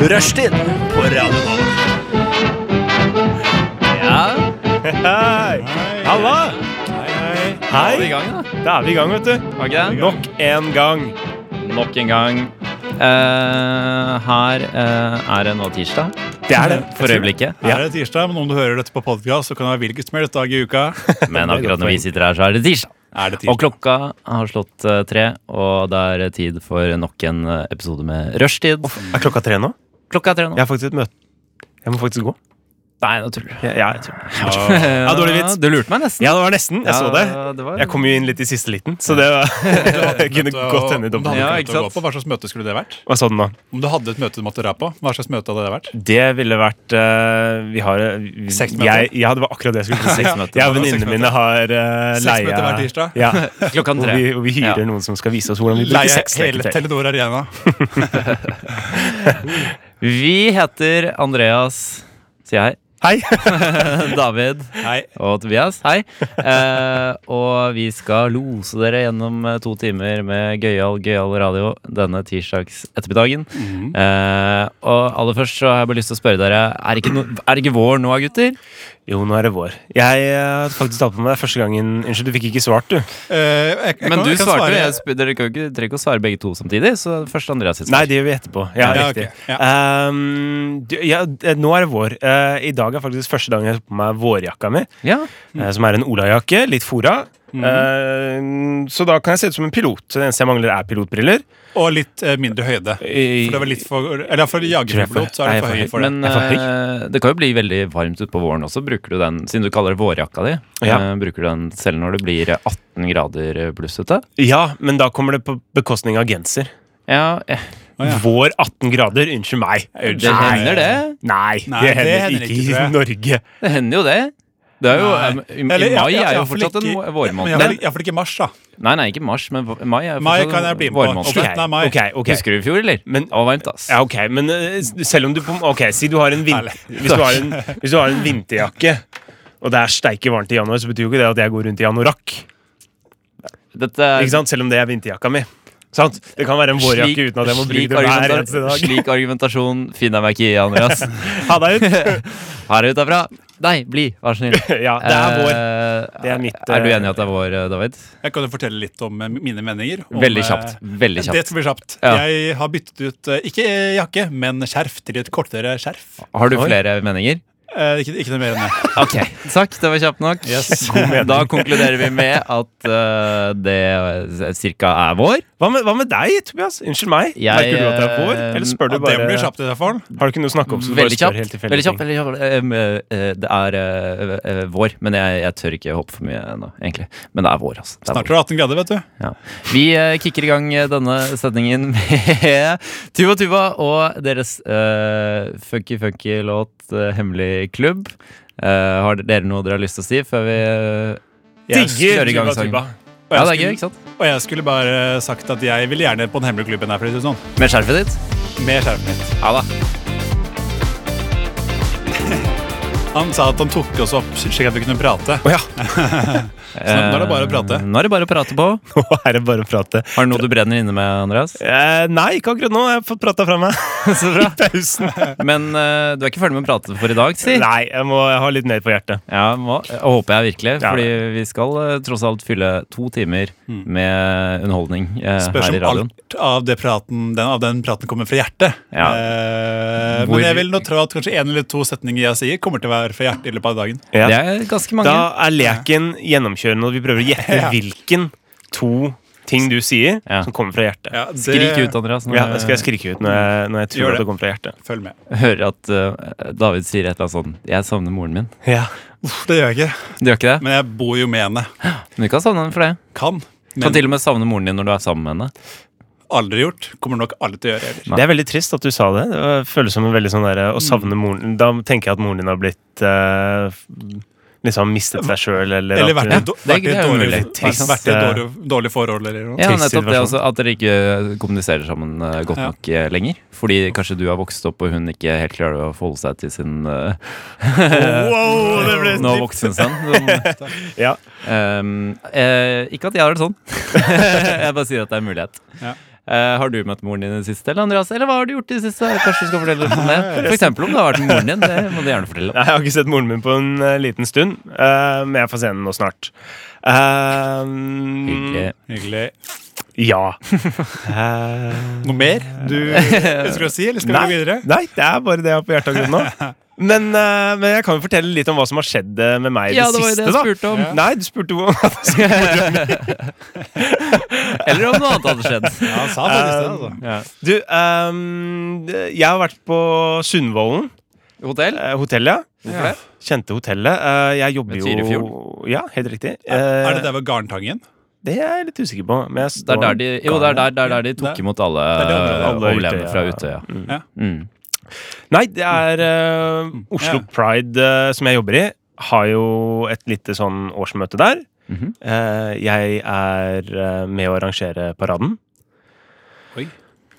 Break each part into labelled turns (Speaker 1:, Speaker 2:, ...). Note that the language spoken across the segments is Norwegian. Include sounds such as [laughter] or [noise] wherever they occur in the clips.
Speaker 1: Rushtid på Radio Nova. Ja,
Speaker 2: Hei! Halla!
Speaker 1: da er vi i
Speaker 2: Hei!
Speaker 1: gang, da.
Speaker 2: Da er vi i gang, vet du.
Speaker 1: Var ikke det?
Speaker 2: Nok en gang.
Speaker 1: Nok en gang. Eh, her eh, er det nå tirsdag,
Speaker 2: Det er det.
Speaker 1: for øyeblikket.
Speaker 3: Her er det tirsdag, men om du hører dette på podcast, så kan det være hvilken som helst dag i uka.
Speaker 2: [laughs]
Speaker 1: Men akkurat når vi sitter her, så er det tirsdag.
Speaker 3: Er
Speaker 1: [laughs]
Speaker 3: det
Speaker 1: Og
Speaker 3: tirsdag?
Speaker 1: klokka har slått eh, tre, og det er tid for nok en eh, episode med rushtid.
Speaker 2: Er klokka tre nå?
Speaker 1: Klokka er tre
Speaker 2: Jeg
Speaker 1: nå.
Speaker 2: har faktisk et møte. Jeg må faktisk gå.
Speaker 1: Nei, nå tuller du.
Speaker 2: Jeg, jeg,
Speaker 1: Ja,
Speaker 2: dårlig vits.
Speaker 1: Du lurte meg nesten.
Speaker 2: ja, det var nesten. Jeg så det.
Speaker 1: var...
Speaker 2: Jeg kom jo inn litt i siste liten, så det var, [laughs] kunne godt hende i
Speaker 3: Om du
Speaker 2: dobbelt.
Speaker 3: hadde
Speaker 1: Ja,
Speaker 3: et
Speaker 1: ikke
Speaker 3: møte å
Speaker 1: sant?
Speaker 3: gå på, Hva slags møte skulle det vært?
Speaker 2: Hva sa du nå?
Speaker 3: Om du hadde et møte du måtte dra på, hva slags møte hadde det vært?
Speaker 2: Det ville vært eh, Vi har vi,
Speaker 3: Sexmøte.
Speaker 2: Jeg, ja, det var akkurat det jeg skulle si.
Speaker 1: Sexmøte.
Speaker 2: Jeg og venninnene mine har uh,
Speaker 3: Sexmøte
Speaker 2: leia
Speaker 3: hver tirsdag?
Speaker 2: [laughs] Ja,
Speaker 3: [laughs]
Speaker 1: Klokka
Speaker 2: hvor
Speaker 1: tre.
Speaker 2: vi, hvor vi
Speaker 1: Ja.
Speaker 2: hyrer noen som skal vise oss hvordan vi bruker
Speaker 3: Leie
Speaker 2: sex.
Speaker 3: hele Telenor Arena.
Speaker 1: Vi heter Andreas, sier
Speaker 2: [laughs]
Speaker 1: jeg.
Speaker 2: Hei!
Speaker 1: David
Speaker 3: Nei,
Speaker 1: og Tobias. Hei. Eh, og vi skal lose dere gjennom eh, to timer med gøyal, gøyal radio denne tirsdags ettermiddagen.
Speaker 3: Mhm.
Speaker 1: Eh, og aller først så har jeg bare lyst til å spørre dere, er det ikke, no, er det ikke vår nå, gutter?
Speaker 2: Jo, nå er det vår. Jeg eh, hadde faktisk tatt på meg første gangen Unnskyld, du fikk ikke svart, du.
Speaker 3: Eh, jeg, jeg kan-
Speaker 1: Men du
Speaker 3: jeg kan
Speaker 1: svarte
Speaker 3: svare-
Speaker 1: jo. jeg sp- Dere kan jo ikke, trenger ikke å svare begge to samtidig, så først Andreas sitt
Speaker 2: Nei,
Speaker 1: svar.
Speaker 2: det gjør vi etterpå. Ja,
Speaker 3: Ja,
Speaker 2: riktig.
Speaker 3: ok. Ja.
Speaker 2: Ehm, du, ja, d- nå er det vår. Eh, I dag er faktisk første dagen jeg tok på meg vårjakka mi,
Speaker 1: Ja.
Speaker 3: Mm.
Speaker 2: eh, som er en olajakke, litt fora. Eh, så da kan jeg se ut som en pilot. Det eneste jeg mangler, er pilotbriller.
Speaker 3: Og litt eh, mindre høyde. For det var litt for Eller for jagerpilot, så er det for høy for det.
Speaker 1: Men
Speaker 2: Jeg er for
Speaker 1: eh, det kan jo bli veldig varmt utpå våren også. Bruker du den, Siden du kaller det vårjakka di,
Speaker 2: Ja.
Speaker 1: eh, bruker du den selv når det blir 18 grader eh, pluss ute?
Speaker 2: Ja, men da kommer det på bekostning av genser.
Speaker 1: Ja, eh,
Speaker 3: Å, ja.
Speaker 2: Vår 18 grader, unnskyld meg.
Speaker 1: det hender det.
Speaker 2: Nei,
Speaker 3: Nei,
Speaker 2: det
Speaker 3: det
Speaker 2: hender ikke
Speaker 3: hender ikke,
Speaker 2: i
Speaker 3: tror
Speaker 2: Norge.
Speaker 1: Det hender jo det. Det er jo,
Speaker 3: Nei.
Speaker 1: eh, i,
Speaker 3: Eller,
Speaker 1: I
Speaker 3: ja,
Speaker 1: mai er
Speaker 3: ja,
Speaker 1: jo
Speaker 3: iallfall
Speaker 1: fortsatt en
Speaker 3: ikke-
Speaker 1: vå-
Speaker 3: Men
Speaker 1: vårmåned.
Speaker 3: Iallfall iallfall ikke mars, da.
Speaker 1: Nei, nei, ikke mars, men v- mai er fortsatt
Speaker 3: Mai
Speaker 1: en
Speaker 3: kan jeg bli med på.
Speaker 1: vårmåned.
Speaker 3: Slutten av mai.
Speaker 2: Ok, ok.
Speaker 1: Husker du i fjor, eller?
Speaker 2: Men-
Speaker 1: det var varmt, ass.
Speaker 2: Ja, ok, men eh, s- selv om du på Ok, si du har en, vin
Speaker 3: Ærlig.
Speaker 2: hvis, du har en hvis du har en vinterjakke, og det er steike varmt i januar, så betyr jo ikke det at jeg går rundt i anorakk.
Speaker 1: Dette er
Speaker 2: Ikke sant? Selv om det er vinterjakka mi. Sant? Det kan være en vårjakke uten at jeg må bruke
Speaker 1: slik
Speaker 2: det hver
Speaker 1: argumenta-
Speaker 2: eneste dag.
Speaker 1: slik argumentasjon finner jeg meg ikke i,
Speaker 2: [laughs]
Speaker 1: Andreas.
Speaker 2: Ha deg ut!
Speaker 1: Her er utafra. Nei, bli, vær så snill.
Speaker 2: [laughs] Ja, det er
Speaker 1: [laughs]
Speaker 2: vår.
Speaker 1: vår.
Speaker 2: Det er mitt,
Speaker 1: Er du
Speaker 2: eh,
Speaker 1: enig i at det er vår, eh, David?
Speaker 3: Jeg kan jo fortelle litt om eh, mine meninger. Om,
Speaker 1: Veldig
Speaker 3: eh,
Speaker 1: kjapt. Veldig
Speaker 3: Det
Speaker 1: kjapt.
Speaker 3: skal bli kjapt.
Speaker 1: Ja.
Speaker 3: Jeg har byttet ut eh, ikke jakke, men skjerf til et kortere skjerf.
Speaker 1: Har du
Speaker 2: Oi.
Speaker 1: flere
Speaker 2: [laughs]
Speaker 1: meninger?
Speaker 3: Eh, ikke, ikke noe mer enn det.
Speaker 1: Ok, Takk, det var kjapt nok. Da konkluderer vi med at eh, det cirka er vår.
Speaker 2: Hva med, hva med deg, Tobias? Unnskyld meg.
Speaker 1: Jeg,
Speaker 2: Merker du at det er vår?
Speaker 1: eh,
Speaker 2: Eller spør du
Speaker 3: Ja, det
Speaker 2: bare
Speaker 3: blir kjapt i hvert fall.
Speaker 2: Har du ikke noe å snakke om? Så du bare
Speaker 1: Veldig
Speaker 2: spør
Speaker 1: kjapt.
Speaker 2: helt tilfeldige
Speaker 1: Veldig kjapt,
Speaker 2: ting?
Speaker 1: veldig kjapt. Em, eh, eh, Det er eh, eh, vår, men jeg, jeg tør ikke håpe for mye nå, egentlig. Men det er vår, altså. Det er vår.
Speaker 3: Snart er det 18 grader, vet du.
Speaker 1: Ja. Vi eh, kicker i gang eh, denne sendingen [laughs] med Tuva Tuva og deres eh, funky funky låt eh, 'Hemmelig klubb'. Eh, har dere noe dere har lyst til å si før vi eh,
Speaker 2: Digger
Speaker 1: kjører i gang
Speaker 2: Tuba
Speaker 1: sangen.
Speaker 2: Tuba.
Speaker 3: Og
Speaker 1: Ja, det
Speaker 3: jeg,
Speaker 1: er gøy, ikke
Speaker 3: skulle,
Speaker 1: sant?
Speaker 3: og jeg skulle bare sagt at jeg vil gjerne på den hemmelige klubben her, for å si det sånn.
Speaker 1: Med skjerfet ditt?
Speaker 3: Med skjerfet mitt.
Speaker 1: Ja da.
Speaker 3: Han sa at han tok oss opp slik at vi kunne prate. [laughs]
Speaker 2: Å ja.
Speaker 3: nå er det bare å prate.
Speaker 1: Eh, Nå er det bare å prate på.
Speaker 2: Nå er det bare å prate.
Speaker 1: Har du noe du brenner inne med, Andreas?
Speaker 2: Eh, nei, ikke akkurat nå. Jeg har fått prata fra meg.
Speaker 1: [laughs] Så
Speaker 2: [laughs]
Speaker 1: bra.
Speaker 2: Pausen.
Speaker 1: Men eh, du er ikke ferdig med å prate for i dag, si?
Speaker 2: Nei, jeg må ha litt mer på hjertet.
Speaker 1: Ja, må, jeg håper jeg virkelig,
Speaker 2: Ja. Mm.
Speaker 1: fordi vi skal eh, tross alt fylle to timer med underholdning eh,
Speaker 3: Spørs
Speaker 1: her i
Speaker 3: om
Speaker 1: radioen.
Speaker 3: alt av, det praten, den, av den praten kommer fra hjertet.
Speaker 1: Ja.
Speaker 3: Eh,
Speaker 1: Hvor-
Speaker 3: men jeg vil nå tro at kanskje en eller to setninger jeg sier, kommer til å være fra hjertet i løpet av dagen.
Speaker 2: Ja.
Speaker 1: Det er ganske mange.
Speaker 2: Da er leken gjennomkjørende, og vi prøver å
Speaker 1: [laughs]
Speaker 2: gjette
Speaker 3: Ja.
Speaker 2: hvilken to ting du sier
Speaker 1: Ja.
Speaker 2: som kommer fra hjertet. Ja.
Speaker 3: Ja, det-
Speaker 1: Skrik ut, Andreas, når
Speaker 2: det skal jeg skrike ut når jeg, når jeg tror
Speaker 3: Gjør
Speaker 2: at
Speaker 3: det.
Speaker 2: det kommer fra hjertet.
Speaker 3: Følg med.
Speaker 1: jeg hører at eh, David sier et eller annet sånn 'Jeg savner moren min'.
Speaker 2: Ja.
Speaker 3: Uff, det gjør jeg ikke.
Speaker 1: Du gjør ikke det?
Speaker 3: Men jeg bor jo med henne.
Speaker 1: Men du kan savne henne for det.
Speaker 3: Kan.
Speaker 1: Du kan til og med savne moren din når du er sammen med henne.
Speaker 3: aldri gjort. Kommer nok aldri til å gjøre heller.
Speaker 2: Det er veldig trist at du sa det. Det var- føles som en veldig sånn derre
Speaker 3: Mm.
Speaker 2: å savne moren Da tenker jeg at moren din har blitt eh, f- Liksom mistet seg sjøl, eller,
Speaker 3: Eller
Speaker 2: at-
Speaker 3: vært i et do-
Speaker 1: det er
Speaker 3: vært i et
Speaker 1: ikke- det er
Speaker 3: dårlig-
Speaker 1: umulig. Trist,
Speaker 3: vært i et
Speaker 2: eh,
Speaker 3: dårlig- dårlig forhold eller noe.
Speaker 1: Ja,
Speaker 2: Trist
Speaker 1: nettopp det,
Speaker 2: situasjon.
Speaker 1: altså, At dere ikke kommuniserer sammen eh, godt
Speaker 3: Ja.
Speaker 1: nok eh, lenger. Fordi kanskje du har vokst opp, og hun ikke helt klarer å forholde seg til sin eh,
Speaker 2: Wow, det ble
Speaker 1: [laughs] nå voksne sønn. Sånn,
Speaker 2: Ja.
Speaker 1: [laughs] Ehm, eh, ikke at jeg har det sånn. jeg bare sier at det er en mulighet.
Speaker 3: Ja.
Speaker 1: Eh, har du møtt moren din i det siste, eller Andreas? Eller hva har du gjort i det siste? Kanskje du skal fortelle litt om det? For eksempel om det har vært moren din. Det må du gjerne fortelle om.
Speaker 2: Jeg har ikke sett moren min på en eh, liten stund, eh, men jeg får se henne nå snart. Eh,
Speaker 1: Hyggelig.
Speaker 3: Hyggelig.
Speaker 2: Ja. Eh,
Speaker 3: Noe mer du
Speaker 1: [laughs]
Speaker 3: ønsker å si, eller skal vi gå videre?
Speaker 2: nei, det er bare det jeg har på hjertet akkurat
Speaker 3: [laughs]
Speaker 2: nå. Men, eh, men jeg kan jo fortelle litt om hva som har skjedd eh, med meg i
Speaker 1: Ja,
Speaker 2: det,
Speaker 1: det var jo
Speaker 2: siste.
Speaker 1: det jeg
Speaker 2: da.
Speaker 1: spurte om.
Speaker 2: Ja. Nei, du spurte hvor
Speaker 1: Eller om noe annet hadde skjedd.
Speaker 3: Ja, han sa faktisk det, altså.
Speaker 1: Ja.
Speaker 2: Du, ehm, jeg har vært på Sundvolden
Speaker 1: Hotell?
Speaker 2: eh, hotell, ja.
Speaker 1: Hvorfor det?
Speaker 2: Kjente hotellet. Eh, jeg jobber
Speaker 1: Ved
Speaker 2: jo
Speaker 1: Tyrifjorden?
Speaker 2: Ja, helt riktig.
Speaker 3: Er
Speaker 2: Eh,
Speaker 3: det der ved Garntangen?
Speaker 2: det er jeg litt usikker på. Men jeg
Speaker 1: Det er
Speaker 2: står-
Speaker 1: der de, jo, det er der, der, der de
Speaker 3: Det
Speaker 1: tok
Speaker 3: er-
Speaker 1: imot alle
Speaker 3: er det alle-
Speaker 1: eh,
Speaker 2: alle
Speaker 1: overlevende
Speaker 2: Utøya.
Speaker 1: fra Utøya.
Speaker 2: Mm.
Speaker 3: Ja.
Speaker 1: Mm.
Speaker 2: Nei, det er eh, Oslo
Speaker 3: Ja.
Speaker 2: Pride eh, som jeg jobber i. Har jo et lite sånn årsmøte der.
Speaker 1: Mhm.
Speaker 2: Eh, jeg er eh, med å arrangere paraden.
Speaker 3: Oi.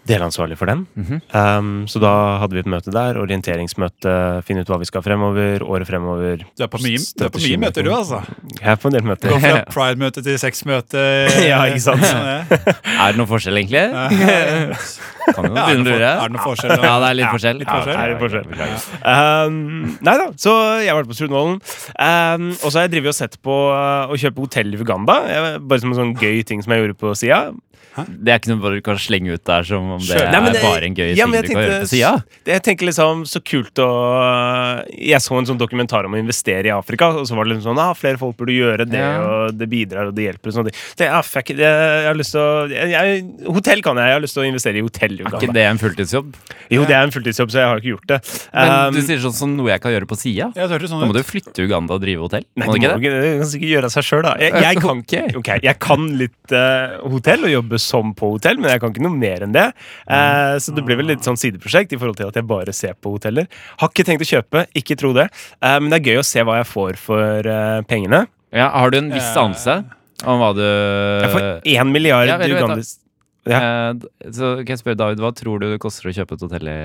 Speaker 2: Delansvarlig for den.
Speaker 1: Mhm.
Speaker 2: Ehm, så da hadade vi et møte der. Orienteringsmøte, finne ut hva vi skal fremover. Året fremover.
Speaker 3: Du er på mye, du er på mye møter, du, altså.
Speaker 2: Jeg er på en del
Speaker 3: Du
Speaker 2: møter.
Speaker 1: [laughs]
Speaker 3: går fra pride-møte til sexmøte.
Speaker 2: Ja, ikke sant?
Speaker 3: Sånn,
Speaker 1: Er det noen forskjell, egentlig?
Speaker 3: ja. Ja,
Speaker 1: [laughs] Kan jo
Speaker 3: Er det
Speaker 1: begynne å
Speaker 3: noe for-
Speaker 1: lure.
Speaker 3: er det noe forskjell?
Speaker 1: Ja, det er litt forskjell.
Speaker 2: [laughs]
Speaker 3: litt forskjell.
Speaker 1: Ja,
Speaker 2: Er det forskjell?
Speaker 1: beklager.
Speaker 2: Um, nei da, så jeg har vært på Sundvolden. Um, og så har jeg drevet og sett på uh, å kjøpe hotell i Uganda. Jeg, bare som en sånn gøy ting som jeg gjorde på sida.
Speaker 1: Det er ikke noe bare du kan slenge ut der som om det
Speaker 3: Skjønner.
Speaker 1: er
Speaker 3: Nei, men
Speaker 1: bare en gøy
Speaker 2: ja, men
Speaker 1: ting
Speaker 2: jeg
Speaker 1: du kan gjøre
Speaker 2: tenkte-
Speaker 1: på sida.
Speaker 2: Det, jeg tenker liksom så kult å Jeg så en sånn dokumentar om å investere i Afrika, og så var det liksom sånn ah, flere folk burde gjøre det,
Speaker 1: Ja.
Speaker 2: og det bidrar, og det hjelper, og sånne ting. Så tenkte jeg, ah, fuck, it, jeg, jeg har lyst til å jeg, jeg, Hotell kan jeg. Jeg har lyst til å investere i hotell i
Speaker 1: Er ikke
Speaker 2: Uganda.
Speaker 1: det en fulltidsjobb?
Speaker 2: Jo, det er en fulltidsjobb, så jeg har ikke gjort det.
Speaker 1: Men du
Speaker 2: Um,
Speaker 1: sier sånn som noe jeg kan gjøre på sida.
Speaker 3: det hørtes
Speaker 1: Da
Speaker 3: sånn
Speaker 1: må du
Speaker 3: ut.
Speaker 1: flytte til Uganda og drive hotell.
Speaker 2: Nei,
Speaker 1: Må
Speaker 2: det
Speaker 1: du ikke
Speaker 2: må
Speaker 1: det?
Speaker 2: ikke, det kan sikkert gjøre av seg sjøl, da.
Speaker 1: [laughs]
Speaker 2: Jeg, jeg, kan,
Speaker 1: Ok.
Speaker 2: ok, jeg kan litt eh, hotell, og jobbe som på hotell, men jeg kan ikke noe mer enn det. Eh, så det blir vel litt sånn sideprosjekt i forhold til at jeg bare ser på hoteller. Har ikke tenkt å kjøpe, ikke tro det. Eh, men det er gøy å se hva jeg får for eh, pengene.
Speaker 1: Ja, har du en viss
Speaker 3: Eh.
Speaker 1: anelse om hva du
Speaker 2: Jeg får én milliard
Speaker 1: Eh, ja, vet du, vet du.
Speaker 2: ugandis... ja.
Speaker 1: Eh, Så kan jeg spørre David, hva tror du det koster å kjøpe et hotell i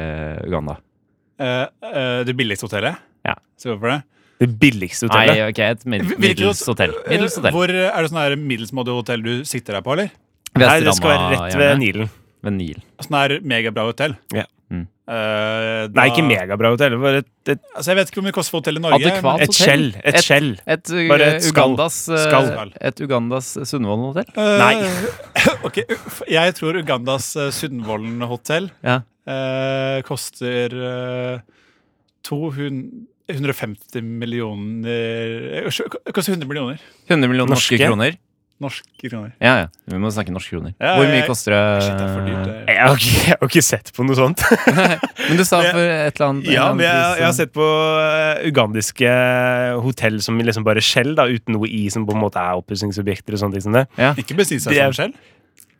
Speaker 1: Uganda?
Speaker 3: Eh, eh, Det billigste hotellet?
Speaker 1: Ja.
Speaker 3: Se for det.
Speaker 2: Det billigste
Speaker 1: Nei,
Speaker 2: hotellet.
Speaker 1: ok, et mid-
Speaker 3: Hvilket
Speaker 1: middels
Speaker 3: hot-
Speaker 1: hotell. Middels
Speaker 3: Eh,
Speaker 1: hotell.
Speaker 3: Hvor eh, Er det sånn her middelsmådig hotell du sitter der på, eller?
Speaker 2: Nei, det skal være rett ved Nilen.
Speaker 1: Ved Nilen.
Speaker 3: Sånn her megabra hotell?
Speaker 2: Ja.
Speaker 1: Mm.
Speaker 3: Eh, da-
Speaker 2: Nei, ikke megabra hotell, bare et, et,
Speaker 3: Altså, jeg vet ikke om det koster for hotell i Norge.
Speaker 1: Adekvat.
Speaker 2: et skjell. Et
Speaker 1: Et-
Speaker 2: skjell.
Speaker 1: Et, uh,
Speaker 2: Bare et skall.
Speaker 1: Ugandas, uh,
Speaker 2: Skall.
Speaker 1: et Ugandas Sundvolden hotell?
Speaker 3: men, eh,
Speaker 2: Nei.
Speaker 3: [laughs] ok, uff, jeg tror Ugandas eh, Sundvolden hotell
Speaker 1: Ja.
Speaker 3: eh, koster eh, 200 150 millioner eh, Det koster 100 millioner
Speaker 1: 100 millioner norske,
Speaker 2: Norske?
Speaker 1: kroner?
Speaker 3: norske kroner.
Speaker 1: Ja, ja. Vi må snakke norske kroner.
Speaker 3: Ja,
Speaker 1: Hvor
Speaker 3: ja,
Speaker 1: mye
Speaker 3: ja.
Speaker 1: koster det?
Speaker 3: Shit, det er for dyrt. eh. det er-
Speaker 2: Jeg har ikke, jeg har ikke sett på noe sånt.
Speaker 1: Men du sa
Speaker 2: Men jeg-
Speaker 1: for et eller annet
Speaker 2: Ja,
Speaker 1: en
Speaker 2: men
Speaker 1: eller
Speaker 2: jeg,
Speaker 1: annen pris,
Speaker 2: jeg har
Speaker 1: sånn-
Speaker 2: sett på eh, ugandiske hotell som liksom bare skjell, da, uten noe i, som på en måte er oppussingsobjekter og sånne ting som det.
Speaker 3: Ikke bensinstasjon
Speaker 2: Det
Speaker 3: selv.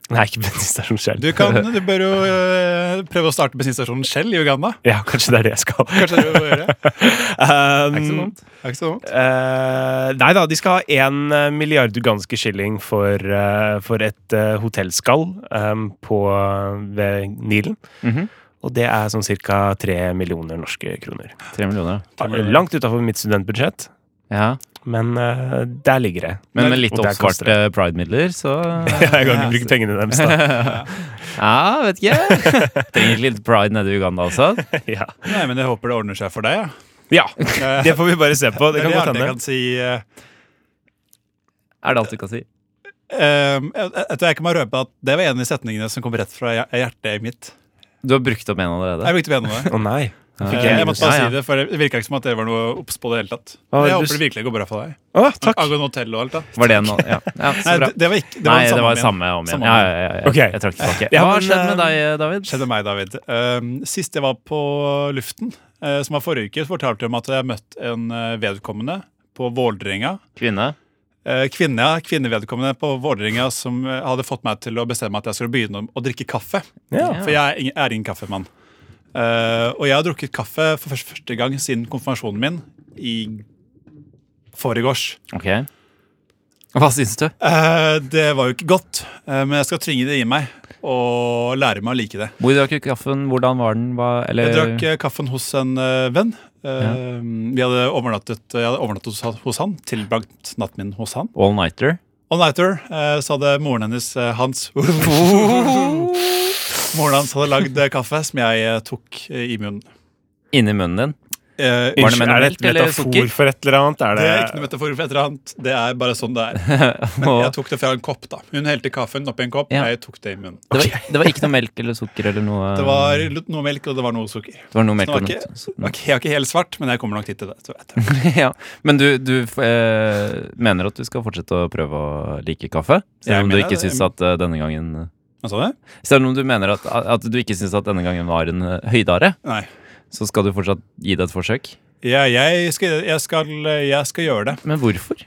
Speaker 2: Nei, ikke bensinstasjon skjell.
Speaker 3: Du, kan, du bør jo eh, prøve å starte bensinstasjonen selv i Uganda.
Speaker 2: [laughs] Ja, kanskje det er det jeg skal.
Speaker 3: Kanskje det er det du bør [laughs] gjøre.
Speaker 2: Um,
Speaker 1: Er ikke så dumt.
Speaker 3: Er ikke så dumt.
Speaker 2: eh, nei da, de skal ha én milliard uganske shilling for, eh, for et eh, hotellskall em, på, eh, ved Nilen.
Speaker 1: Mhm.
Speaker 2: Og det er sånn ca. tre millioner norske kroner.
Speaker 1: Tre millioner.
Speaker 2: Langt utafor mitt studentbudsjett,
Speaker 1: Ja.
Speaker 2: men eh, der ligger det.
Speaker 1: Men med
Speaker 3: Men-
Speaker 1: litt
Speaker 2: og der koster det.
Speaker 1: oppsparte pride-midler, så
Speaker 2: [laughs] Ja, jeg kan ikke bruke pengene deres, da.
Speaker 1: Ja, vet
Speaker 3: [laughs]
Speaker 1: ikke. Trenger litt pride nede i Uganda også.
Speaker 2: Ja.
Speaker 3: Nei, men jeg håper det ordner seg for deg. Ja.
Speaker 2: ja.
Speaker 3: Eh,
Speaker 2: Det får vi bare se på. Det kan
Speaker 3: er
Speaker 2: godt
Speaker 3: alt jeg
Speaker 2: hende.
Speaker 3: kan si eh,
Speaker 1: Er det alt du kan si?
Speaker 3: eh, jeg, jeg, jeg kan bare røpe at Det var en av de setningene som kom rett fra hjer- hjertet mitt.
Speaker 1: Du har brukt opp en allerede.
Speaker 3: Jeg brukte ben over det.
Speaker 2: Å nei.
Speaker 1: Ja.
Speaker 3: Eh,
Speaker 2: jeg
Speaker 3: Jeg måtte bare
Speaker 1: Ja, ja.
Speaker 3: si det, for det virka ikke som at det var noe obs på det hele tatt.
Speaker 2: Hva var
Speaker 3: Men Jeg
Speaker 2: det du
Speaker 3: håper det virkelig går bra for deg.
Speaker 2: Å, takk.
Speaker 3: Angående hotell og alt, da.
Speaker 1: Var det en Ja, ja
Speaker 3: Nei,
Speaker 1: så bra.
Speaker 3: det, det var ikke det var
Speaker 1: Nei,
Speaker 3: den
Speaker 1: det var
Speaker 3: igjen.
Speaker 1: samme om igjen.
Speaker 3: Samme
Speaker 1: Ja,
Speaker 3: om
Speaker 1: ja, ja, ja.
Speaker 2: Ok.
Speaker 1: Jeg trakk tilbake.
Speaker 2: Ja,
Speaker 1: Hva har
Speaker 2: men,
Speaker 1: skjedd med
Speaker 2: eh,
Speaker 1: deg, David?
Speaker 3: skjedde meg, David. Um, sist jeg var på luften, eh, som var forrige uke, så fortalte jeg om at jeg har møtt en eh, vedkommende på Vålerenga.
Speaker 1: Kvinne?
Speaker 3: Eh, kvinne, ja, kvinnevedkommende på Vålerenga som eh, hadde fått meg til å bestemme at jeg skulle begynne å drikke kaffe.
Speaker 2: Ja.
Speaker 1: Ja.
Speaker 3: For jeg er ingen, jeg er ingen kaffemann. Eh, og jeg har drukket kaffe for første, første gang siden konfirmasjonen min i forgårs.
Speaker 1: Ok. Hva syns du?
Speaker 3: Eh, det var jo ikke godt, eh, men jeg skal tvinge det i meg og lære meg å like det.
Speaker 1: Hvor drakk du kaffen? Hvordan var den? Hva, eller
Speaker 3: Jeg drakk eh, kaffen hos en eh, venn. Eh, Vi hadde overnattet, jeg hadde overnattet hos, han- hos han, tilbrakt natten min hos han.
Speaker 1: All Nighter?
Speaker 3: All-nighter, eh, så hadde moren hennes, eh, Hans [laughs] Moren hans hadde lagd eh, kaffe som jeg eh, tok eh, i munnen.
Speaker 1: Inni munnen din. [laughs]
Speaker 3: Eh,
Speaker 1: Var det med noe
Speaker 2: er det et
Speaker 1: melk eller
Speaker 2: metafor
Speaker 1: sukker?
Speaker 2: for et eller annet? Er
Speaker 3: det
Speaker 2: det,
Speaker 3: er ikke noe metafor for et eller annet. Det er bare sånn det er. Men
Speaker 1: Og
Speaker 3: jeg tok det fra en kopp, da. Hun helte kaffen oppi en kopp,
Speaker 1: Ja.
Speaker 3: jeg tok det i munnen.
Speaker 1: det, var, det var ikke noe melk eller sukker eller noe
Speaker 3: Det var litt- noe melk, og det var noe sukker.
Speaker 1: det var noe melk
Speaker 3: Det var
Speaker 1: og
Speaker 3: ikke,
Speaker 1: noe-
Speaker 3: det var ikke, jeg var ikke helt svart, men jeg kommer nok dit til det. tror jeg.
Speaker 1: [laughs] ja. Men du, du f- eh, mener at du skal fortsette å prøve å like kaffe?
Speaker 3: Jeg
Speaker 1: Selv om du
Speaker 3: mener
Speaker 1: ikke
Speaker 3: det.
Speaker 1: syns at eh, denne gangen
Speaker 3: Hva sa du?
Speaker 1: Selv om du mener at, at du ikke syns at denne gangen var en eh, høydare,
Speaker 3: Nei.
Speaker 1: så skal du fortsatt gi det et forsøk.
Speaker 3: Ja, jeg, skal, jeg, skal, jeg skal gjøre det.
Speaker 1: Men hvorfor?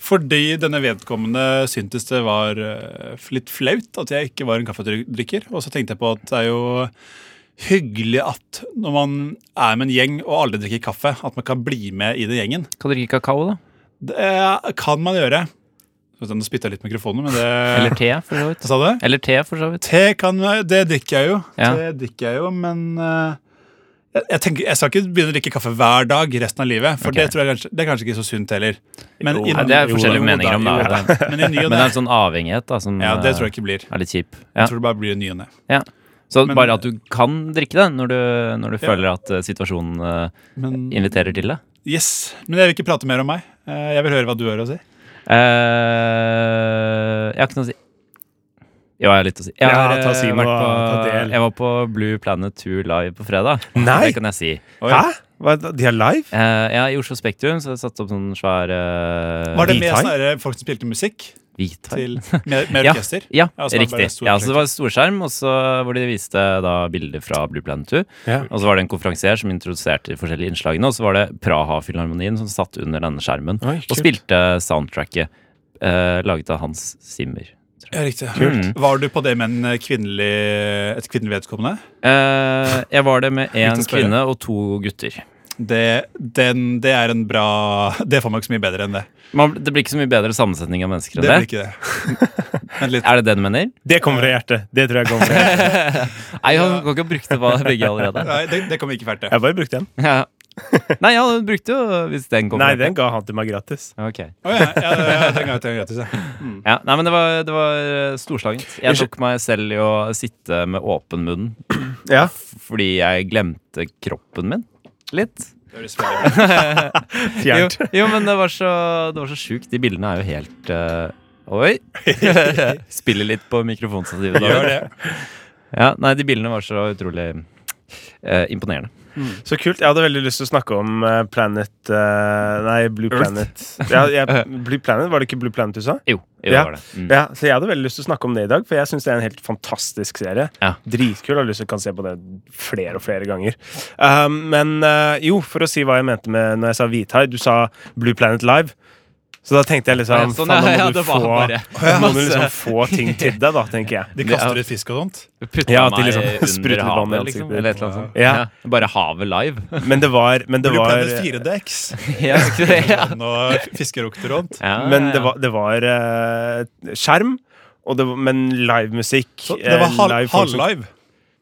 Speaker 3: Fordi denne vedkommende syntes det var eh, litt flaut at jeg ikke var en kaffedrikker. Og så tenkte jeg på at det er jo hyggelig at når man er med en gjeng og alle drikker kaffe, at man kan bli med i den gjengen.
Speaker 1: Kan du drikke kakao, da?
Speaker 3: Det kan man gjøre. Nå spytta jeg litt mikrofonen, men det
Speaker 1: Eller te, for så vidt.
Speaker 3: Hva sa du?
Speaker 1: Eller te, for så vidt.
Speaker 3: Te kan Det drikker jeg jo.
Speaker 1: Ja.
Speaker 3: Det drikker jeg jo, men eh, jeg, jeg, tenker, jeg skal ikke begynne å drikke kaffe hver dag resten av livet. For
Speaker 1: Ok.
Speaker 3: det, tror jeg kanskje, det er kanskje ikke så sunt heller.
Speaker 2: Jo,
Speaker 3: i-
Speaker 1: Nei, det er
Speaker 2: Jo,
Speaker 1: forskjellige
Speaker 2: jo,
Speaker 1: meninger om det.
Speaker 3: [laughs] jo,
Speaker 1: det.
Speaker 3: Men i ny og
Speaker 1: Men det
Speaker 3: ne
Speaker 1: er en sånn avhengighet da, som
Speaker 3: Ja, det tror jeg
Speaker 1: eh,
Speaker 3: ikke blir.
Speaker 1: er litt kjip.
Speaker 3: Jeg
Speaker 1: Ja.
Speaker 3: tror det bare blir i ny og ne.
Speaker 1: Ja. Så
Speaker 3: Men-
Speaker 1: bare at du kan drikke det når du, når du
Speaker 3: Ja.
Speaker 1: føler at eh, situasjonen eh,
Speaker 3: Men,
Speaker 1: inviterer til det.
Speaker 3: yes. Men jeg vil ikke prate mer om meg. Eh, Jeg vil høre hva du har å si.
Speaker 1: Eh, jeg har ikke noe å si. Jo, jeg har litt å si. Jeg,
Speaker 2: Ja,
Speaker 1: har, eh,
Speaker 2: ta si noe,
Speaker 1: vært
Speaker 2: ta
Speaker 1: på,
Speaker 2: del.
Speaker 1: jeg var på Blue Planet 2 live på fredag.
Speaker 2: Nei!
Speaker 1: Det kan jeg si.
Speaker 2: Hæ? Hva, de er live?
Speaker 1: Eh, ja, I Oslo Spektrum så satte jeg opp sånn svær uh,
Speaker 3: Var det med
Speaker 2: Hvithai?
Speaker 3: sånne her eh, folk som spilte musikk? Til, med, med
Speaker 1: [laughs] Ja.
Speaker 3: orkester?
Speaker 1: Ja,
Speaker 3: Ja, så det var
Speaker 1: riktig.
Speaker 3: bare stor
Speaker 1: Ja, så det var storskjerm, og så hvor de viste da bilder fra Blue Planet 2.
Speaker 2: Ja.
Speaker 1: Og så var det en konferansier som introduserte de forskjellige innslagene, og så var det Praha-filharmonien som satt under denne skjermen
Speaker 2: Oi,
Speaker 1: og
Speaker 2: kult.
Speaker 1: spilte soundtracket eh, laget av Hans Zimmer.
Speaker 3: Ja, riktig.
Speaker 1: Kult.
Speaker 3: Var du på det med en kvinnelig, et kvinnelig vedkommende?
Speaker 1: Eh, jeg var det
Speaker 3: [laughs]
Speaker 1: med én
Speaker 3: Viktig å spørre.
Speaker 1: kvinne og to gutter.
Speaker 3: Det, den, det er en bra [laughs] Det får man ikke så mye bedre enn det.
Speaker 1: Man, det blir ikke så mye bedre sammensetning av mennesker
Speaker 3: Det
Speaker 1: enn det.
Speaker 3: blir ikke det. [laughs] Vent litt.
Speaker 1: Er det det du mener?
Speaker 2: Det kommer fra hjertet. Det tror jeg kommer fra hjertet.
Speaker 1: Nei, han kan ikke ha brukt det på begge allerede.
Speaker 3: [laughs] Nei, det, det kommer ikke fælt, det.
Speaker 2: Jeg bare brukte den.
Speaker 1: Ja. Nei, han brukte jo hvis den kom.
Speaker 2: Nei, den ga han til meg gratis.
Speaker 1: Ok.
Speaker 3: Å ja, ja, ja, ja, den gang til gratis, ja.
Speaker 1: Ja, nei, men det var, det var eh, storslagent. Jeg
Speaker 2: Unnskyld.
Speaker 1: tok meg selv i å sitte med åpen munn
Speaker 2: Ja.
Speaker 1: f- fordi jeg glemte kroppen min litt. [laughs]
Speaker 3: Det høres veldig bra ut.
Speaker 1: Jo,
Speaker 2: Fjernt.
Speaker 1: jo, men det var så, det var så sjukt. De bildene er jo helt eh, Oi! Spiller litt på mikrofonstativet. da.
Speaker 3: Gjør det.
Speaker 1: Ja, nei, de bildene var så utrolig eh, imponerende.
Speaker 2: Så kult. Jeg hadde veldig lyst til å snakke om eh, Planet eh, Nei, Blue
Speaker 1: Earth.
Speaker 2: Planet. Ja, jeg, Blue Planet, Var det ikke Blue Planet du sa?
Speaker 1: Jo, jo
Speaker 2: Ja.
Speaker 1: det var det. Mm.
Speaker 2: Ja, så Jeg hadde veldig lyst til å snakke om det i dag, for jeg syns det er en helt fantastisk serie.
Speaker 1: Ja.
Speaker 2: Dritkul. Har lyst til å kan se på det flere og flere ganger. Um, men eh, jo, for å si hva jeg mente med når jeg sa Hvithai Du sa Blue Planet Live. Så da tenkte jeg
Speaker 1: Ja,
Speaker 2: liksom
Speaker 1: sånn,
Speaker 2: faen,
Speaker 1: ja,
Speaker 2: da
Speaker 1: ja,
Speaker 2: må du
Speaker 1: det var
Speaker 2: få-
Speaker 1: bare
Speaker 2: da må du
Speaker 1: masse-
Speaker 2: liksom få ting til deg, da, tenker jeg.
Speaker 3: De kaster ut fisk og sånt.
Speaker 1: Putta
Speaker 2: Ja, at de
Speaker 1: meg
Speaker 2: liksom spruter vann
Speaker 1: under
Speaker 2: i
Speaker 1: havet, liksom.
Speaker 2: ansiktet.
Speaker 1: Eller et eller annet sånt.
Speaker 2: Ja.
Speaker 1: Ja, bare havet live.
Speaker 2: [laughs] Men det var, men det
Speaker 3: Blue
Speaker 2: var
Speaker 3: Planet 4DX.
Speaker 1: ja, ja.
Speaker 3: Og fiskerukter rundt.
Speaker 1: [laughs] Ja,
Speaker 2: Men
Speaker 1: Ah,
Speaker 2: det
Speaker 1: ja, ja.
Speaker 2: var, det var eh, skjerm, og det var, men livemusikk
Speaker 3: Så det var
Speaker 2: eh,
Speaker 3: hal-
Speaker 2: live folk som-
Speaker 3: halvlive.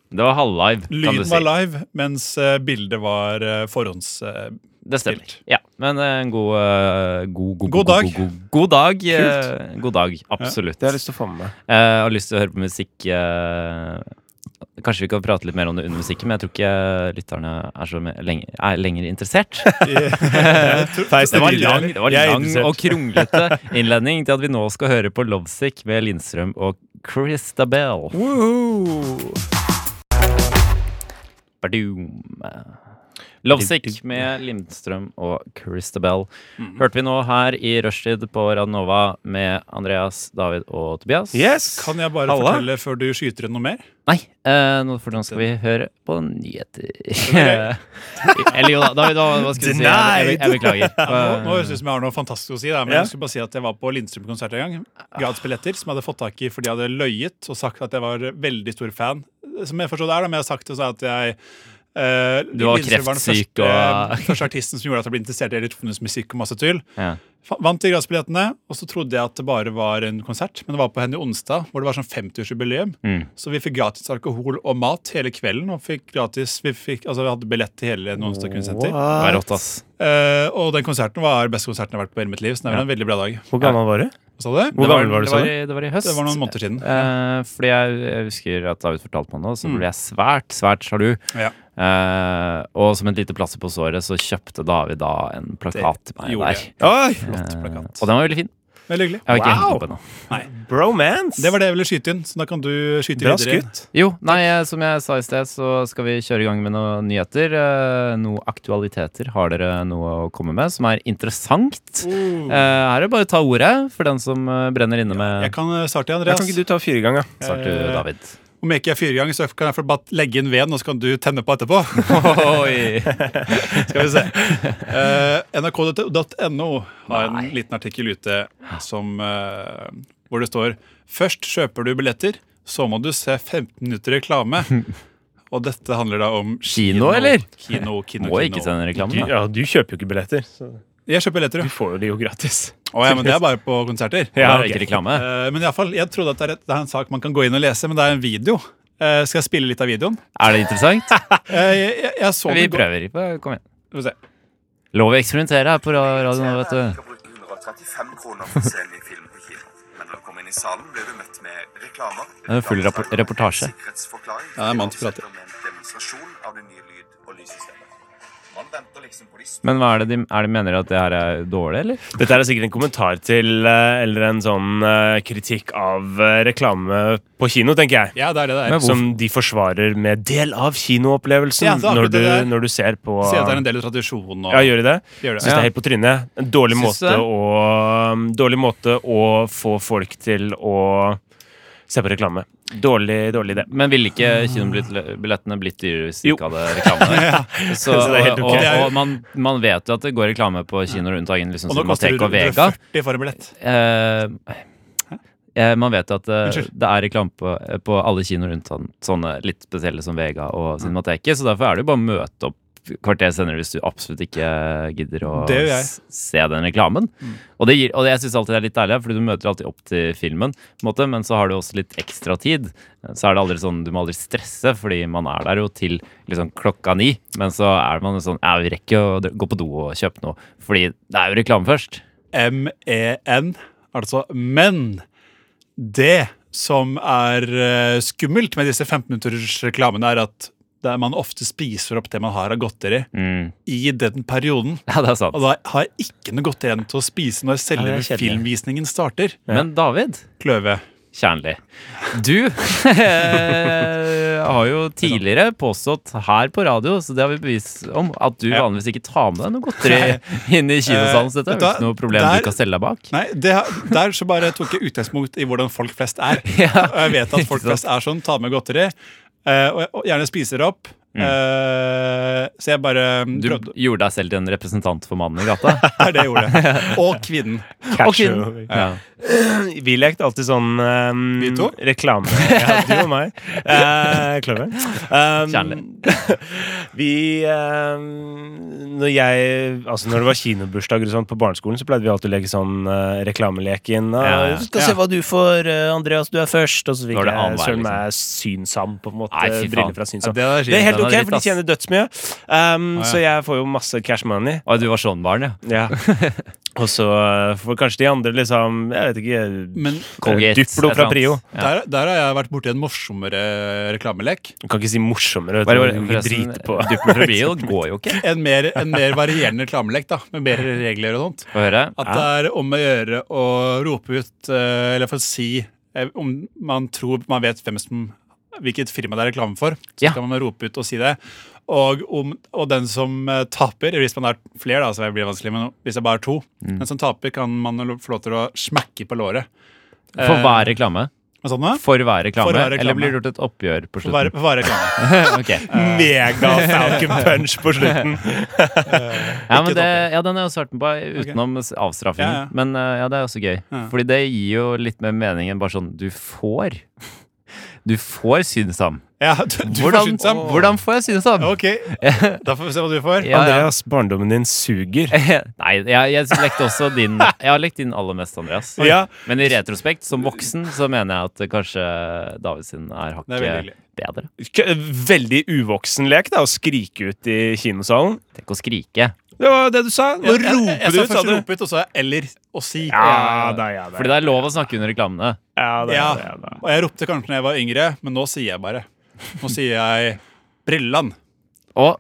Speaker 1: Det var halvlive, kan du
Speaker 3: Lyden
Speaker 1: si.
Speaker 3: var live, mens eh, bildet var eh, forhånds... eh,
Speaker 1: Det stemmer.
Speaker 3: Spilt.
Speaker 1: Ja, men eh, en god eh, God, god,
Speaker 3: God dag.
Speaker 1: God, god, god dag, eh, god dag absolutt.
Speaker 2: Det har jeg lyst til å få med meg.
Speaker 1: Eh, jeg har lyst til å høre på musikk eh, Kanskje vi kan prate litt mer om det under musikken, men jeg tror ikke lytterne er så me- lenge, er lenger
Speaker 2: [laughs]
Speaker 1: interessert. Eh,
Speaker 2: Theis,
Speaker 1: Det var
Speaker 2: vil jeg.
Speaker 1: lang, det var
Speaker 2: Jeg er
Speaker 1: lang
Speaker 2: interessert.
Speaker 1: og kronglete innledning til at vi nå skal høre på Lovesick ved Lindstrøm og Christabel. Badoom. Lovesick med Lindstrøm og Christabel. Hørte vi nå her i rushtid på Radnova med Andreas, David og Tobias?
Speaker 2: Yes!
Speaker 3: Kan jeg bare
Speaker 2: Halla.
Speaker 3: fortelle før du skyter inn noe mer?
Speaker 1: Nei, eh, nå, for nå skal vi høre på nyheter.
Speaker 3: er
Speaker 1: [laughs] Eller jo da, David, hva, hva skulle du si? Jeg, jeg, jeg beklager.
Speaker 3: Nå, nå
Speaker 1: Hva-
Speaker 3: høres det ut som jeg har noe fantastisk å si, da, men
Speaker 2: Ja.
Speaker 3: jeg skulle bare si at jeg var på Lindstrøm-konsert en gang. Gratis billetter som jeg hadde fått tak i fordi jeg hadde løyet og sagt at jeg var veldig stor fan. Som jeg forstår det er, da, men jeg har sagt det så at jeg eh,
Speaker 1: Du var
Speaker 3: Lindstrøm den
Speaker 1: kreftsyk
Speaker 3: første,
Speaker 1: og-
Speaker 3: [laughs] første artisten som gjorde at jeg ble interessert i elektronisk musikk og masse tull.
Speaker 1: Ja.
Speaker 3: Fa- Vant de gratisbillettene, og så trodde jeg at det bare var en konsert. Men det var på Henny Onsdag, hvor det var sånn 50-årsjubileum.
Speaker 1: Mm.
Speaker 3: Så vi fikk gratis alkohol og mat hele kvelden. Og fikk gratis, vi, fikk, altså, vi hadde billett til hele en Onsdag kunstsenter.
Speaker 1: Det var
Speaker 2: What?
Speaker 1: rått, ass.
Speaker 3: Eh, og den konserten var den beste konserten jeg har vært på i hele mitt liv. Så det var en veldig bra dag.
Speaker 2: Hvor gammel var du?
Speaker 3: Hva sa
Speaker 2: Hvor
Speaker 3: du?
Speaker 1: det var,
Speaker 2: gammel var du,
Speaker 1: det
Speaker 2: sa
Speaker 1: var,
Speaker 2: du?
Speaker 1: i, det var i høst.
Speaker 3: Det var noen måneder siden.
Speaker 1: Eh, fordi jeg, jeg husker at David fortalte meg det, og så
Speaker 3: Mm.
Speaker 1: ble jeg svært, svært sjalu.
Speaker 3: Ja.
Speaker 1: Eh, og som et lite plaster på såret, så kjøpte David da en plakat til meg
Speaker 3: gjorde
Speaker 1: der.
Speaker 3: jeg.
Speaker 2: Oi,
Speaker 3: Flott
Speaker 1: Eh,
Speaker 3: plakat.
Speaker 1: og den var veldig fin.
Speaker 3: Veldig hyggelig.
Speaker 1: Jeg har ikke
Speaker 2: Wow!
Speaker 1: hengt den opp ennå.
Speaker 2: bromance!
Speaker 3: Det var det jeg ville skyte inn, så da kan du skyte
Speaker 2: Bra
Speaker 3: videre.
Speaker 2: skutt.
Speaker 1: Jo, nei, eh, som jeg sa i sted, så skal vi kjøre i gang med noen nyheter. Eh, Noen aktualiteter. Har dere noe å komme med som er interessant? Eh,
Speaker 3: Uh.
Speaker 1: Her er det bare å ta ordet for den som eh, brenner inne
Speaker 3: Jeg
Speaker 1: med
Speaker 3: kan eh, starte,
Speaker 2: Da
Speaker 3: Andreas.
Speaker 2: kan ikke du ta fire ganger?
Speaker 1: Svarte
Speaker 3: eh,
Speaker 1: David.
Speaker 3: Om jeg ikke er fyrgang, så kan jeg få bare legge inn veden, og så kan du tenne på etterpå.
Speaker 1: [laughs] Oi!
Speaker 3: Skal vi se. Eh, NRK.no har en
Speaker 1: Nei.
Speaker 3: liten artikkel ute som, eh, hvor det står Først kjøper du billetter, så må du se 15 minutter reklame.
Speaker 1: [laughs]
Speaker 3: Og dette handler da om
Speaker 1: Kino, eller?
Speaker 3: Kino, kino,
Speaker 1: Må
Speaker 3: kino.
Speaker 1: ikke sende
Speaker 2: Du,
Speaker 1: reklame, da.
Speaker 2: ja, du kjøper jo ikke billetter, så
Speaker 3: Jeg kjøper billetter,
Speaker 2: du
Speaker 3: jo.
Speaker 2: får jo de jo gratis.
Speaker 3: Å ja, men det er bare på konserter.
Speaker 1: Ja,
Speaker 2: ok.
Speaker 1: Ikke
Speaker 3: [laughs]
Speaker 1: reklame.
Speaker 3: Eh, men i alle fall, jeg trodde at det er, et, det er en sak man kan gå inn og lese, men det er en video. Eh, skal jeg spille litt av videoen?
Speaker 1: Er det interessant?
Speaker 3: Eh, jeg, jeg, jeg så
Speaker 1: Vi
Speaker 3: den gå-
Speaker 1: prøver. Kom igjen.
Speaker 3: Skal vi se.
Speaker 1: Lov å eksperimentere her på ra- radio nå, vet du.
Speaker 4: skal bruke 135 kroner for å se en ny film på kino. Men når du kommer inn i salen, blir du møtt med reklamer.
Speaker 1: Det er full rapport- reportasje.
Speaker 4: Sikkerhetsforklaring.
Speaker 3: Ja, det er mann som prater.
Speaker 4: Med en demonstrasjon av det nye lyd- og lyssystemet. Man venter liksom på de små
Speaker 1: Men hva er det de, er de mener at det her er dårlig, eller?
Speaker 2: Dette er sikkert en kommentar til, eh, eller en sånn eh, kritikk av eh, reklame på kino, tenker jeg.
Speaker 3: Ja, det er det det er.
Speaker 1: Men hvorfor-
Speaker 2: Som de forsvarer med del av kinoopplevelsen
Speaker 3: Ja, det er akkurat
Speaker 2: når, du,
Speaker 3: det der.
Speaker 2: når du ser på
Speaker 3: Se at det er en del av tradisjonen. Og,
Speaker 2: Ja, gjør de det?
Speaker 3: Gjør det.
Speaker 2: Syns det er helt på trynet. En dårlig
Speaker 1: Syns du
Speaker 2: måte, å,
Speaker 1: det?
Speaker 2: um, dårlig måte å få folk til å se på reklame. Dårlig, dårlig idé.
Speaker 1: Men ville ikke kinobillettene blitt dyrere hvis de
Speaker 2: Jo.
Speaker 1: ikke hadde reklame?
Speaker 2: [laughs]
Speaker 1: der? Så,
Speaker 2: Så det er helt
Speaker 1: og
Speaker 2: ok.
Speaker 1: og, og man, man vet jo at det går reklame på kinoer rundt dagen, liksom
Speaker 3: og nå
Speaker 1: som
Speaker 3: koster det
Speaker 1: Matek og Vega.
Speaker 3: 140 for en billett.
Speaker 1: Eh, eh, man vet jo at eh,
Speaker 3: Unnskyld.
Speaker 1: det er reklame på, eh, på alle kinoer rundt sånn- sånne litt spesielle som Vega og Cinemateket, så derfor er det jo bare å møte opp kvarter senere hvis du absolutt ikke gidder å
Speaker 3: Det gjør jeg. Mm.
Speaker 1: s- se den reklamen. Og, det gir, og det jeg syns alltid det er litt deilig, fordi du møter alltid opp til filmen, på en måte, men så har du også litt ekstra tid. Så er det aldri sånn, du må aldri stresse, fordi man er der jo til liksom klokka ni. Men så er man jo sånn, ja, vi rekker jo å dra- gå på do og kjøpe noe, fordi det er jo reklame først. [laughs]
Speaker 3: M-E-N, E altså men. Det som er eh, skummelt med disse 15-minuttersreklamene, er at der man ofte spiser opp det man har av godteri
Speaker 1: Mm.
Speaker 3: i den perioden.
Speaker 1: Ja, det er sant.
Speaker 3: Og da har jeg ikke noe godt igjen til å spise når selve
Speaker 2: Ja, det er kjedelig.
Speaker 3: filmvisningen starter.
Speaker 1: Men David
Speaker 3: Kløve.
Speaker 1: Kjernli, du [laughs] eh, har jo tidligere påstått her på radio, så det har vi bevis om, at du
Speaker 3: Ja.
Speaker 1: vanligvis ikke tar med deg noe godteri [laughs] inn i kinosalen. Så dette er jo
Speaker 3: Eh, vet du
Speaker 1: ikke noe
Speaker 3: hva?
Speaker 1: problem
Speaker 3: Der-
Speaker 1: du kan stelle deg bak.
Speaker 3: Nei, det, der så bare tok jeg utgangspunkt i hvordan folk flest er.
Speaker 1: [laughs] Ja,
Speaker 3: Og jeg vet at folk
Speaker 1: ikke sant.
Speaker 3: flest er sånn, tar med godteri, eh, og, og gjerne spiser opp. Eh, så jeg bare
Speaker 1: Mm. Du
Speaker 3: prøvde
Speaker 1: gjorde deg selv til en representant for mannen i [laughs] gata.
Speaker 3: Det er det jeg gjorde. Og kvinnen.
Speaker 1: Og kvinnen. Ja.
Speaker 2: Vi lekte alltid sånn ehm,
Speaker 3: Vi to?
Speaker 1: [laughs]
Speaker 2: reklame. Ja, du og meg. Uh, Kløver.
Speaker 1: Um,
Speaker 2: Ehm, vi ehm, Når jeg Altså når det var kinobursdager og sånt på barneskolen, så pleide vi alltid å leke sånn eh, reklameleken. Uh,
Speaker 1: Ja, ja.
Speaker 2: Du skal
Speaker 3: Ja.
Speaker 2: se hva du får, eh, Andreas. Du er først. Og så fikk
Speaker 1: Når det er
Speaker 2: jeg
Speaker 1: annenhver,
Speaker 2: søren
Speaker 1: liksom.
Speaker 2: meg Synsam, på en måte.
Speaker 1: Nei, fy faen.
Speaker 2: briller fra Synsam.
Speaker 1: Ja, det er
Speaker 2: det er helt
Speaker 1: dritt,
Speaker 2: ok,
Speaker 1: ass.
Speaker 2: for de tjener dødsmye. Ehm,
Speaker 3: ja.
Speaker 2: Så jeg får jo masse cash money.
Speaker 1: Å, du var sånn barn, ja.
Speaker 2: Ja. [laughs] Og så eh, får kanskje de andre liksom Jeg vet ikke.
Speaker 3: Men
Speaker 1: Colgate,
Speaker 2: Duplo
Speaker 1: et
Speaker 2: fra
Speaker 1: eller annet.
Speaker 2: Prio.
Speaker 1: Ja.
Speaker 3: der, der har jeg vært borti en morsommere reklamelek.
Speaker 2: Du kan ikke si morsommere. Vet
Speaker 1: Bare,
Speaker 2: du. Du
Speaker 1: forresten, eh,
Speaker 2: driter på.
Speaker 1: Duplo [laughs] fra Prio går jo ikke.
Speaker 3: En mer, en mer varierende reklamelek, da, med mer regler og sånt.
Speaker 1: Få høre.
Speaker 3: At det er om å gjøre å rope ut, eh, eller for å si eh, om man tror man vet hvem som, hvilket firma det er reklame for. Så
Speaker 1: Ja.
Speaker 3: kan man rope ut og si det. Og, om, og den som eh, taper, hvis man er flere, da, så blir det vanskelig, men hvis det er bare to, den som taper, kan man lo- få lov til å smekke på låret.
Speaker 1: For hver reklame?
Speaker 3: Hva sa du nå?
Speaker 1: eh, For hver reklame?
Speaker 3: For hver reklame.
Speaker 1: Eller blir det gjort et oppgjør på
Speaker 3: For hver-
Speaker 1: slutten?
Speaker 3: for hver reklame.
Speaker 1: [laughs] Ok.
Speaker 2: Mega Falcon Punch på
Speaker 1: [laughs]
Speaker 2: slutten.
Speaker 1: Ja, men det,
Speaker 3: Ikke toppen.
Speaker 1: ja, den har jeg også hørt den på utenom s- avstraffingen.
Speaker 3: Ja, ja.
Speaker 1: Men eh, ja, det er også gøy.
Speaker 3: Ja.
Speaker 1: Fordi det gir jo litt mer mening enn bare sånn Du får. Du får synsam.
Speaker 3: Ja, du, [laughs] du får
Speaker 1: Hvordan,
Speaker 3: skyndt deg.
Speaker 1: hvordan får jeg synsam?
Speaker 3: Ok, da får vi se hva du får.
Speaker 1: Ja, ja.
Speaker 2: Andreas, barndommen din suger.
Speaker 1: [laughs] Nei, jeg, jeg lekte også
Speaker 3: [laughs]
Speaker 1: din Jeg har lekt din aller mest, Andreas.
Speaker 2: Ja.
Speaker 1: Men i retrospekt, som voksen, så mener jeg at eh, kanskje David sin er
Speaker 3: Det er veldig
Speaker 1: hakket
Speaker 3: hyggelig.
Speaker 1: bedre.
Speaker 2: K- Veldig uvoksen lek da, å skrike ut i kinosalen.
Speaker 1: Tenk å skrike.
Speaker 2: Det var det du sa. Nå
Speaker 3: Jeg- jeg-
Speaker 2: roper du
Speaker 3: Jeg
Speaker 2: ut,
Speaker 3: sa
Speaker 2: sa
Speaker 3: først
Speaker 2: du.
Speaker 3: ropet, og så sa jeg 'eller' og 'si'.
Speaker 2: Ja da, ja da.
Speaker 1: Fordi det er lov å snakke under reklamene.
Speaker 2: Ja, da, ja, da,
Speaker 3: Ja,
Speaker 2: ja, da.
Speaker 3: og jeg ropte kanskje når jeg var yngre, men nå sier jeg bare. Nå sier jeg Brillan.
Speaker 1: Og,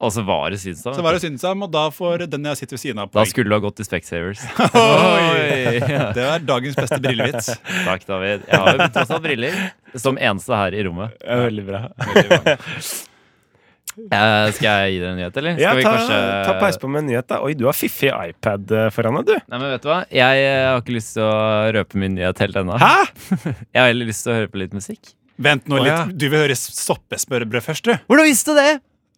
Speaker 1: og så var det Sydenstad.
Speaker 3: Så var det Synsam, og da får den jeg sitter ved siden av
Speaker 1: Da
Speaker 3: poeng.
Speaker 1: skulle du ha gått til Specsavers.
Speaker 3: Oi!
Speaker 1: Ja,
Speaker 3: [laughs] Det er dagens beste brillevits.
Speaker 1: [laughs] Takk, David. Jeg har jo tross alt briller. Som eneste her i rommet.
Speaker 2: Ja, Veldig bra.
Speaker 1: Eh, skal jeg gi deg en nyhet, eller?
Speaker 2: Ja,
Speaker 1: Skal vi
Speaker 2: ta,
Speaker 1: kanskje-
Speaker 2: ta peis på med en nyhet, da. Oi, du har fiffig iPad eh, foran deg, du.
Speaker 1: Nei, men vet du hva? Jeg eh, har ikke lyst til å røpe min nyhet helt ennå.
Speaker 2: Hæ?
Speaker 1: [laughs] Jeg har heller lyst til å høre på litt musikk.
Speaker 3: Vent
Speaker 2: Å,
Speaker 3: nå
Speaker 2: ja.
Speaker 3: litt. Du vil høre soppesmørbrød først, du?
Speaker 1: Hvordan visste du det?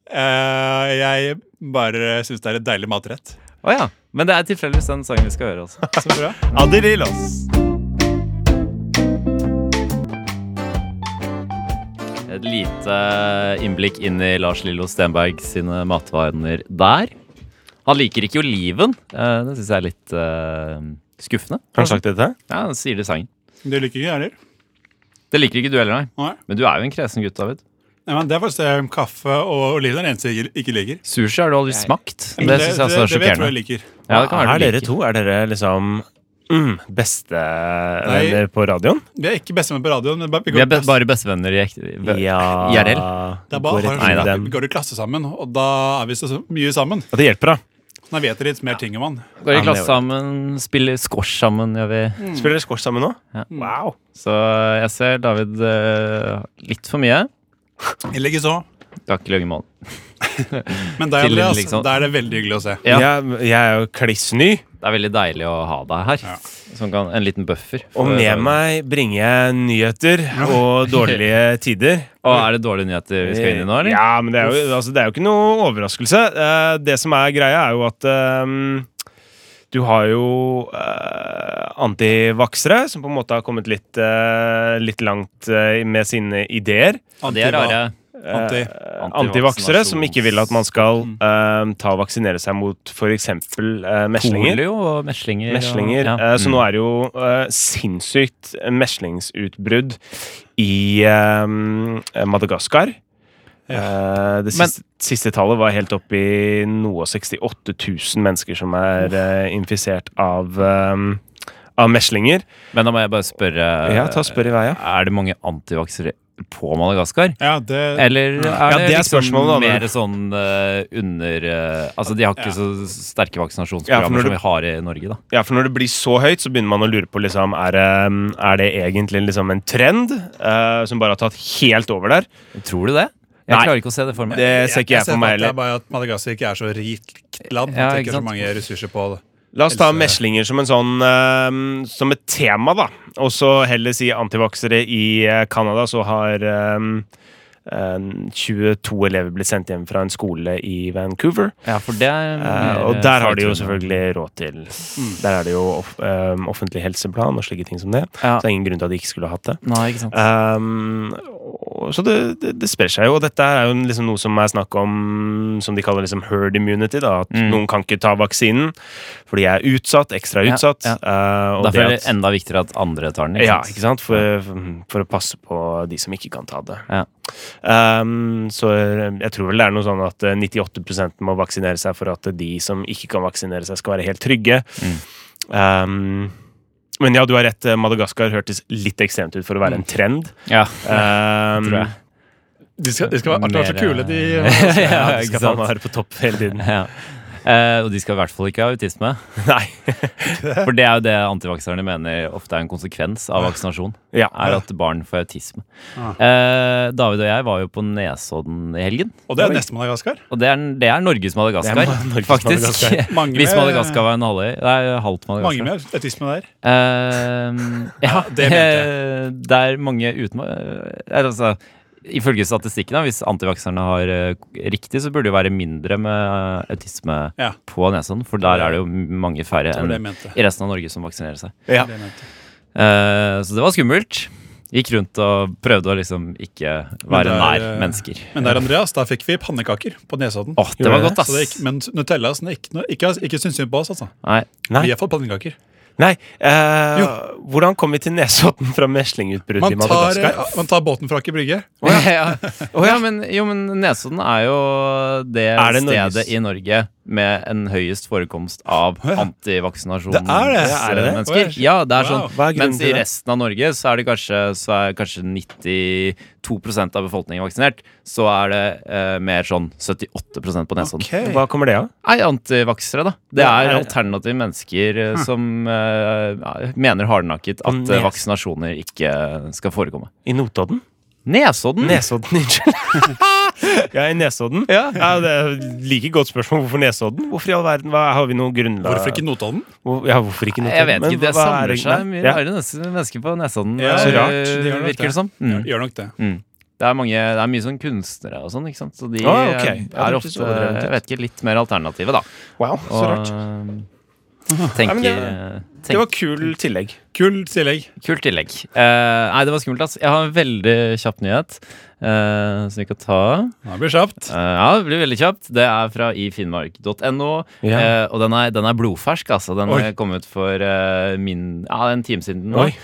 Speaker 3: Eh, jeg bare syns det er et deilig matrett.
Speaker 1: Å ja. Men det er tilfeldigvis den sangen vi skal høre. altså. Også.
Speaker 3: Så bra.
Speaker 2: Adelilos.
Speaker 1: Et lite eh, innblikk inn i Lars Lillo Stenberg sine matvaner der. Han liker ikke oliven. Eh, Det syns jeg er litt eh, skuffende.
Speaker 2: Har han sagt dette?
Speaker 1: Ja, han sier det i sangen.
Speaker 3: Du liker ikke gjerder?
Speaker 1: Det liker ikke du heller, nei.
Speaker 3: Nei.
Speaker 1: Men du er jo en kresen gutt, David.
Speaker 3: Nei, men det er faktisk det kaffe og oliven er det eneste jeg ikke liker.
Speaker 1: Sushi har du aldri smakt. Det syns jeg også er
Speaker 3: det vet jeg tror jeg
Speaker 1: sjokkerende.
Speaker 3: liker.
Speaker 1: Ja, det kan
Speaker 2: er
Speaker 1: være du
Speaker 2: dere
Speaker 1: liker.
Speaker 2: to er dere liksom mm, bestevenner på radioen?
Speaker 3: Vi er ikke bestemenn på radioen. Men bare, vi
Speaker 1: Vi
Speaker 3: går
Speaker 1: er be
Speaker 3: i klasse.
Speaker 1: bare bestevenner i ekte
Speaker 2: Ja
Speaker 1: IRL?
Speaker 3: det er bare,
Speaker 2: går rett
Speaker 3: har-
Speaker 2: inn i
Speaker 3: vi
Speaker 2: den.
Speaker 3: går i klasse sammen, og da er vi så mye sammen.
Speaker 2: Og det hjelper, da.
Speaker 3: Nå vet dere litt mer ting om han.
Speaker 2: Ja,
Speaker 1: Går i
Speaker 2: men det
Speaker 1: klasse
Speaker 2: var
Speaker 1: sammen, spiller squash sammen, gjør vi.
Speaker 2: Spiller dere squash sammen nå?
Speaker 1: Ja.
Speaker 2: Wow.
Speaker 1: Så jeg ser David eh, litt for mye.
Speaker 3: Jeg ligger så.
Speaker 1: Du har ikke løyet mål.
Speaker 3: Men deg,
Speaker 1: Til-
Speaker 3: Andreas,
Speaker 1: liksom.
Speaker 3: da er det veldig hyggelig å se.
Speaker 1: Ja.
Speaker 2: Jeg, jeg er jo kliss ny,
Speaker 1: Det er veldig deilig å ha deg her.
Speaker 3: Ja.
Speaker 1: Som kan, en liten buffer. for
Speaker 2: og med
Speaker 1: David.
Speaker 2: meg bringer jeg nyheter
Speaker 1: [laughs]
Speaker 2: og dårlige tider.
Speaker 1: Og er det dårlige nyheter vi skal inn i nå, eller?
Speaker 2: Ja, men det er jo, altså, det er jo ikke noe overraskelse. Eh, det som er greia, er jo at ehm, du har jo eh, antivaksere, som på en måte har kommet litt, eh, litt langt eh, med sine ideer.
Speaker 1: Ja, det er rare.
Speaker 2: Eh,
Speaker 3: Anti-
Speaker 2: antivaksere som ikke vil at man skal eh, ta og vaksinere seg mot f.eks. Uh, meslinger.
Speaker 1: Polio og meslinger. og-
Speaker 2: Meslinger.
Speaker 1: ja.
Speaker 2: Eh, Så nå er det jo eh, sinnssykt meslingsutbrudd i eh, Madagaskar. Eh, det
Speaker 1: Men-
Speaker 2: siste, siste tallet var helt opp i noe 68 000 mennesker som er eh, infisert av, eh, av meslinger.
Speaker 1: Mm. Men da må jeg bare spørre
Speaker 2: Ja, ta og spør i vei, ja.
Speaker 1: Er det mange antivaksere på Madagaskar?
Speaker 3: Ja, det,
Speaker 1: Eller er
Speaker 2: Ja,
Speaker 1: det,
Speaker 2: det er
Speaker 1: liksom
Speaker 2: spørsmålet, da, men-
Speaker 1: mer sånn eh, under eh, Altså, de har ikke
Speaker 3: Ja.
Speaker 1: så sterke
Speaker 2: Ja, for
Speaker 1: vaksinasjonsprogrammer
Speaker 2: når
Speaker 1: som
Speaker 2: du-
Speaker 1: vi har i Norge, da.
Speaker 2: Ja, for når det blir så høyt, så begynner man å lure på liksom, er, det- er det egentlig liksom en trend eh, som bare har tatt helt over der.
Speaker 1: Tror du det? Jeg
Speaker 2: Nei.
Speaker 1: klarer ikke å se det for meg.
Speaker 2: Det ser ikke jeg
Speaker 3: ser
Speaker 2: for meg
Speaker 3: at Det er
Speaker 2: heller.
Speaker 3: bare at Madagaskar ikke er så rikt land.
Speaker 1: Ja,
Speaker 3: at det
Speaker 1: ikke
Speaker 3: ikke er
Speaker 1: sant.
Speaker 3: så mange ressurser på det.
Speaker 2: La oss ta
Speaker 3: Else-
Speaker 2: meslinger som, en sånn, eh, som et tema, da. Og så heller si antivaksere i eh, Canada, så har eh, eh, 22 elever blitt sendt hjem fra en skole i Vancouver.
Speaker 1: Ja, for det
Speaker 2: Eh,
Speaker 1: er mer,
Speaker 2: og
Speaker 1: eh,
Speaker 2: der har de jo
Speaker 1: fagtungt.
Speaker 2: selvfølgelig råd til Der er det jo off, eh, offentlig helseplan og slike ting som det.
Speaker 1: Ja.
Speaker 2: Så det er ingen grunn til at de ikke skulle hatt det.
Speaker 1: Nei, ikke sant.
Speaker 2: Um, og- så det, det, det sprer seg jo, og dette er jo liksom noe som er snakk om som de kaller liksom herd immunity. Da, at
Speaker 1: Mm.
Speaker 2: noen kan ikke ta vaksinen fordi jeg er utsatt, ekstra
Speaker 1: Ja,
Speaker 2: utsatt.
Speaker 1: ja.
Speaker 2: eh, og
Speaker 1: Derfor er det
Speaker 2: at-
Speaker 1: enda viktigere at andre tar den.
Speaker 2: ja, ikke sant? For, for å passe på de som ikke kan ta det.
Speaker 1: Ja.
Speaker 2: Um, så jeg tror vel det er noe sånn at eh, 98 må vaksinere seg for at de som ikke kan vaksinere seg, skal være helt trygge.
Speaker 1: Mm.
Speaker 2: Um, men ja, du har rett. eh, Madagaskar hørtes litt ekstremt ut for å være
Speaker 1: Mm.
Speaker 2: en trend.
Speaker 1: Ja.
Speaker 2: Um,
Speaker 1: tror jeg.
Speaker 3: De skal, de skal være de er så
Speaker 1: Mer, eh,
Speaker 3: kule, de.
Speaker 2: [laughs] ja,
Speaker 1: [laughs] Ja,
Speaker 2: de
Speaker 1: ikke
Speaker 2: skal faen
Speaker 1: sant?
Speaker 2: meg være på topp hele [laughs] tiden.
Speaker 1: [laughs] Ja. Eh, og de skal i hvert fall ikke ha autisme.
Speaker 2: [laughs] Nei.
Speaker 1: For det er jo det antivakserne mener ofte er en konsekvens av vaksinasjon.
Speaker 2: Ja. Ah.
Speaker 1: Er at barn får autisme. Eh, David og jeg var jo på Nesodden i helgen.
Speaker 3: Og det er neste Madagaskar.
Speaker 1: Og det er, det er Norges Madagaskar,
Speaker 2: Det er Norges
Speaker 1: faktisk. [laughs]
Speaker 2: Madagaskar.
Speaker 3: Mange
Speaker 1: Hvis
Speaker 3: med-
Speaker 1: Madagaskar var en halvøy. Nei, halvt
Speaker 3: Mange
Speaker 1: Madagaskar.
Speaker 3: med autisme der.
Speaker 1: Eh, ja,
Speaker 3: det mente
Speaker 1: eh, [laughs] Det er mange uten eh, altså, Ifølge statistikken, da, hvis antivakserne har eh, riktig, så burde det jo være mindre med eh, autisme
Speaker 3: Ja.
Speaker 1: på Nesodden, for der er det jo mange færre
Speaker 3: Det var
Speaker 1: enn
Speaker 3: det jeg mente.
Speaker 1: i resten av Norge som vaksinerer seg.
Speaker 2: Ja.
Speaker 3: Det jeg mente.
Speaker 1: Eh, så det var skummelt. Gikk rundt og prøvde å liksom ikke være
Speaker 3: Men det er,
Speaker 1: nær
Speaker 3: eh,
Speaker 1: mennesker.
Speaker 3: Men der, Andreas, da fikk vi pannekaker på Nesodden.
Speaker 1: Åh, det var
Speaker 2: Gjorde
Speaker 1: godt, ass!
Speaker 3: Så det gikk, men Nutella sånn, ikke, noe- ikke, ikke syns synd på oss, altså.
Speaker 1: Nei.
Speaker 2: Nei.
Speaker 3: Vi har fått pannekaker.
Speaker 2: Nei. eh,
Speaker 3: Jo.
Speaker 2: hvordan kom vi til Nesodden fra meslingutbruddet i
Speaker 3: Man tar, eh,
Speaker 2: Madagaskar?
Speaker 3: man tar båten fra Aker Brygge.
Speaker 1: [laughs] ja. ja, men, jo, men Nesodden er jo det
Speaker 2: Er det Norges-
Speaker 1: stedet i Norge med en høyest forekomst av
Speaker 2: Det er det, er det det?
Speaker 1: antivaksinasjonsmennesker.
Speaker 3: Oi.
Speaker 1: Ja, det er
Speaker 3: Wow.
Speaker 1: sånn.
Speaker 2: Hva er grunnen
Speaker 1: Mens
Speaker 2: til
Speaker 1: i
Speaker 2: det?
Speaker 1: resten av Norge så er det kanskje, så er kanskje 92 av befolkningen vaksinert. Så er det eh, mer sånn 78 på Nesodden.
Speaker 2: Hva kommer det av?
Speaker 1: Nei, antivaksere, da. Det er
Speaker 2: Ja, er-
Speaker 1: alternative mennesker eh, som eh, ja, mener hardnakket at eh,
Speaker 2: Nes-
Speaker 1: vaksinasjoner ikke skal forekomme.
Speaker 2: I Notodden?
Speaker 1: Nesodden!
Speaker 2: Nesodden, unnskyld. [laughs] ja, i Nesodden.
Speaker 1: Ja.
Speaker 2: det er Like godt spørsmål. Hvorfor Nesodden? Hvorfor i all verden? Hva, har vi noe grunnlag
Speaker 3: Hvorfor ikke Notodden?
Speaker 2: Hvor- Ja, hvorfor ikke Notodden?
Speaker 1: Jeg vet
Speaker 2: Men
Speaker 1: ikke, det
Speaker 2: hva er
Speaker 1: samler seg
Speaker 2: Nei,
Speaker 1: mye
Speaker 2: ja.
Speaker 1: rare nes- mennesker på Nesodden.
Speaker 3: Ja,
Speaker 1: eh,
Speaker 2: så rart.
Speaker 3: Det gjør nok
Speaker 1: virker det som. Mm.
Speaker 3: Gjør nok det.
Speaker 1: Det er, mange, det er mye sånn kunstnere og sånn, ikke sant? Så de
Speaker 2: Ah, ok. Ja,
Speaker 1: eh,
Speaker 2: det
Speaker 1: er
Speaker 2: hørtes
Speaker 1: ofte
Speaker 2: overdrevet ut.
Speaker 1: jeg vet ikke, litt mer alternative, da.
Speaker 2: Wow, så [laughs] rart.
Speaker 1: eh, tenker,
Speaker 2: men det- Det var kul tillegg.
Speaker 1: Eh,
Speaker 3: Kul tillegg.
Speaker 1: Kult tillegg. Eh, nei, det var skummelt, ass. Jeg har en veldig kjapp nyhet eh, som vi kan ta.
Speaker 3: Det blir kjapt.
Speaker 1: Eh, ja, det blir veldig kjapt. Det er fra ifinnmark.no.
Speaker 2: Ja.
Speaker 1: eh, og den er, den er blodfersk, altså. Den
Speaker 3: Oi.
Speaker 1: er kommet for eh, min, ja, en time siden. nå.
Speaker 2: Oi.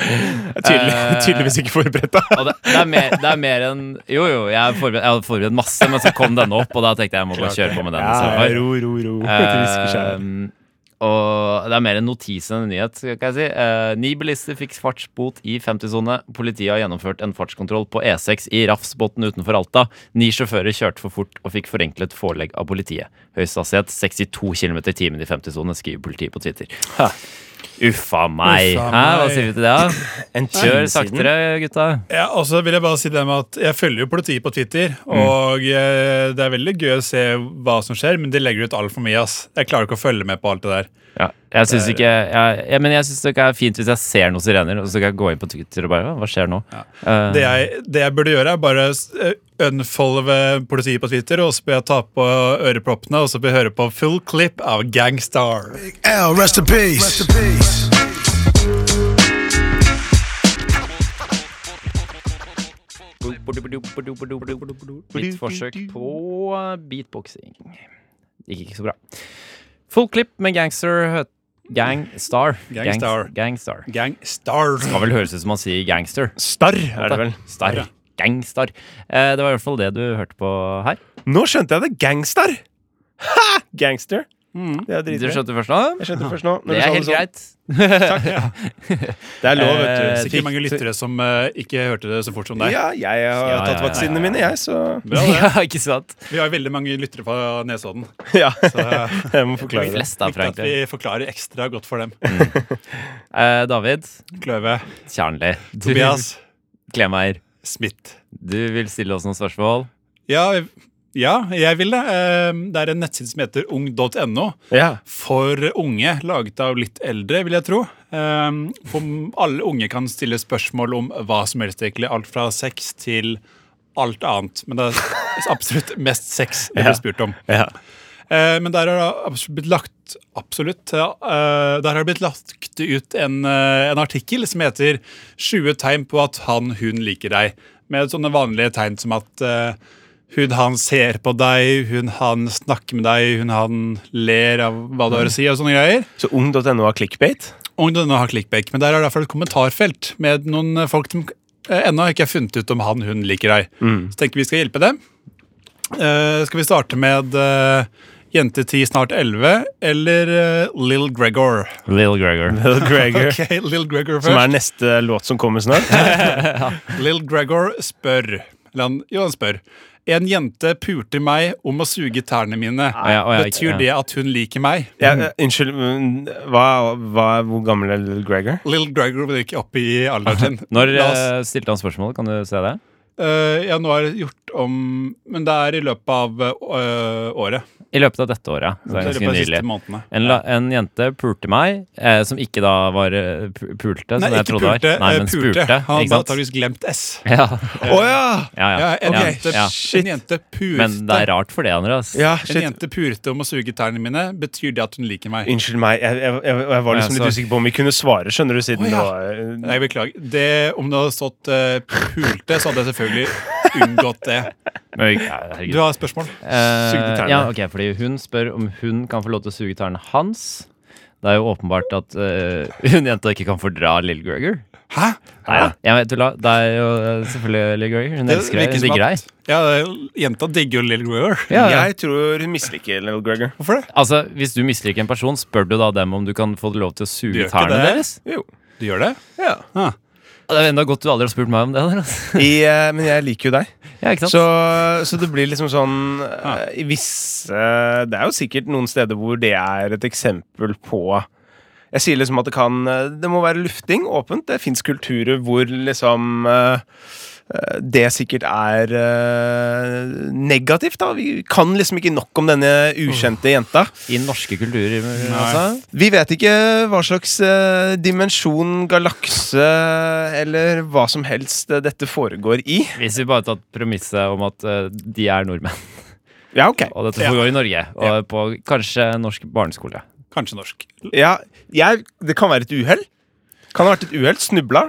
Speaker 2: Tydelig, tydeligvis ikke forberedt,
Speaker 1: [laughs]
Speaker 2: da.
Speaker 1: Og det, det, er mer, det er mer enn Jo, jo, jeg har forberedt, jeg har forberedt masse, men så kom denne opp, og da tenkte jeg jeg må bare kjøre på med den.
Speaker 2: Ja,
Speaker 1: istedenfor.
Speaker 2: ro, ro, ro.
Speaker 1: Eh,
Speaker 2: Til viskeskjær.
Speaker 1: Ehm, og det er mer en notis enn en nyhet, skal jeg si. Eh, ni bilister fikk fartsbot i 50-sone. Politiet har gjennomført en fartskontroll på E6 i Rafsbotn utenfor Alta. Ni sjåfører kjørte for fort og fikk forenklet forelegg av politiet. Høyeste hastighet 62 km i timen i 50-sone, skriver politiet på Twitter. Uffa meg.
Speaker 3: Uffa
Speaker 1: Hæ, hva
Speaker 3: meg.
Speaker 1: sier vi til det? da?
Speaker 2: En time
Speaker 1: Kjør
Speaker 2: siden.
Speaker 1: saktere, gutta.
Speaker 3: Ja, og så vil Jeg bare si det med at jeg følger jo politiet på Twitter,
Speaker 2: Mm.
Speaker 3: og eh, det er veldig gøy å se hva som skjer, men de legger ut altfor mye. ass. Jeg klarer ikke å følge med på alt det der.
Speaker 1: Ja, jeg syns ikke jeg, jeg, Men jeg syns det er fint hvis jeg ser noen sirener, og så kan jeg gå inn på Twitter og bare Hva skjer nå? Eh,
Speaker 3: Det jeg, det jeg burde gjøre, er bare s- eh, unfollowe politiet på Twitter, og så bør jeg ta på øreproppene, og så bør jeg høre på full clip av Gangstar.
Speaker 5: L, rest in peace. Rest in peace.
Speaker 1: Mitt forsøk på eh, beatboxing. Det gikk ikke så bra. Full klipp med gangster hø- Gangstar.
Speaker 3: Gangstar.
Speaker 1: Gangs- Gangstar.
Speaker 3: Gangstar.
Speaker 1: Kan vel høres ut som man sier gangster.
Speaker 2: Starr, er det vel.
Speaker 1: Star. Gangstar. Eh, det var i hvert fall det du hørte på her.
Speaker 2: Nå skjønte jeg det. Gangstar! Ha! Gangster. Det er
Speaker 1: Mm. Du
Speaker 2: dritbra.
Speaker 1: skjønte først nå?
Speaker 2: Jeg skjønte det først
Speaker 1: [laughs]
Speaker 2: nå. når
Speaker 1: Det
Speaker 2: du sa
Speaker 1: er helt
Speaker 2: sånn.
Speaker 1: greit.
Speaker 2: Det er lov, vet
Speaker 1: Eh,
Speaker 2: du.
Speaker 3: Sikkert mange lyttere som eh, ikke hørte det så fort som deg.
Speaker 2: Ja, jeg har
Speaker 1: ja,
Speaker 2: tatt
Speaker 1: ja,
Speaker 2: vaksinene
Speaker 1: ja, ja.
Speaker 2: mine, jeg, så
Speaker 3: Bra, det.
Speaker 1: [laughs] Ja, ikke sant?
Speaker 3: Vi har jo veldig mange lyttere fra Nesodden.
Speaker 2: Ja,
Speaker 3: Så eh,
Speaker 2: jeg må
Speaker 1: De [laughs]
Speaker 2: forklare det.
Speaker 1: fleste er
Speaker 3: viktig
Speaker 1: fra
Speaker 3: at vi
Speaker 1: egentlig.
Speaker 3: forklarer ekstra godt for dem.
Speaker 1: Eh, David
Speaker 3: Kløve,
Speaker 1: Kjernli. Du- [laughs]
Speaker 3: Tobias,
Speaker 1: Klemeier.
Speaker 3: Smith.
Speaker 1: Du vil stille oss noen spørsmål?
Speaker 3: Ja, ja, jeg vil det. Eh, Det er en nettside som heter ung.no.
Speaker 2: Ja.
Speaker 3: for unge, laget av litt eldre, vil jeg tro. Um, for alle unge kan stille spørsmål om hva som helst, egentlig. Alt fra sex til alt annet. Men det er absolutt mest sex jeg blir spurt om.
Speaker 2: Ja.
Speaker 3: Eh, men der har det absolutt blitt lagt Absolutt. ja, eh, der har det blitt lagt ut en, eh, en artikkel som heter '20 tegn på at han, hun liker deg'. Med sånne vanlige tegn som at eh, hun, han ser på deg, hun, han snakker med deg, hun, han ler av hva du har å si, og sånne greier.
Speaker 2: Så ung.no har
Speaker 1: [laughs]
Speaker 2: clickbait?
Speaker 3: Og denne har clickbait, men der er det i hvert fall et kommentarfelt med noen eh, folk som eh, ennå ikke har funnet ut om han hun liker deg.
Speaker 1: Mm.
Speaker 3: Så tenker vi skal hjelpe dem. Eh, skal vi starte med eh, jente 10, snart 11, eller eh, Lill Gregor?
Speaker 1: Little
Speaker 3: [laughs]
Speaker 1: Gregor.
Speaker 2: Bill Gregor,
Speaker 3: Ok, Lill Gregor
Speaker 2: som er
Speaker 3: først.
Speaker 2: neste låt som kommer snart.
Speaker 1: [laughs]
Speaker 3: Lill Gregor spør. Eller han, jo, han spør. En jente pulte meg om å suge tærne mine.
Speaker 1: Å ja, å ja, ikke-
Speaker 3: Betyr
Speaker 1: ja.
Speaker 3: det at hun liker meg?
Speaker 2: Ja, eh, unnskyld, men hva, hva, hvor gammel er Little Gregor?
Speaker 3: Lill Gregor vil ikke opp
Speaker 1: [laughs]
Speaker 3: i alderen sin.
Speaker 1: Når
Speaker 3: La oss-
Speaker 1: eh, stilte han spørsmål? Kan du se det?
Speaker 3: Eh, ja, nå er det gjort om Men det er i løpet av eh, året.
Speaker 1: I løpet av dette året. ja. Så det
Speaker 3: Så
Speaker 1: er
Speaker 3: I løpet
Speaker 1: ganske
Speaker 3: av de siste
Speaker 1: nylig.
Speaker 3: månedene.
Speaker 1: En, la, en jente pulte meg, eh, som ikke da var eh, pu- pulte, som
Speaker 3: Nei,
Speaker 1: jeg
Speaker 3: ikke
Speaker 1: trodde
Speaker 3: pulte.
Speaker 1: var. Nei,
Speaker 3: eh,
Speaker 1: men
Speaker 3: pulte.
Speaker 1: spurte.
Speaker 3: Han
Speaker 1: ikke
Speaker 3: hadde
Speaker 1: sant?
Speaker 3: antakeligvis glemt S. [laughs]
Speaker 1: Ja,
Speaker 2: Å ja!
Speaker 1: ja, ja.
Speaker 3: Ja, en,
Speaker 1: ja,
Speaker 3: jente,
Speaker 1: ja.
Speaker 3: en jente purte.
Speaker 1: Men det er rart for det, Andreas.
Speaker 2: ja
Speaker 3: En
Speaker 2: shit. Mm.
Speaker 3: jente purte om å suge tærne mine. Betyr det at hun liker meg?
Speaker 2: Unnskyld meg, jeg, jeg, jeg, jeg var liksom
Speaker 1: Ja,
Speaker 2: litt
Speaker 1: sorry.
Speaker 2: usikker på om vi kunne svare, skjønner du, siden eh,
Speaker 3: Å,
Speaker 2: det
Speaker 3: ja.
Speaker 2: var
Speaker 3: Nei, beklager. Det, om det hadde stått eh, pulte, så hadde jeg selvfølgelig unngått det.
Speaker 1: Men, vi- ja,
Speaker 3: Du
Speaker 1: herregud.
Speaker 3: har et spørsmål?
Speaker 1: Eh,
Speaker 2: sugde tærne.
Speaker 1: ja, ok, fordi hun spør om hun kan få lov til å suge tærne hans. Det er jo åpenbart at eh, [laughs] hun jenta ikke kan fordra Lill Gregor.
Speaker 3: Hæ?
Speaker 1: Nei da. Jeg vet, tulla. det er jo eh, selvfølgelig Lill Gregor. Hun elsker deg.
Speaker 3: virker
Speaker 1: Hun
Speaker 3: som
Speaker 1: digger
Speaker 3: at-
Speaker 1: deg.
Speaker 3: Ja, det er- jenta digger jo Lill Grower.
Speaker 1: Ja, ja.
Speaker 2: Jeg tror hun misliker Little Gregor.
Speaker 3: Hvorfor det?
Speaker 1: Altså, Hvis du misliker en person, spør du da dem om du kan få lov til å
Speaker 3: Du
Speaker 1: suge
Speaker 3: gjør ikke
Speaker 1: tærne
Speaker 3: det.
Speaker 1: deres?
Speaker 2: Jo.
Speaker 3: Du gjør det?
Speaker 2: Ja.
Speaker 3: Ah.
Speaker 1: Det er enda godt du aldri har spurt meg om det. Der, altså.
Speaker 2: [laughs] I, eh, men jeg liker jo deg.
Speaker 1: [laughs] Ja, ikke sant?
Speaker 2: Så, så det blir liksom sånn eh, i visse Det er jo sikkert noen steder hvor det er et eksempel på Jeg sier liksom at det kan eh, Det må være lufting, åpent. Det fins kulturer hvor liksom eh, eh, det sikkert er eh, negativt, da. Vi kan liksom ikke nok om denne ukjente jenta.
Speaker 1: I norske kulturer, altså.
Speaker 2: Vi vet ikke hva slags eh, dimensjon, galakse eller hva som helst eh, dette foregår i.
Speaker 1: Hvis vi bare tar premisset om at eh, de er nordmenn, [laughs]
Speaker 2: Ja, ok.
Speaker 1: og dette foregår i Norge, og
Speaker 2: Ja.
Speaker 1: på kanskje norsk barneskole.
Speaker 3: Kanskje norsk.
Speaker 2: Ja, jeg, det kan være et uhell. Kan ha vært et uhell. Snubla.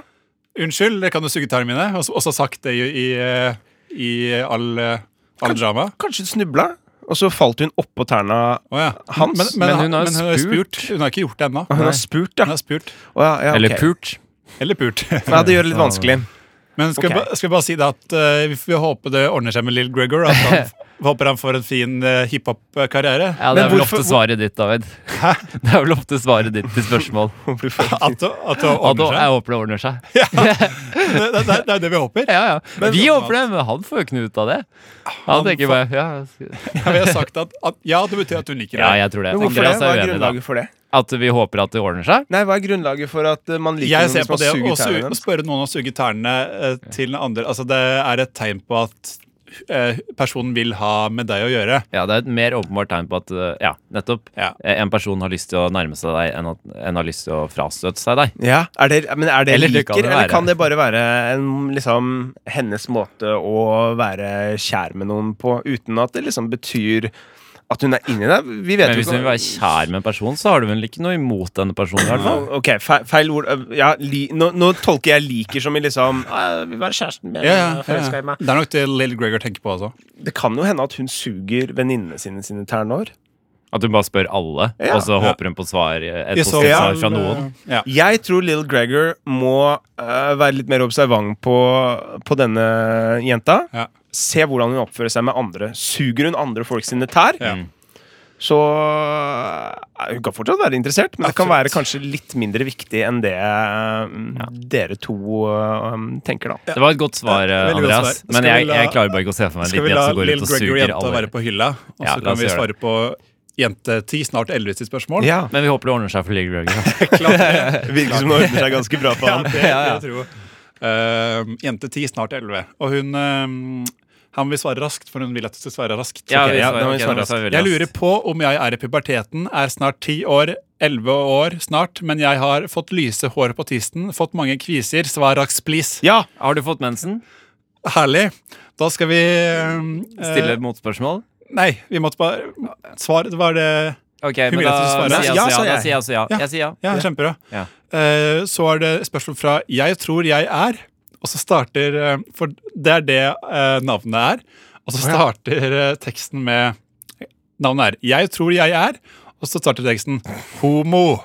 Speaker 3: Unnskyld, det kan du suge tærne mine? Og så- og så sagt det i, i, eh, i eh, all, eh, all drama.
Speaker 2: Kanskje snubla, og så falt hun oppå tærne.
Speaker 3: Å ja.
Speaker 2: Hans,
Speaker 1: men hun har spurt.
Speaker 3: Hun har ikke gjort det ennå.
Speaker 2: Hun har spurt, ja.
Speaker 3: Hun har spurt.
Speaker 2: Å, ja, ja ok.
Speaker 1: Eller pult.
Speaker 3: Eller
Speaker 2: [laughs]
Speaker 3: pult.
Speaker 2: Ja, det gjør det litt vanskelig. [laughs]
Speaker 3: Men
Speaker 2: Ok.
Speaker 3: skal, vi ba- skal vi bare si det at eh, vi får håpe det ordner seg med Lill Gregor. At
Speaker 1: [laughs]
Speaker 3: han, vi håper han får en fin eh, hiphop-karriere.
Speaker 1: Ja,
Speaker 2: Men
Speaker 1: det er vel
Speaker 2: hvorfor-
Speaker 1: ofte svaret ditt, David. [laughs] Det er vel ofte svaret ditt til
Speaker 2: [laughs]
Speaker 1: spørsmål.
Speaker 3: At, det- at
Speaker 1: Ja,
Speaker 3: det
Speaker 1: da,
Speaker 3: ordner seg.
Speaker 1: jeg håper det ordner seg.
Speaker 3: Det, det, det er jo det vi håper.
Speaker 1: Ja, ja. Vi håper det, men han får jo ikke noe ut av det. Han tenker bare ja,
Speaker 3: Ja, vi har sagt at, at ja, det betyr at hun liker det.
Speaker 1: ja jeg tror det.
Speaker 2: Men hvorfor det?
Speaker 1: Andreas
Speaker 2: Hva
Speaker 1: er
Speaker 2: er
Speaker 1: uenig, da.
Speaker 2: grunnlaget for det?
Speaker 1: At vi håper at det ordner seg.
Speaker 2: Nei, hva er grunnlaget for at eh, man liker
Speaker 3: Jeg
Speaker 2: noen
Speaker 3: ser
Speaker 2: som
Speaker 3: på det
Speaker 2: har
Speaker 3: å
Speaker 2: suget
Speaker 3: su-
Speaker 2: tærne
Speaker 3: å
Speaker 2: hennes?
Speaker 3: spørre noen å suge tærne eh, til den andre Altså Det er et tegn på at eh, personen vil ha med deg å gjøre.
Speaker 1: Ja, det er et mer åpenbart tegn på at uh, ja, nettopp
Speaker 3: Ja.
Speaker 1: Eh, en person har lyst til å nærme seg deg enn, at, enn har lyst til å frastøte seg deg.
Speaker 2: Ja, er det, men er det
Speaker 1: Eller det
Speaker 2: liker,
Speaker 1: kan det
Speaker 2: eller
Speaker 1: være.
Speaker 2: kan det bare være en, liksom, hennes måte å være kjær med noen på, uten at det liksom betyr at hun er inni deg? Vi vet
Speaker 1: Men
Speaker 2: jo
Speaker 1: hvis
Speaker 2: ikke-
Speaker 1: du vil være kjær med en person, så har du vel ikke noe imot denne personen? i hvert fall
Speaker 2: Ok, feil, feil ord Øh, ja, li, nå, nå tolker jeg liker som i liksom «Ah, Vil være kjæresten min.
Speaker 3: Ja,
Speaker 2: øh,
Speaker 3: ja,
Speaker 2: forelsker
Speaker 3: ja.
Speaker 2: i meg».
Speaker 3: Det er nok det Lill Gregor tenker på. altså
Speaker 2: Det kan jo hende at hun suger venninnene sine sine tærnår.
Speaker 1: At du bare spør alle,
Speaker 2: Ja.
Speaker 1: og så
Speaker 3: Ja.
Speaker 1: håper hun på svar, eh, et
Speaker 3: I så
Speaker 1: positivt
Speaker 2: fall,
Speaker 1: svar fra noen?
Speaker 3: Ja.
Speaker 2: Jeg tror Little Gregor må øh, være litt mer observant på, på denne jenta.
Speaker 3: Ja.
Speaker 2: Se hvordan hun oppfører seg med andre. Suger hun andre folk sine tær,
Speaker 3: Ja.
Speaker 2: så øh, Hun kan fortsatt være interessert, men det kan være kanskje litt mindre viktig enn det øh, dere to øh, tenker, da.
Speaker 1: Det var et godt svar,
Speaker 3: Ja, veldig godt
Speaker 1: Andreas.
Speaker 3: svar.
Speaker 1: Men
Speaker 3: Skal vi
Speaker 1: jeg,
Speaker 3: la-
Speaker 1: jeg klarer bare ikke å se for meg en
Speaker 3: Skal vi
Speaker 1: liten
Speaker 3: la
Speaker 1: jente som går
Speaker 3: Lill
Speaker 1: ut og suger
Speaker 3: Gregor-jenta være
Speaker 1: alle.
Speaker 3: på hylla, og
Speaker 1: Ja, la
Speaker 3: så
Speaker 1: oss
Speaker 3: kan vi
Speaker 1: gjøre
Speaker 3: svare på jente10, snart 11 sitt spørsmål?
Speaker 2: Ja,
Speaker 1: Men vi håper det ordner seg for Lill Gregor.
Speaker 3: [laughs]
Speaker 1: da.
Speaker 2: [laughs] Virker som det ordner seg ganske [laughs] bra for
Speaker 3: Ja,
Speaker 2: han.
Speaker 3: det, det tror jeg. Ehm, jente 10, snart 11. Og hun ehm, Han vil svare raskt, for hun vil at du skal svare raskt.
Speaker 1: Ja,
Speaker 3: Ok,
Speaker 1: vi
Speaker 2: ja,
Speaker 1: svarer-
Speaker 2: da må vi
Speaker 1: ok,
Speaker 2: svare
Speaker 1: da svarer vi
Speaker 3: Jeg lurer
Speaker 1: raskt.
Speaker 3: på om jeg er i puberteten, er snart ti år, elleve år snart, men jeg har fått lyse hår på tisten, fått mange kviser, svar raskt, please.
Speaker 2: Ja,
Speaker 1: Har du fått mensen?
Speaker 3: Herlig. Da skal vi eh,
Speaker 1: Stille motspørsmål?
Speaker 3: Nei, vi måtte bare Svar, det var det
Speaker 1: Ok,
Speaker 3: Hun
Speaker 1: men
Speaker 3: vil
Speaker 1: da
Speaker 3: at du svarer.
Speaker 1: sier jeg
Speaker 2: Ja,
Speaker 1: også
Speaker 2: sa
Speaker 1: ja. Da
Speaker 2: jeg.
Speaker 1: sier jeg også ja.
Speaker 3: Ja.
Speaker 1: Jeg sier ja.
Speaker 3: Ja, kjempebra.
Speaker 1: Ja.
Speaker 3: Eh, så er det spørsmål fra Jeg tror jeg er, og så starter eh, For det er det eh, navnet er. Og så starter eh, teksten med Navnet er Jeg tror jeg er, og så starter teksten homo.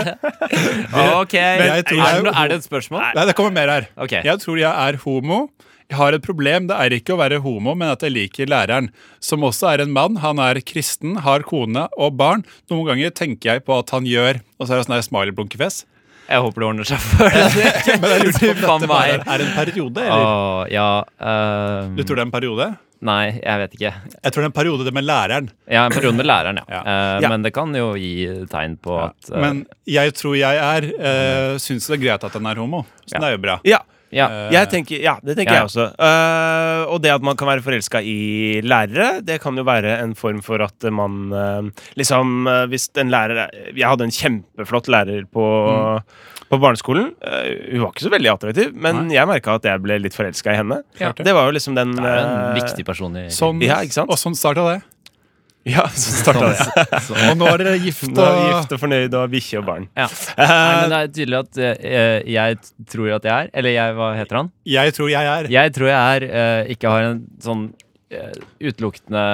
Speaker 1: Ok,
Speaker 3: jeg
Speaker 1: er,
Speaker 3: tror jeg-
Speaker 1: det no- er det et spørsmål?
Speaker 3: Nei, det kommer mer her.
Speaker 1: Ok.
Speaker 3: Jeg tror jeg er homo. Jeg har et problem. Det er ikke å være homo, men at jeg liker læreren, som også er en mann. Han er kristen, har kone og barn. Noen ganger tenker jeg på at han gjør Og så er det sånn her smiley-blunkefjes.
Speaker 1: Jeg håper det ordner seg for
Speaker 3: [laughs]
Speaker 1: deg.
Speaker 3: Men jeg lurte på
Speaker 1: Faen
Speaker 3: om dette bare
Speaker 1: meg.
Speaker 3: er en periode,
Speaker 2: Ah.
Speaker 1: [laughs]
Speaker 3: eller?
Speaker 1: Åh, ja ehm,
Speaker 3: Du tror det er en periode?
Speaker 1: Nei, jeg vet ikke.
Speaker 3: Jeg tror det er en periode det med læreren.
Speaker 1: Ja, en periode med læreren, ja.
Speaker 3: Ja.
Speaker 1: Eh,
Speaker 2: Ja.
Speaker 1: Men det kan jo gi tegn på at eh,
Speaker 3: Men jeg tror jeg er uh, Syns det er greit at han er homo. Så
Speaker 1: Ja.
Speaker 3: det er jo bra.
Speaker 2: ja.
Speaker 1: ja.
Speaker 2: Jeg tenker, ja, det tenker
Speaker 1: Ja.
Speaker 2: jeg også. Eh, og det at man kan være forelska i lærere, det kan jo være en form for at man eh, liksom eh, Hvis en lærer er- Jeg hadde en kjempeflott lærer på, Mm. på barneskolen. Eh, hun var ikke så veldig attraktiv, men jeg merka at jeg ble litt forelska i henne.
Speaker 1: Ja.
Speaker 2: Det var jo liksom den
Speaker 1: Det er en
Speaker 2: eh,
Speaker 1: viktig person i
Speaker 3: Sånn,
Speaker 2: Ja, ikke sant?
Speaker 3: Og sånn starta det.
Speaker 2: [laughs] Ja, så starta det.
Speaker 3: [laughs] Og nå er dere gift
Speaker 2: Nå er vi
Speaker 3: og
Speaker 2: gift og fornøyd og bikkje og barn.
Speaker 1: ja.
Speaker 2: Eh.
Speaker 1: Nei, men det er tydelig at eh, jeg t- tror at jeg er Eller jeg, hva heter han?
Speaker 3: Jeg tror jeg er.
Speaker 1: Jeg tror jeg er eh, ikke har en sånn eh, utelukkende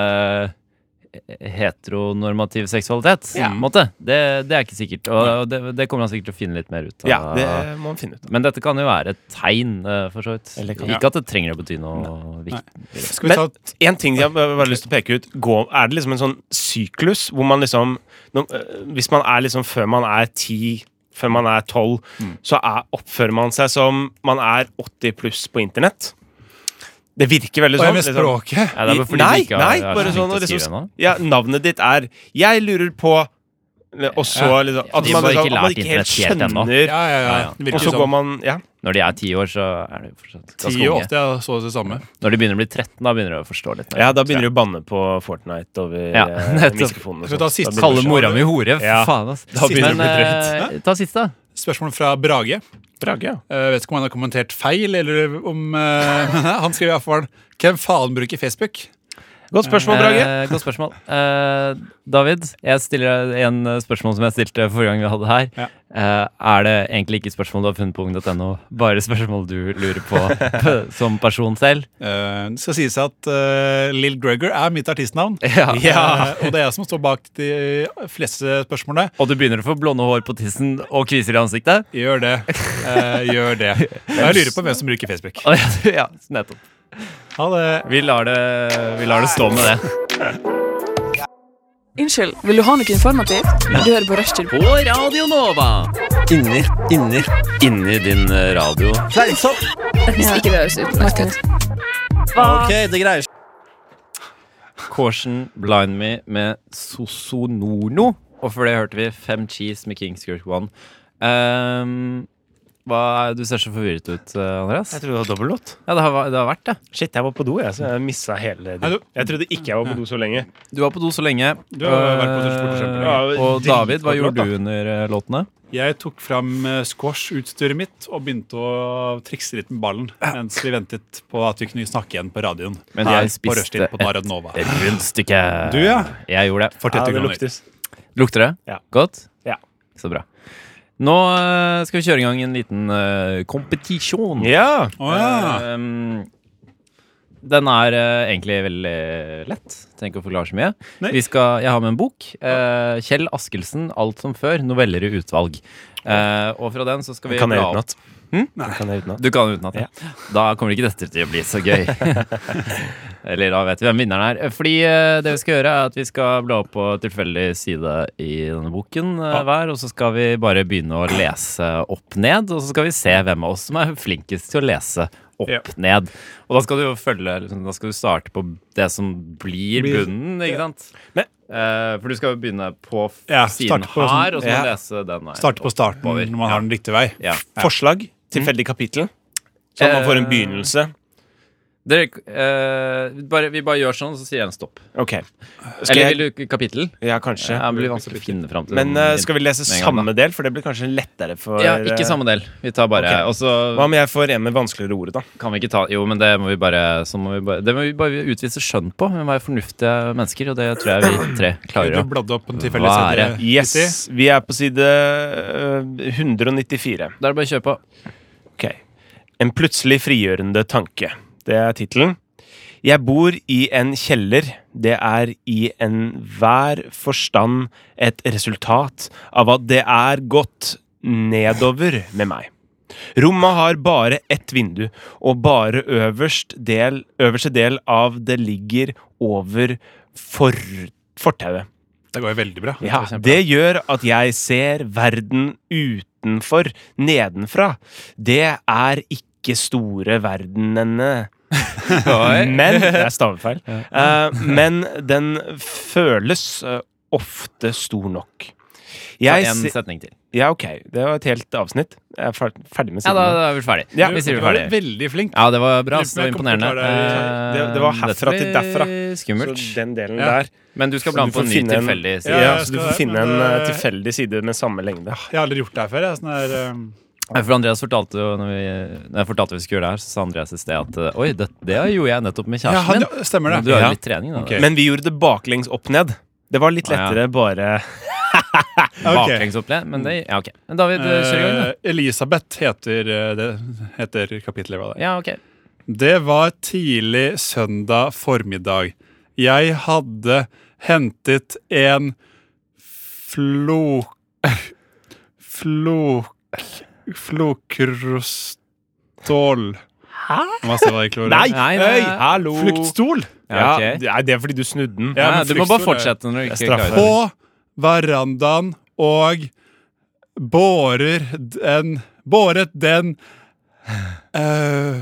Speaker 1: heteronormativ seksualitet.
Speaker 2: Ja.
Speaker 1: på en Måte. Det, det er ikke sikkert. Og, og det, det kommer han sikkert til å finne litt mer ut av.
Speaker 2: Ja, det må man finne ut av.
Speaker 1: Men dette kan jo være et tegn, eh, for så vidt.
Speaker 2: Eller kan-
Speaker 1: Ikke at det trenger å bety noe viktig.
Speaker 3: Skal vi
Speaker 2: Men
Speaker 3: ta
Speaker 2: en ting jeg har bare lyst til å peke ut gå, Er det liksom en sånn syklus hvor man liksom når, øh, Hvis man er liksom før man er ti, før man er tolv,
Speaker 3: Mm.
Speaker 2: så er, oppfører man seg som man er 80 pluss på internett. Det virker veldig
Speaker 3: Hva
Speaker 2: sånn.
Speaker 3: er med
Speaker 2: liksom.
Speaker 3: språket?
Speaker 1: Ja, det er bare fordi
Speaker 2: nei,
Speaker 1: vi ikke har,
Speaker 2: nei,
Speaker 1: har
Speaker 2: bare
Speaker 1: så
Speaker 2: sånn å
Speaker 1: flink til å skrive
Speaker 2: liksom,
Speaker 1: ennå.
Speaker 2: ja, Navnet ditt er 'Jeg lurer på' Og så liksom
Speaker 1: Ja, de
Speaker 2: At man,
Speaker 1: har
Speaker 2: liksom,
Speaker 1: ikke
Speaker 2: at
Speaker 1: lært
Speaker 2: man ikke helt
Speaker 1: internett helt ennå.
Speaker 2: skjønner,
Speaker 3: Ja, ja, ja.
Speaker 1: ja.
Speaker 3: Det virker
Speaker 2: og så
Speaker 3: sånn.
Speaker 2: går man Ja.
Speaker 1: Når de er ti år, så er de fortsatt ganske
Speaker 3: 10 og
Speaker 1: unge.
Speaker 3: 80 er så det samme.
Speaker 1: Når de begynner å bli 13, da begynner de å forstå litt. mer.
Speaker 2: Ja, da begynner du å banne på Fortnite over
Speaker 1: Ja,
Speaker 2: eh,
Speaker 1: [laughs] nettopp.
Speaker 2: mikrofonen. og
Speaker 3: Skal vi ta
Speaker 2: sånt.
Speaker 3: siste?
Speaker 2: Da
Speaker 1: Kalle
Speaker 2: begynner du å
Speaker 1: mora mi hore.
Speaker 2: Ja.
Speaker 1: Faen, ass.
Speaker 2: Da begynner det å bli
Speaker 1: Men, eh, Ta siste, da.
Speaker 3: Spørsmål fra Brage. Eh,
Speaker 2: skjønne. Brage, ja.
Speaker 3: Jeg vet ikke om han har kommentert feil, eller om eh, [laughs] Han skrev iallfall 'Hvem faen bruker Facebook?'
Speaker 2: Godt spørsmål, Brage.
Speaker 1: Eh, godt spørsmål. Eh, David, jeg stiller deg en eh, spørsmål som jeg stilte forrige gang vi hadde her.
Speaker 3: Ja.
Speaker 1: Eh, er det egentlig ikke spørsmål du har funnet på ung.no, bare spørsmål du lurer på [laughs] p- som person selv?
Speaker 3: Eh, Det skal sies at eh, Lill Gregor er mitt artistnavn.
Speaker 1: [laughs] Ja.
Speaker 3: Eh, og det er jeg som står bak de fleste spørsmålene.
Speaker 1: Og du begynner å få blonde hår på tissen og kviser i ansiktet?
Speaker 3: Gjør det. Eh, gjør det. Jeg lurer på hvem som bruker Facebook.
Speaker 1: Å, ja, du- ja, nettopp.
Speaker 3: Ha det.
Speaker 1: Vi lar det, vi lar det stå med det.
Speaker 6: Unnskyld, vil du ha noe informativt? Du hører på Rushtid.
Speaker 1: På Radio Nova! Inni, inni, inni din eh, radio.
Speaker 6: Hvis ikke det høres ut.
Speaker 7: Ok, det greier seg.
Speaker 1: Caution Blind Me med Sosonorno. Og før det hørte vi Fem Cheese med Kings Kirk One. Ehm, hva er, du ser så forvirret ut, eh, Andreas.
Speaker 2: Jeg trodde det var dobbellåt.
Speaker 1: Ja, det har, det har vært det.
Speaker 2: Shit, jeg var på do, jeg, så jeg missa hele
Speaker 3: Nei,
Speaker 2: det.
Speaker 3: du-
Speaker 2: Jeg trodde ikke jeg var på do så lenge.
Speaker 1: Du var på do så lenge.
Speaker 3: Du har vært på do for eksempel.
Speaker 1: Eh, og
Speaker 2: Ja,
Speaker 1: David, hva
Speaker 2: dritkort
Speaker 1: gjorde
Speaker 2: låt,
Speaker 1: du under eh, låtene?
Speaker 3: Jeg tok fram eh, squash-utstyret mitt og begynte å trikse litt med ballen mens vi ventet på at vi kunne snakke igjen på radioen.
Speaker 1: Men
Speaker 3: Her
Speaker 1: jeg
Speaker 3: på
Speaker 1: spiste
Speaker 3: Rushtid på
Speaker 1: et-
Speaker 3: Naradnova.
Speaker 1: Rundstykke.
Speaker 3: Du, ja.
Speaker 1: Jeg gjorde det.
Speaker 3: For
Speaker 2: Ja,
Speaker 3: 30
Speaker 2: det
Speaker 3: kroner.
Speaker 2: luktes.
Speaker 1: Lukter det?
Speaker 2: Ja.
Speaker 1: Godt?
Speaker 2: Ja.
Speaker 1: Så bra. Nå eh, skal vi kjøre i gang en liten uh, kompetisjon.
Speaker 2: Ja.
Speaker 3: Å, ja.
Speaker 1: Ehm, den er eh, egentlig veldig lett. Trenger ikke å forklare så mye.
Speaker 3: Nei.
Speaker 1: Vi skal, jeg har med en bok. eh, Kjell Askelsen, 'Alt som før'. Noveller i utvalg. Eh, og fra den så skal vi
Speaker 2: Kan jeg
Speaker 1: bla opp-
Speaker 2: utenat? Den Kan jeg utenat?
Speaker 1: Du kan utenat. Ja. Da kommer ikke dette til å bli så
Speaker 3: [laughs]
Speaker 1: gøy. Eller da vet vi hvem vinneren er. Fordi eh, det vi skal gjøre, er at vi skal bla opp på tilfeldig side i denne boken eh, hver. Og så skal vi bare begynne å lese opp ned, og så skal vi se hvem av oss som er flinkest til å lese opp
Speaker 3: Ja.
Speaker 1: ned. Og da skal du jo følge liksom, Da skal du starte på det som blir
Speaker 3: Blir-
Speaker 1: bunnen, ikke sant?
Speaker 2: Men-
Speaker 1: Eh, for du skal jo begynne på f-
Speaker 3: Ja,
Speaker 1: siden
Speaker 3: starte på
Speaker 1: her,
Speaker 3: sånn-
Speaker 1: og så må du
Speaker 2: ja.
Speaker 1: lese den veien.
Speaker 3: Starte på starten
Speaker 1: Oppover.
Speaker 3: når man har den riktige vei.
Speaker 1: Ja.
Speaker 2: Forslag? Tilfeldig kapittel? Så man får en begynnelse?
Speaker 1: Dere, eh, bare, vi bare gjør sånn, så sier jeg en stopp.
Speaker 2: OK. Skal
Speaker 1: Eller
Speaker 2: jeg
Speaker 1: vil du kapittel?
Speaker 2: Ja, kanskje.
Speaker 1: Ja, det blir vanskelig å finne fram til
Speaker 2: Men eh, skal vi lese
Speaker 1: med en gang,
Speaker 2: samme del, for det blir kanskje lettere for
Speaker 1: Ja, ikke samme del. Vi tar bare
Speaker 2: Ok.
Speaker 1: Og
Speaker 2: Hva
Speaker 1: så
Speaker 2: om jeg får en med vanskeligere ord, da?
Speaker 1: kan vi ikke ta Jo, men det må vi bare, så må vi bare Det må vi bare utvise skjønn på. Vi må være fornuftige mennesker, og det tror jeg vi tre klarer.
Speaker 3: Du
Speaker 1: å-
Speaker 3: bladde opp en tilfeldig side.
Speaker 1: Være.
Speaker 2: Yes. Vi er på side eh, 194.
Speaker 1: Da er det bare å kjøre
Speaker 2: [laughs]
Speaker 1: på.
Speaker 2: Ok. En plutselig frigjørende tanke. Det er tittelen. Jeg bor i en kjeller. Det er i enhver forstand et resultat av at det er gått nedover med meg. Rommet har bare ett vindu, og bare øverst del, øverste del av det ligger over for, fortauet.
Speaker 3: Det går jo veldig bra.
Speaker 2: Ja, det gjør at jeg ser verden utenfor, nedenfra. Det er ikke store verdenene. [laughs] Men Det er stavefeil. Eh, men den føles eh, ofte stor nok. Jeg
Speaker 1: En
Speaker 2: se-
Speaker 1: setning til.
Speaker 2: Ja, ok. Det var et helt avsnitt. Jeg er fer- ferdig med
Speaker 1: Ja,
Speaker 2: siden.
Speaker 1: da, da er vi ferdig.
Speaker 2: Ja.
Speaker 1: Vi sier
Speaker 3: Du
Speaker 1: vi
Speaker 3: var
Speaker 1: ferdig.
Speaker 3: veldig flink.
Speaker 1: Ja, det var bra. ass. Det var
Speaker 3: Jeg kommer til
Speaker 1: imponerende.
Speaker 3: å ta det-
Speaker 1: Eh,
Speaker 2: det- det var herfra
Speaker 1: dette
Speaker 2: til derfra.
Speaker 1: blir
Speaker 2: Så
Speaker 1: Skummelt.
Speaker 2: den delen
Speaker 3: Ja.
Speaker 2: der.
Speaker 1: Men du skal
Speaker 2: Så
Speaker 1: bli
Speaker 2: du
Speaker 1: med på
Speaker 2: får
Speaker 1: en ny
Speaker 2: finne en-
Speaker 1: tilfeldig
Speaker 2: Ja,
Speaker 1: side.
Speaker 3: Ja, jeg
Speaker 2: så du
Speaker 3: skal
Speaker 2: får
Speaker 3: det,
Speaker 2: finne
Speaker 3: men,
Speaker 2: en eh,
Speaker 3: eh,
Speaker 2: tilfeldig side med samme lengde.
Speaker 3: Jeg har aldri gjort det her før. Jeg. Sånn her, um,
Speaker 1: Nei, For Andreas fortalte jo når, vi, når jeg fortalte vi skulle gjøre det her, så sa Andreas i sted at eh, Oi, det, det gjorde jeg nettopp med
Speaker 3: ja,
Speaker 1: kjæresten
Speaker 3: han,
Speaker 1: min.
Speaker 3: ja, stemmer det.
Speaker 1: Men Du har
Speaker 2: Ja.
Speaker 1: jo litt trening, da.
Speaker 3: Ok.
Speaker 2: Men vi gjorde det baklengs opp ned. Det var litt
Speaker 1: Ah, ja.
Speaker 2: lettere bare
Speaker 3: Ok.
Speaker 1: Baklengsopplegg. Men det Ja, ok. Men David, kjør i gang, da.
Speaker 3: Eh, Elisabeth heter, eh, det, heter kapitlet. Hva det,
Speaker 1: Ja, ok.
Speaker 3: er. det var tidlig søndag formiddag. Jeg hadde hentet en flok... Flok... Flokrostol. Hva sa jeg egentlig?
Speaker 2: Nei!
Speaker 1: Nei, nei,
Speaker 2: Øy,
Speaker 1: nei.
Speaker 2: hallo!
Speaker 3: Fluktstol!
Speaker 1: Ja, ok.
Speaker 2: det er- det er fordi du snudde den.
Speaker 3: Ja,
Speaker 1: Nei,
Speaker 3: men
Speaker 1: du må bare
Speaker 3: fryktstol er-
Speaker 1: fortsette når du
Speaker 2: Jeg
Speaker 1: ikke klarer
Speaker 2: straffer.
Speaker 1: det.
Speaker 3: På verandaen og bårer den Båret den eh,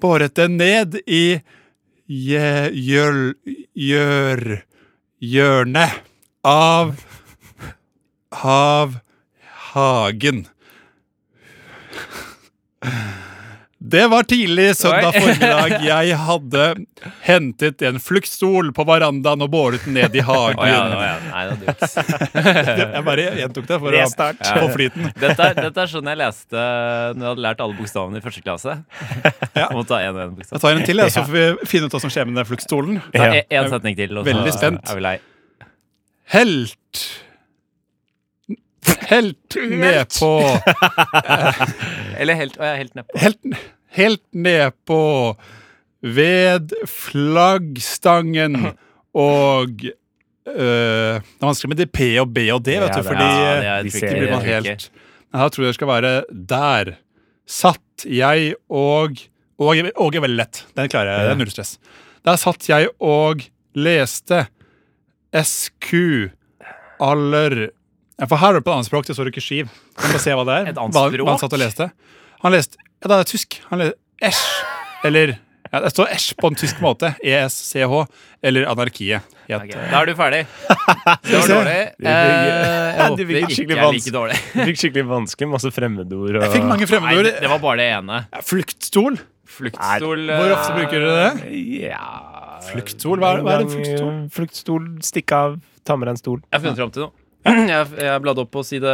Speaker 3: Båret den ned i je- gjøl... Gjør... Hjørnet av Av hagen. Det var tidlig søndag
Speaker 1: Oi.
Speaker 3: formiddag. Jeg hadde hentet en fluktstol på verandaen og båret den ned i hagen.
Speaker 1: Å ja, å ja. Nei, det er duks.
Speaker 3: Jeg bare gjentok det for å
Speaker 2: Restart.
Speaker 3: få flyten.
Speaker 1: Dette er, dette er sånn jeg leste eh, når jeg hadde lært alle bokstavene i første klasse. Jeg må ta en og en bokstav.
Speaker 3: Jeg tar en til, jeg, så får vi finne ut hva som skjer med den fluktstolen.
Speaker 1: Ta en, en setning til. og så
Speaker 3: Veldig spent.
Speaker 1: Er vi lei.
Speaker 3: Helt Helt ned på
Speaker 1: Eller helt, å, jeg er helt nedpå.
Speaker 3: Helt, helt ned på ved flaggstangen og øh, Det er vanskelig med de P og B og D,
Speaker 2: Ja,
Speaker 3: vet du,
Speaker 2: det er-
Speaker 3: fordi
Speaker 1: Ja, det er
Speaker 2: eh, de
Speaker 1: tricky,
Speaker 2: ser-
Speaker 1: det
Speaker 3: blir
Speaker 1: er
Speaker 3: man
Speaker 1: tricky.
Speaker 3: helt Men Her tror jeg det skal være der. Satt jeg og Og, og er veldig lett. Den klarer jeg. Det er null stress. Der satt jeg og leste SQ aller Ja, For her er det på et annet språk. Det står ikke skiv. Vi må se hva det er.
Speaker 1: Et annet
Speaker 3: Hva-
Speaker 1: språk?
Speaker 3: Hva han satt og leste. Han leste Ja, det er tysk. Han leste Æsj. Eller ja, Det står æsj på en tysk måte. E ESCH. Eller anarkiet. het
Speaker 1: Ok, Da er du
Speaker 3: [laughs]
Speaker 1: ferdig. Det var dårlig. Eh,
Speaker 2: Ja,
Speaker 1: jeg
Speaker 2: det
Speaker 1: håper
Speaker 2: virker
Speaker 1: ikke
Speaker 2: skikkelig
Speaker 1: jeg er
Speaker 2: vanskelig.
Speaker 1: like dårlig.
Speaker 2: Du [laughs] fikk skikkelig vanskelig. Masse fremmedord. Og...
Speaker 3: Jeg fikk mange
Speaker 1: Nei,
Speaker 3: fremmedord.
Speaker 1: det, det var bare det ene.
Speaker 3: Fluktstol.
Speaker 1: Fluktstol eh,
Speaker 3: Hvor ofte bruker dere det?
Speaker 2: Ja
Speaker 3: Fluktstol? Hva er, hva er en fluktstol?
Speaker 2: eh, Fluktstol, stikk av, ta med deg en stol.
Speaker 1: Jeg har funnet fram til noe. Jeg, jeg bladde opp på side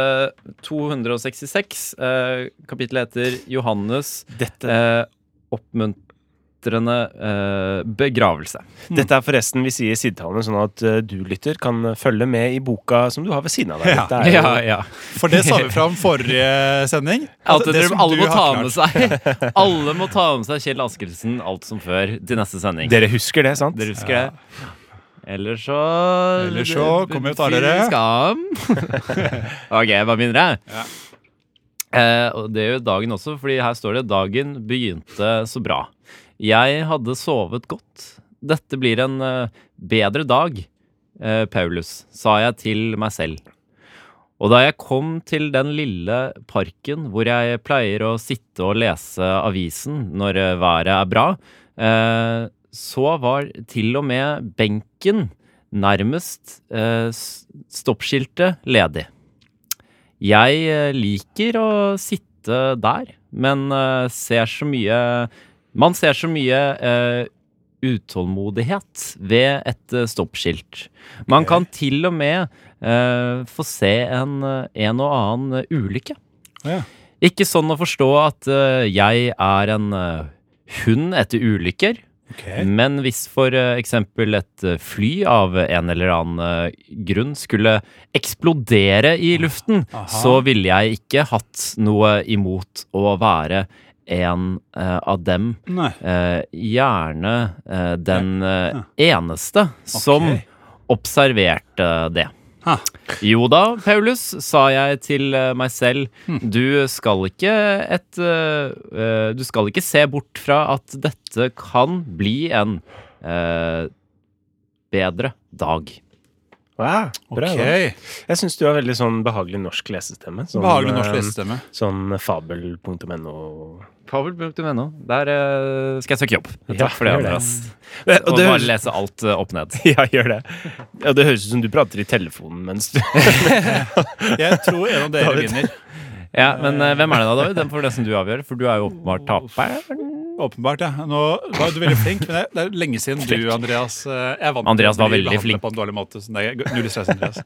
Speaker 1: 266. Eh, kapittelet heter 'Johannes eh, oppmuntrende eh, begravelse'.
Speaker 2: Dette er forresten vi sier sidetallene, sånn at eh, du lytter kan følge med i boka som du har ved siden av deg.
Speaker 3: Ja.
Speaker 2: Dette er jo-
Speaker 1: ja.
Speaker 3: For det sa vi fra om forrige sending.
Speaker 1: [laughs]
Speaker 3: Altså,
Speaker 1: At
Speaker 3: det
Speaker 1: dere,
Speaker 3: som
Speaker 1: alle
Speaker 3: du
Speaker 1: må
Speaker 3: har
Speaker 1: ta
Speaker 3: klart.
Speaker 1: med
Speaker 3: [laughs]
Speaker 1: seg Alle må ta med seg Kjell Askelsen alt som før til neste sending.
Speaker 2: Dere husker det, sant?
Speaker 1: Dere husker det? Eller så
Speaker 3: Eller så kommer jo talere.
Speaker 1: Skam.
Speaker 3: [laughs]
Speaker 1: ok, jeg bare begynner, jeg. Eh, og det gjør dagen også, fordi her står det dagen begynte så bra. Jeg hadde sovet godt. Dette blir en eh, bedre dag, eh, Paulus, sa jeg til meg selv. Og da jeg kom til den lille parken hvor jeg pleier å sitte og lese avisen når eh, været er bra, eh, så var til og med benken nærmest eh, s- stoppskiltet ledig. Jeg eh, liker å sitte der, men eh, ser så mye Man ser så mye eh, utålmodighet ved et eh, stoppskilt. Man kan til og med eh, få se en, eh, en og annen eh, ulykke.
Speaker 3: Ja.
Speaker 1: Ikke sånn å forstå at eh, jeg er en eh, hund etter ulykker, men hvis for eh, eksempel et eh, fly av en eller annen eh, grunn skulle eksplodere i luften, så ville jeg ikke hatt noe imot å være en eh, av dem
Speaker 3: Nei.
Speaker 1: eh, gjerne eh, den eh, eneste som observerte det.
Speaker 3: Ha.
Speaker 1: Jo da, Paulus, sa jeg til eh, meg selv.
Speaker 2: Hm.
Speaker 1: Du skal ikke et eh, eh, Du skal ikke se bort fra at dette kan bli en eh, bedre dag.
Speaker 2: Wow, bra,
Speaker 3: Ok.
Speaker 2: da. Jeg syns du har veldig sånn behagelig norsk lesestemme. Sånn,
Speaker 3: Behagelig norsk
Speaker 2: eh,
Speaker 3: lesestemme.
Speaker 2: Sånn fabel.no.
Speaker 1: Pavel.no. Der eh, skal jeg søke jobb. Takk
Speaker 2: Ja,
Speaker 1: for det,
Speaker 2: gjør det.
Speaker 1: Andreas.
Speaker 2: Eh,
Speaker 1: Og
Speaker 2: det
Speaker 1: bare
Speaker 2: høres-
Speaker 1: lese alt eh, opp
Speaker 2: [laughs]
Speaker 1: ned.
Speaker 2: Ja, gjør det. Ja, det høres ut som du prater i telefonen mens du [laughs]
Speaker 3: Jeg tror en av dere
Speaker 2: David.
Speaker 3: vinner.
Speaker 1: Ja, Men eh, hvem er det da, David? Den får nesten du avgjøre, for du er jo åpenbart taperen.
Speaker 3: Åpenbart, ja. Nå var du veldig flink, men det er, det er lenge siden du, Andreas eh, jeg vant
Speaker 1: Andreas
Speaker 3: til å
Speaker 1: var
Speaker 3: bli
Speaker 1: veldig
Speaker 3: behandlet
Speaker 1: flink.
Speaker 3: På en dårlig måte, så det er null stress, Andreas.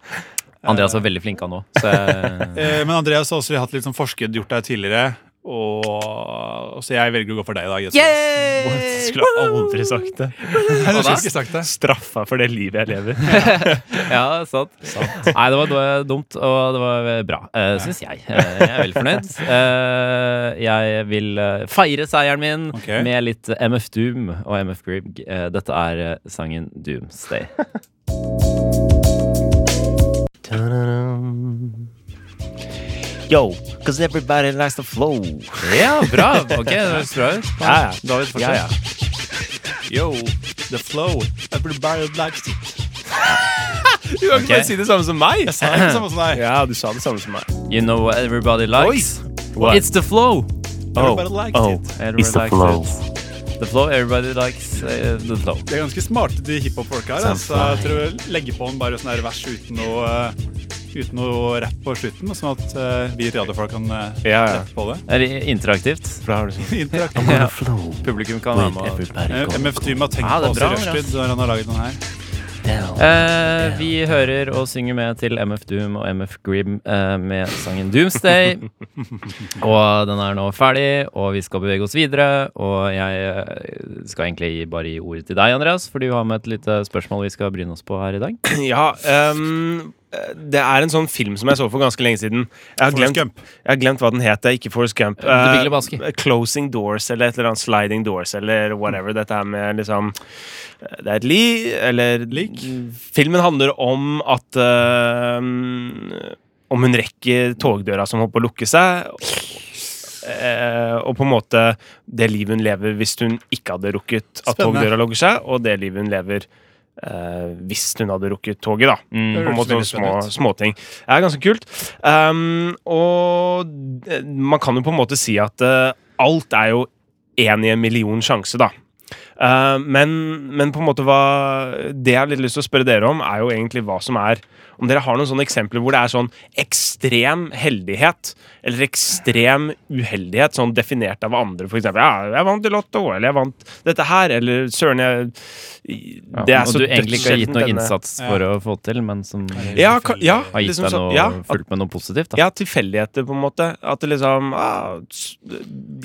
Speaker 1: Andreas var veldig flink han òg, så [laughs] jeg-
Speaker 3: Eh, Men Andreas har også hatt litt sånn forskergjort deg tidligere, og så jeg velger å gå for deg i dag. Jesper.
Speaker 2: Skulle aldri sagt det.
Speaker 3: Nei, du skulle ikke sagt det.
Speaker 2: Straffa for det livet jeg lever.
Speaker 1: Ja, sant. Nei, det var d- dumt, og det var bra, uh, syns jeg. Eh, jeg er veldig fornøyd. Eh, jeg vil eh, feire seieren min
Speaker 3: Ok.
Speaker 1: med litt MF Doom og MF Grig. Eh, dette er eh, sangen Doomsday.
Speaker 2: [laughs] Yo, because everybody likes the flow.
Speaker 1: Ja, bra. Ok, det høres bra ut.
Speaker 2: Ja, ja.
Speaker 1: David,
Speaker 2: Ja,
Speaker 1: fortsett.
Speaker 2: ja.
Speaker 3: Yo, the flow. Everybody likes it.
Speaker 2: Du kan ikke bare si det samme som meg!
Speaker 3: Jeg sa det samme som [clears throat] deg.
Speaker 2: Ja, du sa det samme som meg.
Speaker 1: You know what everybody likes?
Speaker 2: What?
Speaker 1: It's the flow. Oh.
Speaker 3: Everybody likes it.
Speaker 1: Everybody
Speaker 2: It's the
Speaker 1: likes
Speaker 2: flow.
Speaker 1: it. The flow, everybody likes eh, the flow.
Speaker 3: De er ganske smarte, de hiphop-folka her. Så jeg tror jeg legger på en bare sånn her vers uten noe, eh, uten noe rapp på slutten, sånn at eh, vi radiofolk kan eh,
Speaker 2: Ja, ja.
Speaker 3: rette på det.
Speaker 1: Er det interaktivt?
Speaker 2: For da har du sånn [laughs]
Speaker 3: Interaktivt.
Speaker 1: Ja. Publikum kan være med. og-
Speaker 3: [laughs] Eh, MF Doom har tenkt
Speaker 1: Ja, det er
Speaker 3: på oss i
Speaker 1: bra, bra.
Speaker 3: rushtid når han har laget den her.
Speaker 1: Eh, vi hører og synger med til MF Doom og MF Grim eh, med sangen
Speaker 2: [laughs]
Speaker 1: Doomsday. og den er nå ferdig, og vi skal bevege oss videre. Og jeg eh, skal egentlig gi- bare gi ordet til deg, Andreas, for du har med et lite spørsmål vi skal bryne oss på her i dag.
Speaker 2: Ja, ehm, det er en sånn film som jeg så for ganske lenge siden. Jeg har
Speaker 3: Forrest
Speaker 2: glemt,
Speaker 3: Gump.
Speaker 2: jeg har glemt hva den het. det er Ikke Forrest Gump.
Speaker 1: The Big
Speaker 2: Eh,
Speaker 1: Lebowski.
Speaker 2: Closing Doors eller et eller annet Sliding Doors eller whatever. Dette her med liksom eh, Det er et li, eller Filmen handler om at eh, Om hun rekker togdøra som holder på å lukke seg. Eh, og på en måte det livet hun lever hvis hun ikke hadde rukket at
Speaker 3: Spennende.
Speaker 2: togdøra lukker seg, og det livet hun lever eh, hvis hun hadde rukket toget, da. På en
Speaker 3: høres
Speaker 2: måte
Speaker 3: Mm.
Speaker 2: sånne
Speaker 3: veldig
Speaker 2: små,
Speaker 3: spennende ut.
Speaker 2: småting. Det er ganske kult. Um, og eh, man kan jo på en måte si at eh, alt er jo én i en million sjanse, da. Eh, men, men på en måte hva Det jeg har litt lyst til å spørre dere om, er jo egentlig hva som er Om dere har noen sånne eksempler hvor det er sånn ekstrem heldighet eller ekstrem uheldighet, sånn definert av andre, for eksempel Ja, jeg vant i Lotto, eller jeg vant dette her, eller søren, jeg Det er
Speaker 1: og
Speaker 2: så
Speaker 1: du egentlig ikke har gitt
Speaker 2: dødssjelden
Speaker 1: noe
Speaker 2: denne-
Speaker 1: innsats for å få til, men som har
Speaker 2: ja, ka, ja,
Speaker 1: gitt
Speaker 2: liksom
Speaker 1: deg
Speaker 2: sånn-
Speaker 1: noe,
Speaker 2: ja, at,
Speaker 1: fulgt med noe positivt. Da.
Speaker 2: ja, tilfeldigheter, på en måte. At det liksom ah, s-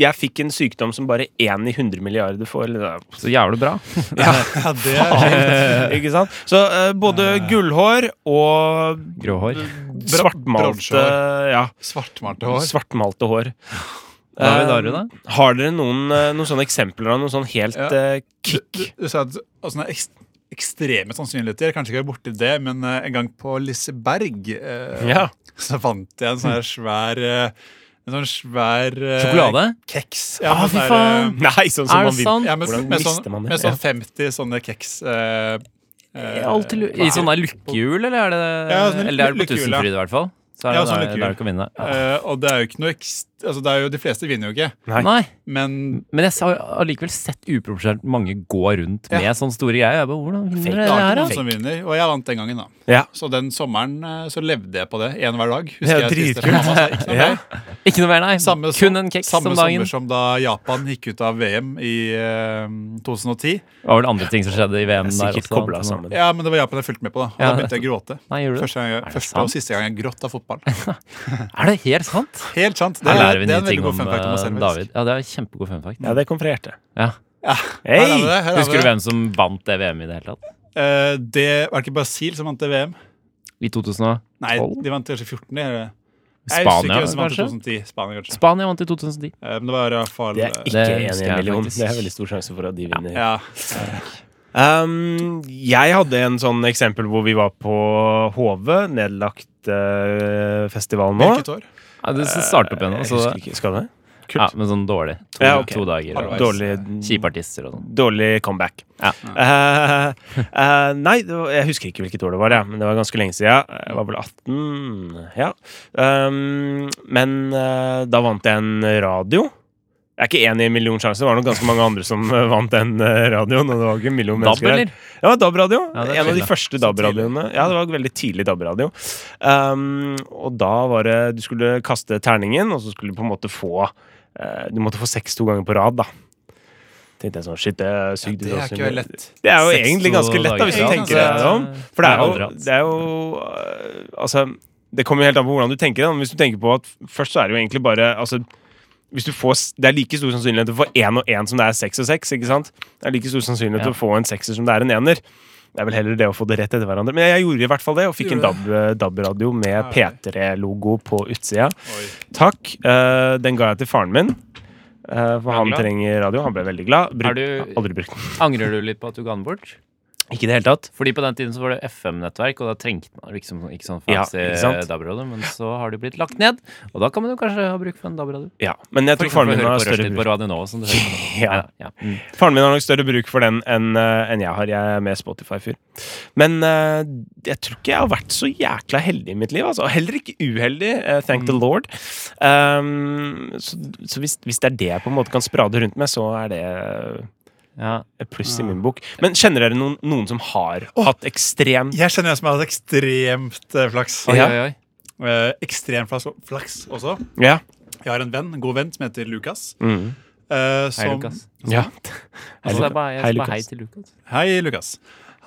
Speaker 2: Jeg fikk en sykdom som bare én i 100 milliarder får. Eller,
Speaker 1: Så jævlig bra. [laughs]
Speaker 3: Ja, det er
Speaker 2: ikke sant? Så eh, både gullhår og
Speaker 1: Grå hår.
Speaker 2: svartmalte
Speaker 3: bronsehår.
Speaker 2: ja,
Speaker 3: svartmalte hår.
Speaker 2: svartmalte hår.
Speaker 1: Hva har vi
Speaker 2: Eh,
Speaker 1: der, da?
Speaker 2: har dere noen, eh, noen sånne eksempler av noen sånn helt
Speaker 3: Ja.
Speaker 2: eh,
Speaker 3: Du,
Speaker 2: kick?
Speaker 3: du, du sa at altså, nei, ekst- ekstreme sannsynligheter, kanskje ikke borti det, men eh, en gang på Liseberg eh,
Speaker 2: Ja.
Speaker 3: [laughs] så fant jeg en sånn her svær eh, en sånn svær eh,
Speaker 1: Sjokolade?
Speaker 3: Keks. Ja,
Speaker 1: Ah,
Speaker 3: men
Speaker 1: fy
Speaker 3: sånn der,
Speaker 1: faen!
Speaker 3: eh,
Speaker 2: Nei, sånn
Speaker 1: Er
Speaker 2: som man
Speaker 1: det
Speaker 2: vil.
Speaker 1: sant?
Speaker 3: Ja, med,
Speaker 2: Hvordan
Speaker 3: med,
Speaker 2: mister man
Speaker 3: sånn,
Speaker 2: det?
Speaker 3: med sånn
Speaker 2: Ja.
Speaker 3: 50 sånne keks eh, eh,
Speaker 1: I sånne lykkehjul, eller er det
Speaker 3: Ja, sånne
Speaker 1: Eller er det på
Speaker 3: lykkehjul, ja.
Speaker 1: Tusenfryd, i hvert fall? Så er
Speaker 3: Ja,
Speaker 1: det
Speaker 3: sånn
Speaker 1: der,
Speaker 3: lykkehjul.
Speaker 1: der du kan vinne. Ja.
Speaker 3: eh, Og det er jo ikke noe ekst, altså, det er jo, De fleste vinner jo ikke,
Speaker 2: Nei.
Speaker 1: Nei,
Speaker 3: men
Speaker 1: men jeg har allikevel sett uproporsjonert mange gå rundt
Speaker 3: Ja.
Speaker 1: med sånne store greier. Jeg bare, hvordan
Speaker 2: Fake
Speaker 1: vinner
Speaker 3: det
Speaker 1: dere det
Speaker 3: er ikke
Speaker 1: her,
Speaker 3: noen
Speaker 1: da?
Speaker 3: som vinner. Og jeg vant den gangen, da.
Speaker 2: Ja.
Speaker 3: Så den sommeren eh, så levde jeg på det én hver dag.
Speaker 2: Det er
Speaker 3: Husker jeg
Speaker 2: dritkult.
Speaker 3: spiste for mamma sa, ikke sant?
Speaker 2: Ja.
Speaker 1: Ikke noe mer, nei.
Speaker 3: Samme, som-
Speaker 1: Kun en keks
Speaker 3: samme
Speaker 1: om dagen.
Speaker 3: sommer som da Japan gikk ut av VM i eh, 2010.
Speaker 1: Det var vel andre ting som skjedde i VM der
Speaker 2: Sikkert
Speaker 1: også.
Speaker 2: kobla sammen.
Speaker 3: Ja, men det var Japan jeg fulgte med på, da. Og
Speaker 1: Ja,
Speaker 3: da begynte jeg å gråte.
Speaker 1: Nei, gjorde du det?
Speaker 3: Første, gang,
Speaker 1: det
Speaker 3: første og
Speaker 1: sant?
Speaker 3: siste gang jeg gråt av fotball.
Speaker 1: Er det helt sant?
Speaker 3: Helt sant. Det,
Speaker 1: Her
Speaker 3: er,
Speaker 1: lærer vi
Speaker 3: det
Speaker 1: nye
Speaker 3: er en veldig
Speaker 1: ting
Speaker 3: god
Speaker 1: om
Speaker 3: fun fact om oss
Speaker 1: eh,
Speaker 3: selv.
Speaker 1: David. Ja, det er en kjempegod fun fact.
Speaker 2: ja, det kom fra hjertet.
Speaker 1: Ja.
Speaker 2: Hei!
Speaker 3: Her er vi det, her er
Speaker 1: Husker
Speaker 3: vi
Speaker 1: du
Speaker 3: det.
Speaker 1: hvem som vant det VM i det hele tatt?
Speaker 3: Eh, det var ikke Brasil som vant det VM?
Speaker 1: I 2012?
Speaker 3: Nei, de vant kanskje 14. Eller? Jeg er usikker
Speaker 1: Spania,
Speaker 3: hvem som vant i
Speaker 1: kanskje?
Speaker 3: 2010. Spania, kanskje.
Speaker 1: Spania vant i 2010.
Speaker 3: Eh, men det var i hvert fall
Speaker 2: Det er ikke
Speaker 3: eh,
Speaker 1: Det
Speaker 2: én
Speaker 1: husker
Speaker 2: i en
Speaker 1: jeg
Speaker 2: million.
Speaker 1: faktisk.
Speaker 2: Det er veldig stor sjanse for at de vinner.
Speaker 3: ja.
Speaker 2: Um, jeg hadde en sånn eksempel hvor vi var på Hove, nedlagt eh, festival nå. Eh,
Speaker 3: Hvilket år?
Speaker 1: Ja, det starter opp igjen.
Speaker 2: Jeg
Speaker 1: Altså,
Speaker 2: husker ikke. Skal det?
Speaker 1: ja, men sånn dårlig. To,
Speaker 2: Ja, ok.
Speaker 1: to dager. og-
Speaker 3: Halvveis.
Speaker 2: Dårlig,
Speaker 1: Kjipe artister og sånn.
Speaker 2: dårlig comeback.
Speaker 1: Ja.
Speaker 2: Eh, eh, nei, det var, jeg husker ikke hvilket år det var, ja, men det var ganske lenge siden. Jeg var vel 18, ja. Um, men eh, da vant jeg en radio. Det er ikke én i en million sjanse, det var nok ganske mange andre som eh, vant den eh, radioen. Og det var ikke en million
Speaker 1: DAB,
Speaker 2: mennesker der.
Speaker 1: eller?
Speaker 2: Ja, DAB-radio.
Speaker 1: Ja, det
Speaker 2: en
Speaker 1: er
Speaker 2: av
Speaker 1: chill,
Speaker 2: de
Speaker 1: da.
Speaker 2: første DAB-radioene. Ja, det var veldig tidlig DAB-radio. Um, og da var det Du skulle kaste terningen, og så skulle du på en måte få eh, Du måtte få seks to ganger på rad, da. Tenkte jeg sånn, shit, det er sykt.
Speaker 3: Det er ikke lett.
Speaker 2: Det er jo
Speaker 1: Seks
Speaker 2: egentlig ganske
Speaker 1: to
Speaker 2: lett, da, hvis du
Speaker 1: dager.
Speaker 2: tenker deg det om. For det
Speaker 1: Nei,
Speaker 2: er
Speaker 1: aldri
Speaker 2: jo,
Speaker 1: hatt.
Speaker 2: det er jo øh, Altså, det kommer jo helt an på hvordan du tenker det. da. Men hvis du tenker på at først så er det jo egentlig bare altså, hvis du får, s- Det er like stor sannsynlighet til å få én og én som det er seks og seks. ikke sant? Det er like stor sannsynlighet til å
Speaker 1: Ja.
Speaker 2: få en sekser som det er en ener. Det er vel heller det å få det rett etter hverandre. Men jeg gjorde i hvert fall det, og fikk en DAB- DAB-radio med P3-logo på utsida.
Speaker 3: Oi.
Speaker 2: Takk. Eh, den ga jeg til faren min, eh, for han
Speaker 1: glad?
Speaker 2: trenger radio. Han ble veldig glad.
Speaker 1: Er
Speaker 2: Bruk,
Speaker 1: du-
Speaker 2: Aldri brukt den.
Speaker 1: Angrer du litt på at du ga den bort?
Speaker 2: Ikke i det hele tatt.
Speaker 1: Fordi på den tiden så var det FM-nettverk, og da trengte man liksom ikke sånn
Speaker 2: Ja,
Speaker 1: fancy
Speaker 2: ikke sant?
Speaker 1: DAB-radio, men så har det blitt lagt ned, og da kan man jo kanskje ha bruk for en DAB-radio.
Speaker 2: Ja, Men jeg
Speaker 1: For
Speaker 2: tror faren
Speaker 1: eksempel
Speaker 2: min
Speaker 1: høre
Speaker 2: har
Speaker 1: på
Speaker 2: større
Speaker 1: Rushdie
Speaker 2: bruk.
Speaker 1: på Radio Nova, som du hører på.
Speaker 2: [laughs]
Speaker 1: nå.
Speaker 2: Ja.
Speaker 1: ja. Mm.
Speaker 2: Faren min har nok større bruk for den enn eh, enn jeg har. Jeg er mer Spotify-fyr. Men eh, jeg tror ikke jeg har vært så jækla heldig i mitt liv. Altså. Og Heller ikke uheldig, eh, thank
Speaker 3: Mm.
Speaker 2: the lord. Um, så så hvis, hvis det er det jeg på en måte kan sprade rundt med, så er det eh,
Speaker 1: Ja.
Speaker 2: et pluss i min bok. Men kjenner dere noen, noen som har hatt ekstrem
Speaker 3: Jeg kjenner en som har hatt ekstremt eh, flaks.
Speaker 1: Oi,
Speaker 2: Ja.
Speaker 1: oi, oi.
Speaker 3: Eh, ekstrem flaks, flaks også.
Speaker 2: Ja.
Speaker 3: Jeg har en venn, en god venn som heter Lukas.
Speaker 2: Mm.
Speaker 3: eh,
Speaker 1: Hei,
Speaker 3: som-
Speaker 1: Lukas.
Speaker 2: ja. Hei,
Speaker 1: Altså, det er bare, jeg
Speaker 2: Hei,
Speaker 1: sier bare
Speaker 2: Lukas.
Speaker 1: hei til Lukas.
Speaker 3: Hei, Lukas.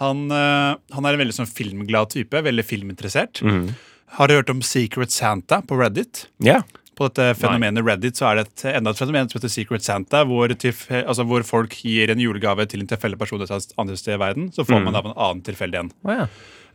Speaker 3: Han, eh, han er en veldig sånn filmglad type. Veldig filminteressert.
Speaker 2: Mm.
Speaker 3: Har du hørt om Secret Santa på Reddit?
Speaker 2: ja.
Speaker 3: På dette fenomenet Reddit så er det et, enda et fenomen som heter Secret Santa, hvor, tilf- altså hvor folk gir en julegave til en tilfeldig person et annet sted i verden. Så får man av en annen tilfeldig en.
Speaker 1: Å ja.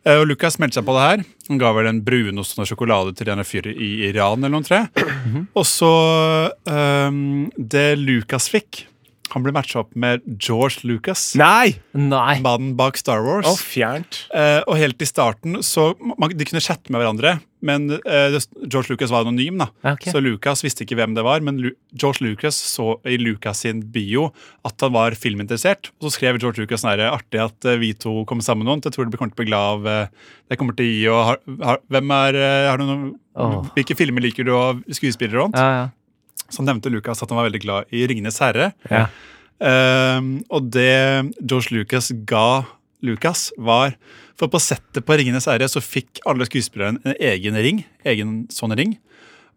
Speaker 3: Eh, Og Lukas meldte seg på det her. Han ga vel en brunost og sjokolade til denne fyren i Iran eller noe. tror jeg. Og så ehm, Det Lukas fikk Han ble matcha opp med George Lucas,
Speaker 2: Nei!
Speaker 1: Nei.
Speaker 3: mannen bak Star Wars.
Speaker 2: Å, fjernt.
Speaker 3: Eh, og helt i starten så man, De kunne chatte med hverandre, men eh, det, George Lucas var anonym. da
Speaker 1: Ja, Ah, ok.
Speaker 3: Så Lucas visste ikke hvem det var, men Lu, George Lucas så i Lucas sin bio at han var filminteressert. Og så skrev George Lucas sånn her, artig at eh, vi to kom sammen nå. Jeg tror du kommer til å bli glad av eh, det jeg kommer til å gi. Og har, har, hvem er, eh, har du noen,
Speaker 1: Åh.
Speaker 3: Hvilke filmer liker du, og skuespillere og annet?
Speaker 1: Ja, ja.
Speaker 3: Så nevnte Lucas at han var veldig glad i 'Ringenes herre'.
Speaker 1: Ja.
Speaker 3: Ehm, og det George Lucas ga Lucas, var For på settet på 'Ringenes herre' så fikk alle skuespillerne en egen ring. Egen sånn ring.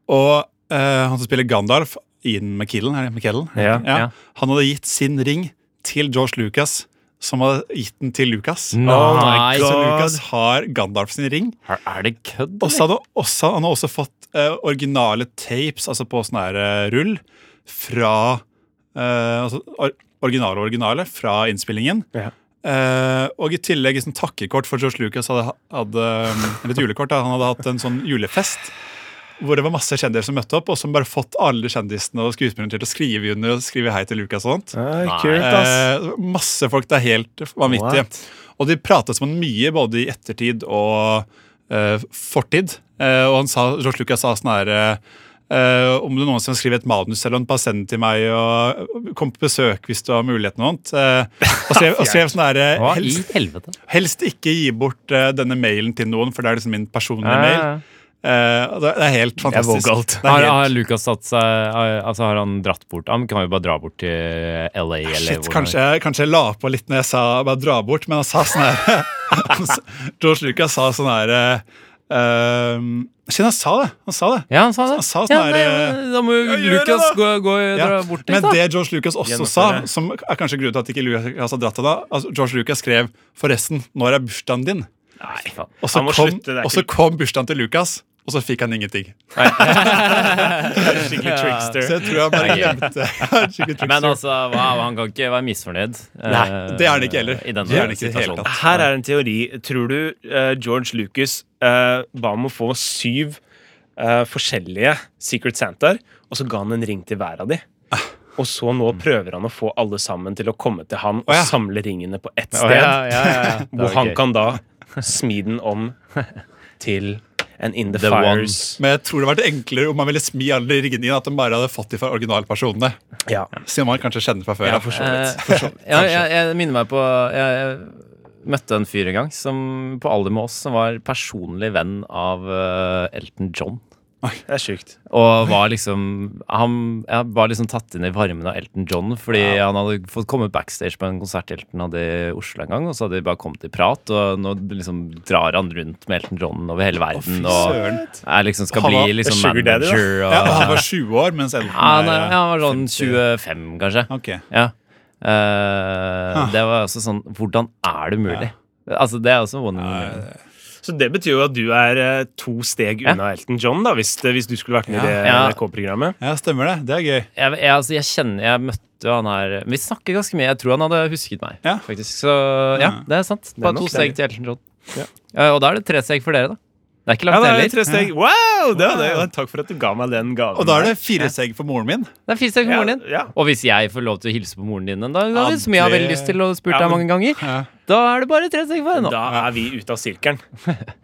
Speaker 3: Og eh, han som spiller Gandalf, Ian McKillen, er det McKellen?
Speaker 2: Ja,
Speaker 1: ja.
Speaker 3: Han hadde gitt sin ring til George Lucas, som hadde gitt den til Lucas.
Speaker 1: Nei,
Speaker 3: Så
Speaker 1: så-
Speaker 3: Lucas har Gandalf sin ring.
Speaker 1: Er er det kødd?
Speaker 3: Og så hadde han også, han har også fått eh, originale tapes, altså på sånn her eh, rull, fra eh, altså, or, Originale originale fra innspillingen.
Speaker 2: Ja.
Speaker 3: Eh, og i tillegg et sånt takkekort for George Lucas hadde, hadde eh, eller et julekort, da, han hadde hatt en sånn julefest. Hvor det var masse kjendiser som møtte opp, og som bare fått alle kjendisene og skuespillerne til å skrive under og skrive hei til Lucas. og sånt.
Speaker 2: Nei. Kult, ass.
Speaker 3: Eh, masse folk. Det er helt vanvittig.
Speaker 2: What?
Speaker 3: Og de pratet som han mye, både i ettertid og eh, fortid. Eh, og han sa, George Lucas sa sånn her eh, Om du noensinne skriver et manus, eller bare send det til meg, og kom på besøk hvis du har muligheten og annet. Eh, og skrev, og skrev sånn her eh,
Speaker 1: Hva i
Speaker 3: helst,
Speaker 1: helvete?
Speaker 3: helst ikke gi bort eh, denne mailen til noen, for det er liksom min personlige
Speaker 1: Ja,
Speaker 3: mail.
Speaker 1: ja, ja.
Speaker 3: Eh, og det, det er helt fantastisk.
Speaker 2: vågalt.
Speaker 3: Det er
Speaker 1: Har,
Speaker 3: helt-
Speaker 1: har Lucas satt seg har- Altså har han dratt bort Han kan jo bare dra bort til LA eller hvor han
Speaker 3: Shit,
Speaker 1: er.
Speaker 3: kanskje, kanskje jeg la på litt når jeg sa bare dra bort, men han sa sånn her [laughs] han s- George Lucas sa sånn her eh, ehm, Shit, han sa det! Han sa det.
Speaker 1: Ja, han sa det.
Speaker 3: Han sa sånn
Speaker 1: ja,
Speaker 3: her,
Speaker 1: nei,
Speaker 3: eh,
Speaker 1: da må jo
Speaker 3: «Ja, gjør det
Speaker 1: Lucas
Speaker 3: da!»
Speaker 1: gå, gå og dra
Speaker 3: Ja.
Speaker 1: bort liksom. dit,
Speaker 3: Men
Speaker 1: da.
Speaker 3: [laughs] det George Lucas også sa,
Speaker 2: Gjennomføre.
Speaker 3: som er kanskje grunnen til at ikke Lucas har dratt det da altså George Lucas skrev 'Forresten, når er bursdagen din?'
Speaker 1: Fy faen.
Speaker 3: Og så,
Speaker 2: Han må
Speaker 3: kom,
Speaker 2: slutte, det er
Speaker 3: og så
Speaker 2: ikke-
Speaker 3: kom bursdagen til Lucas, og så fikk han ingenting.
Speaker 2: Skikkelig trickster.
Speaker 3: Så jeg tror han bare glemte [laughs] Skikkelig trickster.
Speaker 1: Men altså, wow, han kan ikke være misfornøyd. eh,
Speaker 3: Nei, det er han ikke heller.
Speaker 1: I denne
Speaker 3: Det er han ikke i det hele
Speaker 1: situasjonen.
Speaker 3: tatt.
Speaker 2: Her er en teori. Tror du eh, George Lucas eh, ba om å få syv eh, forskjellige Secret Santaer, og så ga han en ring til hver av de?
Speaker 1: Ah.
Speaker 2: Og så nå
Speaker 1: Mm.
Speaker 2: prøver han å få alle sammen til å komme til han og
Speaker 3: Å ja.
Speaker 2: samle ringene på ett
Speaker 1: Å,
Speaker 2: sted,
Speaker 1: ja, ja, ja,
Speaker 3: [laughs]
Speaker 1: ja. Det
Speaker 2: hvor
Speaker 1: var
Speaker 2: han
Speaker 1: gøy.
Speaker 2: kan da
Speaker 1: [laughs]
Speaker 2: smi den om til an In The,
Speaker 1: The one.
Speaker 2: Fires.
Speaker 3: Men jeg tror det hadde vært enklere om man ville smi alle de ringene inn, at de bare hadde fått de fra originalpersonene.
Speaker 2: Ja.
Speaker 3: Siden man kanskje kjenner fra før.
Speaker 2: Ja,
Speaker 3: av.
Speaker 2: for så
Speaker 1: Eh,
Speaker 2: vidt.
Speaker 1: ja, jeg, jeg minner meg på Jeg, jeg møtte en fyr en gang som på alder med oss som var personlig venn av eh, Elton John.
Speaker 2: Det er sjukt.
Speaker 1: Og var liksom Han ja, var liksom tatt inn i varmen av Elton John fordi han hadde fått komme backstage på en konsert Elton hadde i Oslo en gang, og så hadde de bare kommet i prat, og nå liksom drar han rundt med Elton John over hele verden og
Speaker 3: Søren.
Speaker 1: er liksom skal
Speaker 3: Han var
Speaker 1: bli liksom
Speaker 2: sugar daddy, da.
Speaker 1: manager og
Speaker 3: Ja, og han var 20 år, mens Elton
Speaker 1: Ja, han, er-
Speaker 3: er
Speaker 1: ja, han var sånn
Speaker 3: 50.
Speaker 1: 25, kanskje.
Speaker 3: Ok.
Speaker 1: Ja. Eh, Det var også sånn Hvordan er det mulig? Altså, det er også one in a million.
Speaker 2: Så det betyr jo at du er eh, to steg
Speaker 1: Ja.
Speaker 2: unna Elton John, da, hvis, eh, hvis du skulle vært med i det
Speaker 1: Ja.
Speaker 2: NRK-programmet.
Speaker 3: Ja, stemmer det. Det er gøy.
Speaker 1: jeg, jeg, altså, jeg kjenner Jeg møtte jo han her Vi snakker ganske mye. Jeg tror han hadde husket meg,
Speaker 3: Ja.
Speaker 1: faktisk. Så ja, det er sant. Bare
Speaker 2: nok
Speaker 1: to steg
Speaker 2: deilig.
Speaker 1: til Elton John.
Speaker 2: Ja.
Speaker 1: Eh, og da er det tre steg for dere, da. Det er ikke
Speaker 2: Ja,
Speaker 1: langt
Speaker 2: det er
Speaker 1: heller.
Speaker 2: det tre steg. Wow! Det var det. Og Takk for at du ga meg den gaven.
Speaker 3: Og da er det fire steg for moren min.
Speaker 1: Det er fire steg for
Speaker 2: Ja,
Speaker 1: moren din.
Speaker 2: ja.
Speaker 1: Og hvis jeg får lov til å hilse på moren din en dag,
Speaker 3: Ja,
Speaker 1: David, som jeg har
Speaker 3: det-
Speaker 1: veldig lyst til og spurt
Speaker 2: Ja,
Speaker 1: deg mange
Speaker 2: men-
Speaker 1: ganger,
Speaker 3: Ja.
Speaker 1: da er det bare tre steg for henne.
Speaker 2: Da er vi ute av sirkelen.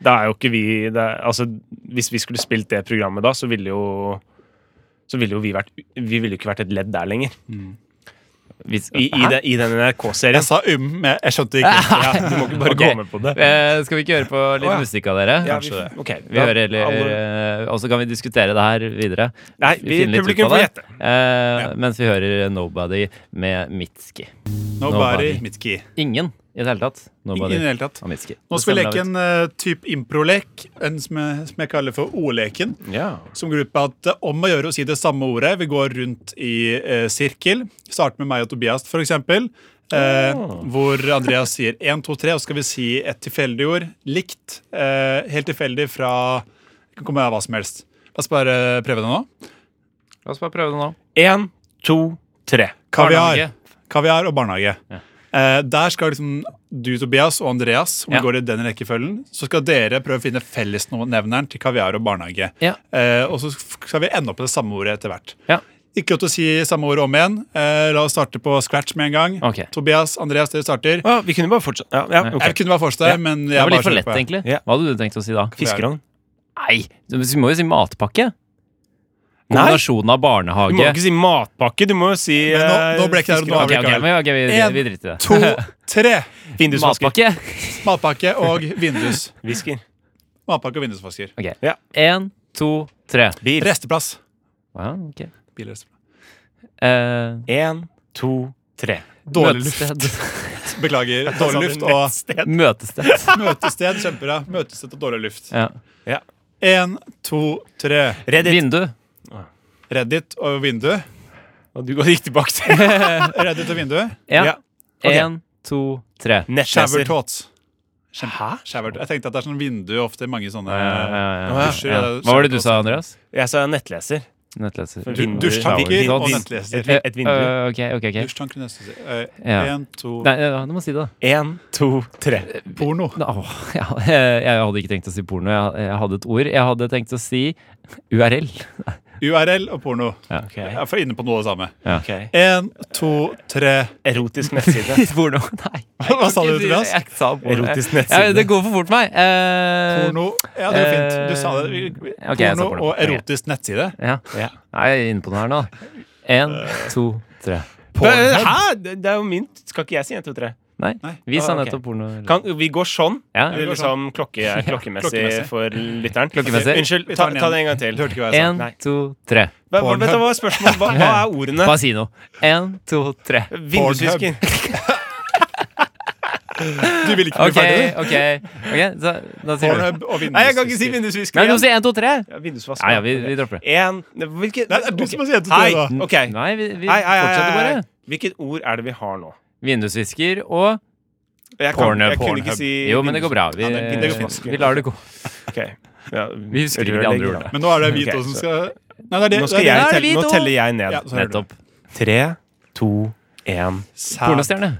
Speaker 2: Da er jo ikke vi det er, Altså, hvis vi skulle spilt det programmet da, så ville jo så ville jo vi vært Vi ville jo ikke vært et ledd der lenger.
Speaker 1: Hvis,
Speaker 2: I, i,
Speaker 1: Hæ?
Speaker 2: den, i den
Speaker 3: Jeg
Speaker 2: NRK-serien.
Speaker 3: sa um, men jeg skjønte ikke.
Speaker 2: Ja, du må ikke bare
Speaker 1: Ok.
Speaker 2: gå med på det.
Speaker 1: Eh, skal vi ikke høre på litt
Speaker 3: Å, ja.
Speaker 1: musikk av dere?
Speaker 2: Ja,
Speaker 1: vi,
Speaker 2: ok, da-
Speaker 1: hører heller
Speaker 2: alle-
Speaker 1: eh, Og så kan vi diskutere det her videre.
Speaker 2: Nei, vi,
Speaker 1: Finne litt ut
Speaker 2: publikum
Speaker 1: av
Speaker 2: får
Speaker 1: det.
Speaker 2: gjette.
Speaker 1: Eh, Mens vi hører Nobody med Mitski.
Speaker 3: Nobody
Speaker 1: Nobody.
Speaker 3: Mitki.
Speaker 1: Ingen i det hele tatt.
Speaker 3: Ingen
Speaker 1: Nobody
Speaker 3: i det hele tatt.
Speaker 1: av Mitski.
Speaker 3: Nå skal vi leke en eh, type improlek, en som jeg, som jeg kaller for ordleken.
Speaker 2: Ja.
Speaker 3: Som går ut på at eh, om å gjøre å si det samme ordet. Vi går rundt i eh, sirkel. Start med meg og Tobias, for eksempel. Eh,
Speaker 1: Ah.
Speaker 3: Hvor Andreas sier 1, 2, 3, og så skal vi si et tilfeldig ord. Likt. Eh, helt tilfeldig fra Det kan komme av hva som helst. La oss bare prøve det nå.
Speaker 1: La oss bare prøve det nå.
Speaker 2: Én, to, tre.
Speaker 3: Kaviar.
Speaker 1: Barnehage.
Speaker 3: Kaviar og barnehage. Eh, der skal liksom du, Tobias og Andreas, om
Speaker 1: Ja.
Speaker 3: vi går i den rekkefølgen, så skal dere prøve å finne fellesnevneren til kaviar og barnehage.
Speaker 1: Ja.
Speaker 3: Eh, og så skal vi ende opp med det samme ordet etter hvert.
Speaker 1: Ja.
Speaker 3: Ikke lov til å si samme ordet om igjen. Eh, la oss starte på scratch med en gang.
Speaker 1: Ok.
Speaker 3: Tobias, Andreas, dere starter.
Speaker 2: Å, vi kunne bare fortsatt. Ja, ja, ok.
Speaker 3: Jeg kunne bare fortsette,
Speaker 2: Ja.
Speaker 3: men
Speaker 1: Det
Speaker 3: jeg
Speaker 1: var litt for
Speaker 3: bare
Speaker 1: lett,
Speaker 3: kjører på.
Speaker 1: egentlig.
Speaker 2: Ja.
Speaker 1: Hva hadde du tenkt å si da?
Speaker 2: Fiskeravn.
Speaker 1: Nei, du vi må jo si matpakke.
Speaker 2: Nei,
Speaker 1: Kombinasjonen av
Speaker 2: du må
Speaker 1: barnehage
Speaker 2: ikke si matpakke. Du må jo si eh,
Speaker 3: Men nå- nå ble ikke det noe
Speaker 1: Eh, Ok, ok,
Speaker 3: Likevel.
Speaker 1: men ok, vi,
Speaker 3: En,
Speaker 1: vi driter i det.
Speaker 3: [laughs] To, tre.
Speaker 2: Vindusvasker.
Speaker 1: Matpakke.
Speaker 3: Matpakke og vindus.
Speaker 2: Whisker.
Speaker 3: Matpakke og vindusvasker.
Speaker 1: Én, to, tre.
Speaker 2: Bil.
Speaker 3: Resteplass.
Speaker 1: Wow, ok.
Speaker 3: Bilresteplass.
Speaker 1: Eh,
Speaker 2: Én, to, tre.
Speaker 3: Dårlig luft.
Speaker 1: møtested.
Speaker 3: Beklager. Dårlig luft og
Speaker 1: [laughs] Møtested. [laughs]
Speaker 3: Møtested, kjempebra. Møtested og dårlig luft.
Speaker 1: Ja.
Speaker 3: Én, to, tre.
Speaker 2: Reddit.
Speaker 1: Vindu.
Speaker 3: Reddit og vindu.
Speaker 2: Og du går riktig bak til.
Speaker 3: Reddit og vindu.
Speaker 1: Ja.
Speaker 2: Ja. Ok.
Speaker 1: Én, to, tre.
Speaker 3: Mm.
Speaker 2: Nettleser.
Speaker 3: Showertåts. Hæ? Showertåt. Jeg tenkte at det er sånn vindu ofte i mange sånne Eh,
Speaker 1: Ja, ja, Eh, ja.
Speaker 3: Dusjer,
Speaker 1: Ja.
Speaker 3: ja, sånn-
Speaker 1: Hva var det du sa, Andreas?
Speaker 2: Jeg sa nettleser.
Speaker 1: Nettleser.
Speaker 2: Vin-
Speaker 3: Dusjtanker og
Speaker 1: Vin-
Speaker 3: nettleser.
Speaker 2: Et vindu.
Speaker 1: Eh, ok, ok, ok.
Speaker 3: Dusjtanker og nettleser.
Speaker 1: Ja.
Speaker 3: Én, to
Speaker 1: Nei, ja, du må si det, da.
Speaker 2: Én, to, tre.
Speaker 3: Porno.
Speaker 1: Nå, Åh, ja, jeg, jeg hadde ikke tenkt å si porno. Jeg, jeg hadde et ord. Jeg hadde tenkt å si URL.
Speaker 3: URL og porno.
Speaker 2: Ok.
Speaker 3: Jeg er for inne på noe av det samme.
Speaker 2: Ok.
Speaker 3: Én, to, tre.
Speaker 2: Erotisk [laughs] nettside.
Speaker 1: [laughs] Porno? Nei.
Speaker 3: Hva sa du, Tobias?
Speaker 1: Jeg sa porno.
Speaker 2: Erotisk
Speaker 1: Ja,
Speaker 2: nettside.
Speaker 1: det går for fort meg. Eh,
Speaker 3: Porno Ja, det var fint. Du sa det.
Speaker 1: Eh, ok, jeg sa
Speaker 3: Porno
Speaker 1: porno.
Speaker 3: og erotisk nettside.
Speaker 1: Ja.
Speaker 2: Ja.
Speaker 1: Nei, Jeg er inne på den her nå. Én, to, tre.
Speaker 2: Hæ? Det det er jo min. Skal ikke jeg si én, to, tre?
Speaker 1: Nei,
Speaker 3: Nei.
Speaker 1: vi sa
Speaker 2: Ah, ok.
Speaker 1: nettopp porno. eller-
Speaker 2: Kan, vi går sånn.
Speaker 1: Ja.
Speaker 2: Eller Liksom klokke, klokkemessig
Speaker 3: klokkemessig.
Speaker 2: for lytteren.
Speaker 1: Klokkemessig.
Speaker 2: Unnskyld,
Speaker 3: Vi
Speaker 2: ta,
Speaker 3: tar den
Speaker 2: ta
Speaker 3: igjen.
Speaker 2: det en gang til.
Speaker 3: Du hørte ikke hva jeg sa.
Speaker 1: Én,
Speaker 2: Nei.
Speaker 1: to, tre.
Speaker 2: Hva, hva, vet du hva, spørsmål, hva, hva er ordene?
Speaker 1: Bare si noe. Én, to, tre.
Speaker 2: Vindusvisker.
Speaker 3: Du vil ikke bli
Speaker 1: Ok,
Speaker 3: ferdig? du?
Speaker 1: ok. ok, så, da sier du
Speaker 3: Pornhub og vindusvisker.
Speaker 2: Nei, jeg kan ikke si vindusvisker.
Speaker 1: Nei, du må si
Speaker 2: igjen.
Speaker 1: én, to, tre!
Speaker 2: Ja, Vindusvasker.
Speaker 1: Nei, ja, vi, vi dropper det.
Speaker 2: En, hvilket,
Speaker 3: Nei, det er du som må si det til
Speaker 2: Hei,
Speaker 3: Tore, da.
Speaker 2: ok. Hei,
Speaker 1: Nei, vi, vi
Speaker 2: hei, hei,
Speaker 1: fortsetter
Speaker 2: hei.
Speaker 1: bare.
Speaker 2: Hvilket ord er det vi har nå?
Speaker 1: Vindusvisker og
Speaker 2: Jeg,
Speaker 1: Pornhub.
Speaker 2: jeg kunne
Speaker 3: Pornhub.
Speaker 2: ikke si
Speaker 1: Jo, men det går bra. Vi,
Speaker 3: Ja, det-
Speaker 2: det går fint.
Speaker 1: vi lar det gå.
Speaker 2: Ok. Ja,
Speaker 1: Vi husker ikke de andre ordene.
Speaker 3: Men nå er det hvit
Speaker 2: Ok,
Speaker 3: som
Speaker 2: så-
Speaker 3: skal Nei, det er det.
Speaker 2: Nå, skal
Speaker 3: det
Speaker 2: jeg
Speaker 3: er
Speaker 1: er det
Speaker 2: telle,
Speaker 1: vi
Speaker 2: nå
Speaker 1: to.
Speaker 2: teller jeg
Speaker 3: det. Ja,
Speaker 2: ned.
Speaker 3: så hører du.
Speaker 1: Nettopp.
Speaker 2: Tre, to, én.
Speaker 3: Sæd.
Speaker 1: Pornostjerne.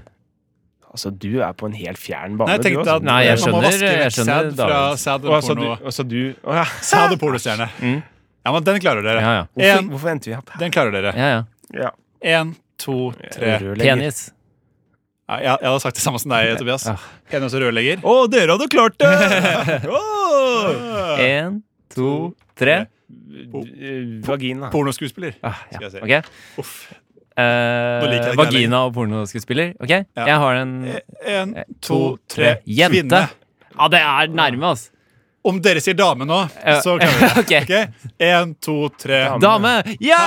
Speaker 2: Altså, du er på en helt fjern
Speaker 3: Nei,
Speaker 2: bane.
Speaker 3: jeg
Speaker 2: du,
Speaker 3: tenkte
Speaker 2: altså.
Speaker 3: at
Speaker 1: Nei, jeg
Speaker 3: man må
Speaker 1: skjønner-
Speaker 3: vaske
Speaker 1: jeg
Speaker 3: vekk
Speaker 1: skjønner
Speaker 3: sæd fra
Speaker 1: Davids.
Speaker 3: sæd
Speaker 2: Å,
Speaker 3: og
Speaker 2: altså, du,
Speaker 3: porno.
Speaker 2: altså, du å, ja.
Speaker 3: [laughs] Sæd og [laughs] pornostjerne.
Speaker 1: Mm.
Speaker 3: Ja, men den klarer dere.
Speaker 1: Ja, ja.
Speaker 2: hvorfor,
Speaker 3: En,
Speaker 2: hvorfor endte vi opp her?
Speaker 3: den klarer dere.
Speaker 1: ja, ja.
Speaker 2: Ja.
Speaker 3: Én, to, tre. Ja,
Speaker 2: Rørlegger.
Speaker 1: Penis.
Speaker 3: jeg, jeg hadde sagt det samme som deg, Tobias.
Speaker 1: Ja.
Speaker 3: Penis og rørlegger.
Speaker 2: Å, dere hadde klart det!
Speaker 1: [laughs] Én, to, tre.
Speaker 2: Eh, Vagina.
Speaker 3: Pornoskuespiller.
Speaker 1: Ah, ja.
Speaker 3: Skal
Speaker 1: Ok.
Speaker 3: jeg si. Uff.
Speaker 1: Eh,
Speaker 3: Nå liker jeg det ikke
Speaker 1: vagina og pornoskuespiller. Ok, jeg har en
Speaker 3: Én, to, tre.
Speaker 1: Eh, Jente.
Speaker 3: Kvinne.
Speaker 1: Ja, det er nærme, altså.
Speaker 3: Om dere sier dame nå,
Speaker 1: Ja.
Speaker 3: så
Speaker 1: [laughs]
Speaker 3: klarer dere det.
Speaker 1: Ok.
Speaker 3: Ok? Én, to, tre.
Speaker 1: Eh, Dame! Ja!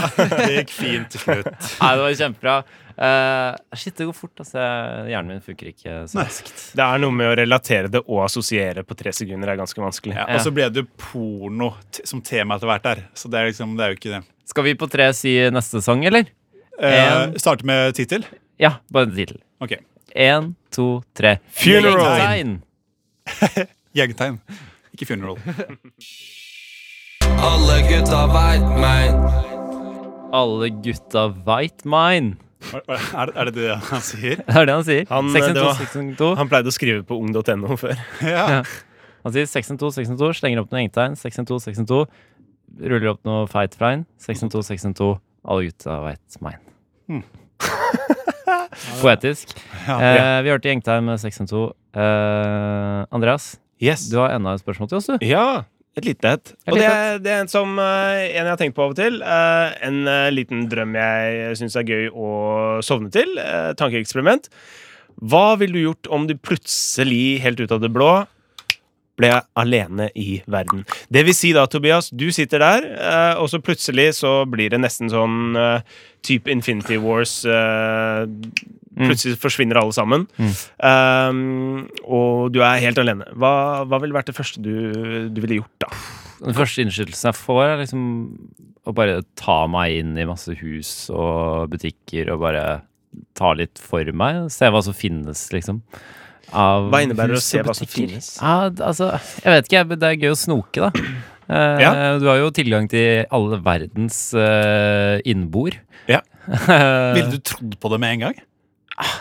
Speaker 3: Herlig! Det gikk fint til
Speaker 1: [laughs]
Speaker 3: slutt.
Speaker 1: Nei, det var kjempebra. Eh, shit, det går fort. Altså. Hjernen min funker ikke så raskt.
Speaker 2: Det er noe med å relatere det og assosiere på tre sekunder er ganske vanskelig.
Speaker 3: Ja, Og så ble det jo porno t som tema etter hvert der. Så det er liksom, det er jo ikke det.
Speaker 1: Skal vi på tre si neste sang, eller?
Speaker 3: Eh,
Speaker 1: En-
Speaker 3: starte med tittel?
Speaker 1: Ja, bare en tittel.
Speaker 3: Ok.
Speaker 1: Én, to, tre.
Speaker 2: Funeral.
Speaker 1: Tegn.
Speaker 3: Jegertegn. Ikke funeral.
Speaker 8: Alle gutta veit mein.
Speaker 1: Alle gutta veit mine. [laughs]
Speaker 3: Er, er er det det han sier?
Speaker 1: Det er det han sier.
Speaker 2: Han, eh, det
Speaker 1: 602,
Speaker 2: var-
Speaker 1: 602.
Speaker 2: Han pleide å skrive på ung.no før.
Speaker 3: Ja.
Speaker 1: Han sier 612, 612, slenger opp noen engtegn. 612, 612. Ruller opp noe feit frein. 612, 612. Alle gutta veit mein.
Speaker 2: Hmm.
Speaker 1: [laughs] Poetisk. Eh, vi hørte gjengtegn med 612. Eh, Andreas,
Speaker 2: Yes.
Speaker 1: du har enda et spørsmål til oss, du.
Speaker 2: Ja, et lite et.
Speaker 1: Et
Speaker 2: Og det
Speaker 1: lite
Speaker 2: er, det er en som eh, en jeg har tenkt på av og til. eh, en eh, liten drøm jeg syns er gøy å sovne til. eh, tankeeksperiment. Hva ville du gjort om du plutselig, helt ut av det blå, ble alene i verden? Det vil si da, Tobias, du sitter der, eh, og så plutselig så blir det nesten sånn eh, type Infinity Wars. eh,
Speaker 1: Mm.
Speaker 2: Plutselig forsvinner alle sammen, eh, og du er helt alene. Hva, hva ville vært det første du, du ville gjort, da?
Speaker 1: Den første innskytelsen jeg får, er liksom å bare ta meg inn i masse hus og butikker og bare ta litt for meg. Se hva som finnes, liksom. av
Speaker 2: Hva innebærer det å
Speaker 1: hus
Speaker 2: se
Speaker 1: og
Speaker 2: hva som
Speaker 1: butikker.
Speaker 2: finnes?
Speaker 1: Ja, d- altså, jeg vet ikke, men det er gøy å snoke, da. Eh,
Speaker 2: Ja.
Speaker 1: Du har jo tilgang til alle verdens eh, innbord.
Speaker 2: Ja.
Speaker 3: Ville du trodd på det med en gang?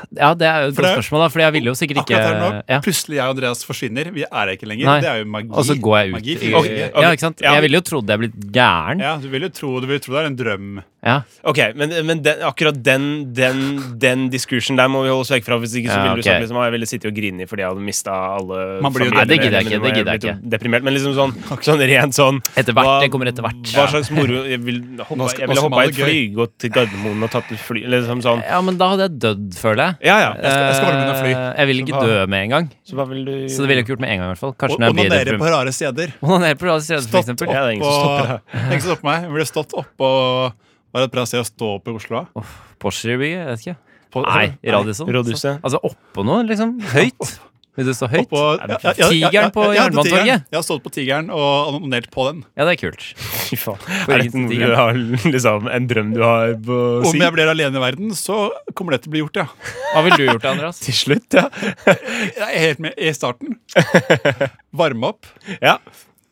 Speaker 1: ja, det er jo et
Speaker 3: For
Speaker 1: godt
Speaker 3: det-
Speaker 1: spørsmål, da, for jeg ville jo sikkert ikke
Speaker 3: Akkurat her nå,
Speaker 1: ja.
Speaker 3: Plutselig jeg og Andreas forsvinner. Vi er her ikke lenger.
Speaker 1: Nei.
Speaker 3: Det er jo magi.
Speaker 1: Og så går jeg ut.
Speaker 3: Magi
Speaker 1: i-
Speaker 3: finnes
Speaker 2: Ok,
Speaker 3: ikke.
Speaker 2: ok.
Speaker 1: Ja, ikke sant?
Speaker 2: Ja.
Speaker 1: Jeg ville jo trodd jeg er blitt gæren.
Speaker 3: Ja, du vil jo tro, du vil tro det er en drøm.
Speaker 1: Ja.
Speaker 2: Ok, Men, men den, akkurat den, den, den diskursen der må vi holde oss vekk fra. Hvis ikke så
Speaker 1: Ja,
Speaker 2: ville
Speaker 1: ok.
Speaker 2: du sagt liksom, «Å, jeg ville sitte og grine fordi jeg hadde mista alle
Speaker 3: Man blir jo
Speaker 2: familiemedlemmer,
Speaker 3: Nei, det gidder jeg
Speaker 2: eller
Speaker 1: ikke, det
Speaker 2: nå er
Speaker 1: gidder jeg
Speaker 2: blitt Deprimert, men liksom sånn, sånn rent sånn
Speaker 1: Etter hvert.
Speaker 2: hva-
Speaker 1: Det kommer etter hvert.
Speaker 2: Hva slags moro Jeg ville
Speaker 3: Nå
Speaker 2: hoppa
Speaker 3: skal-
Speaker 2: jeg ville
Speaker 3: nå skal
Speaker 2: hoppa
Speaker 3: man
Speaker 2: i et
Speaker 3: ha
Speaker 2: fly,
Speaker 3: det
Speaker 2: gått til Gardermoen og tatt et fly liksom sånn.
Speaker 1: Ja, men da hadde jeg dødd, føler jeg.
Speaker 2: Ja, ja.
Speaker 3: Jeg skal- jeg skal være med å fly.
Speaker 1: Eh, Jeg vil ikke
Speaker 2: Så hva-
Speaker 1: dø med en gang.
Speaker 2: Så hva vil du
Speaker 1: Så det ville jeg ikke gjort med en gang, i hvert fall.
Speaker 3: Og
Speaker 1: Kanskje når jeg blir
Speaker 3: onanere
Speaker 1: deprim-
Speaker 3: på rare steder.
Speaker 1: Onanere på rad stedet, for
Speaker 3: Stått opp
Speaker 1: eksempel.
Speaker 3: og
Speaker 2: Ja, det er ingen som stopper deg.
Speaker 3: [laughs] Det er ingen som stopper meg. Jeg ville stått opp og Var det et bra sted å stå opp i Oslo? da?
Speaker 1: Porsgreby, jeg vet ikke.
Speaker 3: På,
Speaker 1: Nei, Radisson.
Speaker 2: Rådhuset.
Speaker 1: Altså oppå noe, liksom. Høyt. Vil du stå høyt?
Speaker 3: Oppå, ja, ja, ja,
Speaker 1: Tigeren
Speaker 3: ja, ja,
Speaker 1: på
Speaker 3: ja, på
Speaker 1: Jernbanetorget.
Speaker 3: Tigeren. Jeg har stått på Tigeren og onanert på den.
Speaker 1: Ja, det er kult.
Speaker 2: Fy faen. Er det noe
Speaker 1: ingen ting,
Speaker 2: du
Speaker 1: ja.
Speaker 2: har liksom en drøm du har på å
Speaker 3: Om
Speaker 2: si?
Speaker 3: jeg blir alene i verden, så kommer det til å bli
Speaker 1: [laughs]
Speaker 3: gjort, ja.
Speaker 1: Hva ville du gjort, Andreas?
Speaker 2: Til slutt,
Speaker 3: [laughs]
Speaker 2: ja.
Speaker 3: Jeg er helt med i starten.
Speaker 1: [laughs]
Speaker 3: Varme opp.
Speaker 2: ja.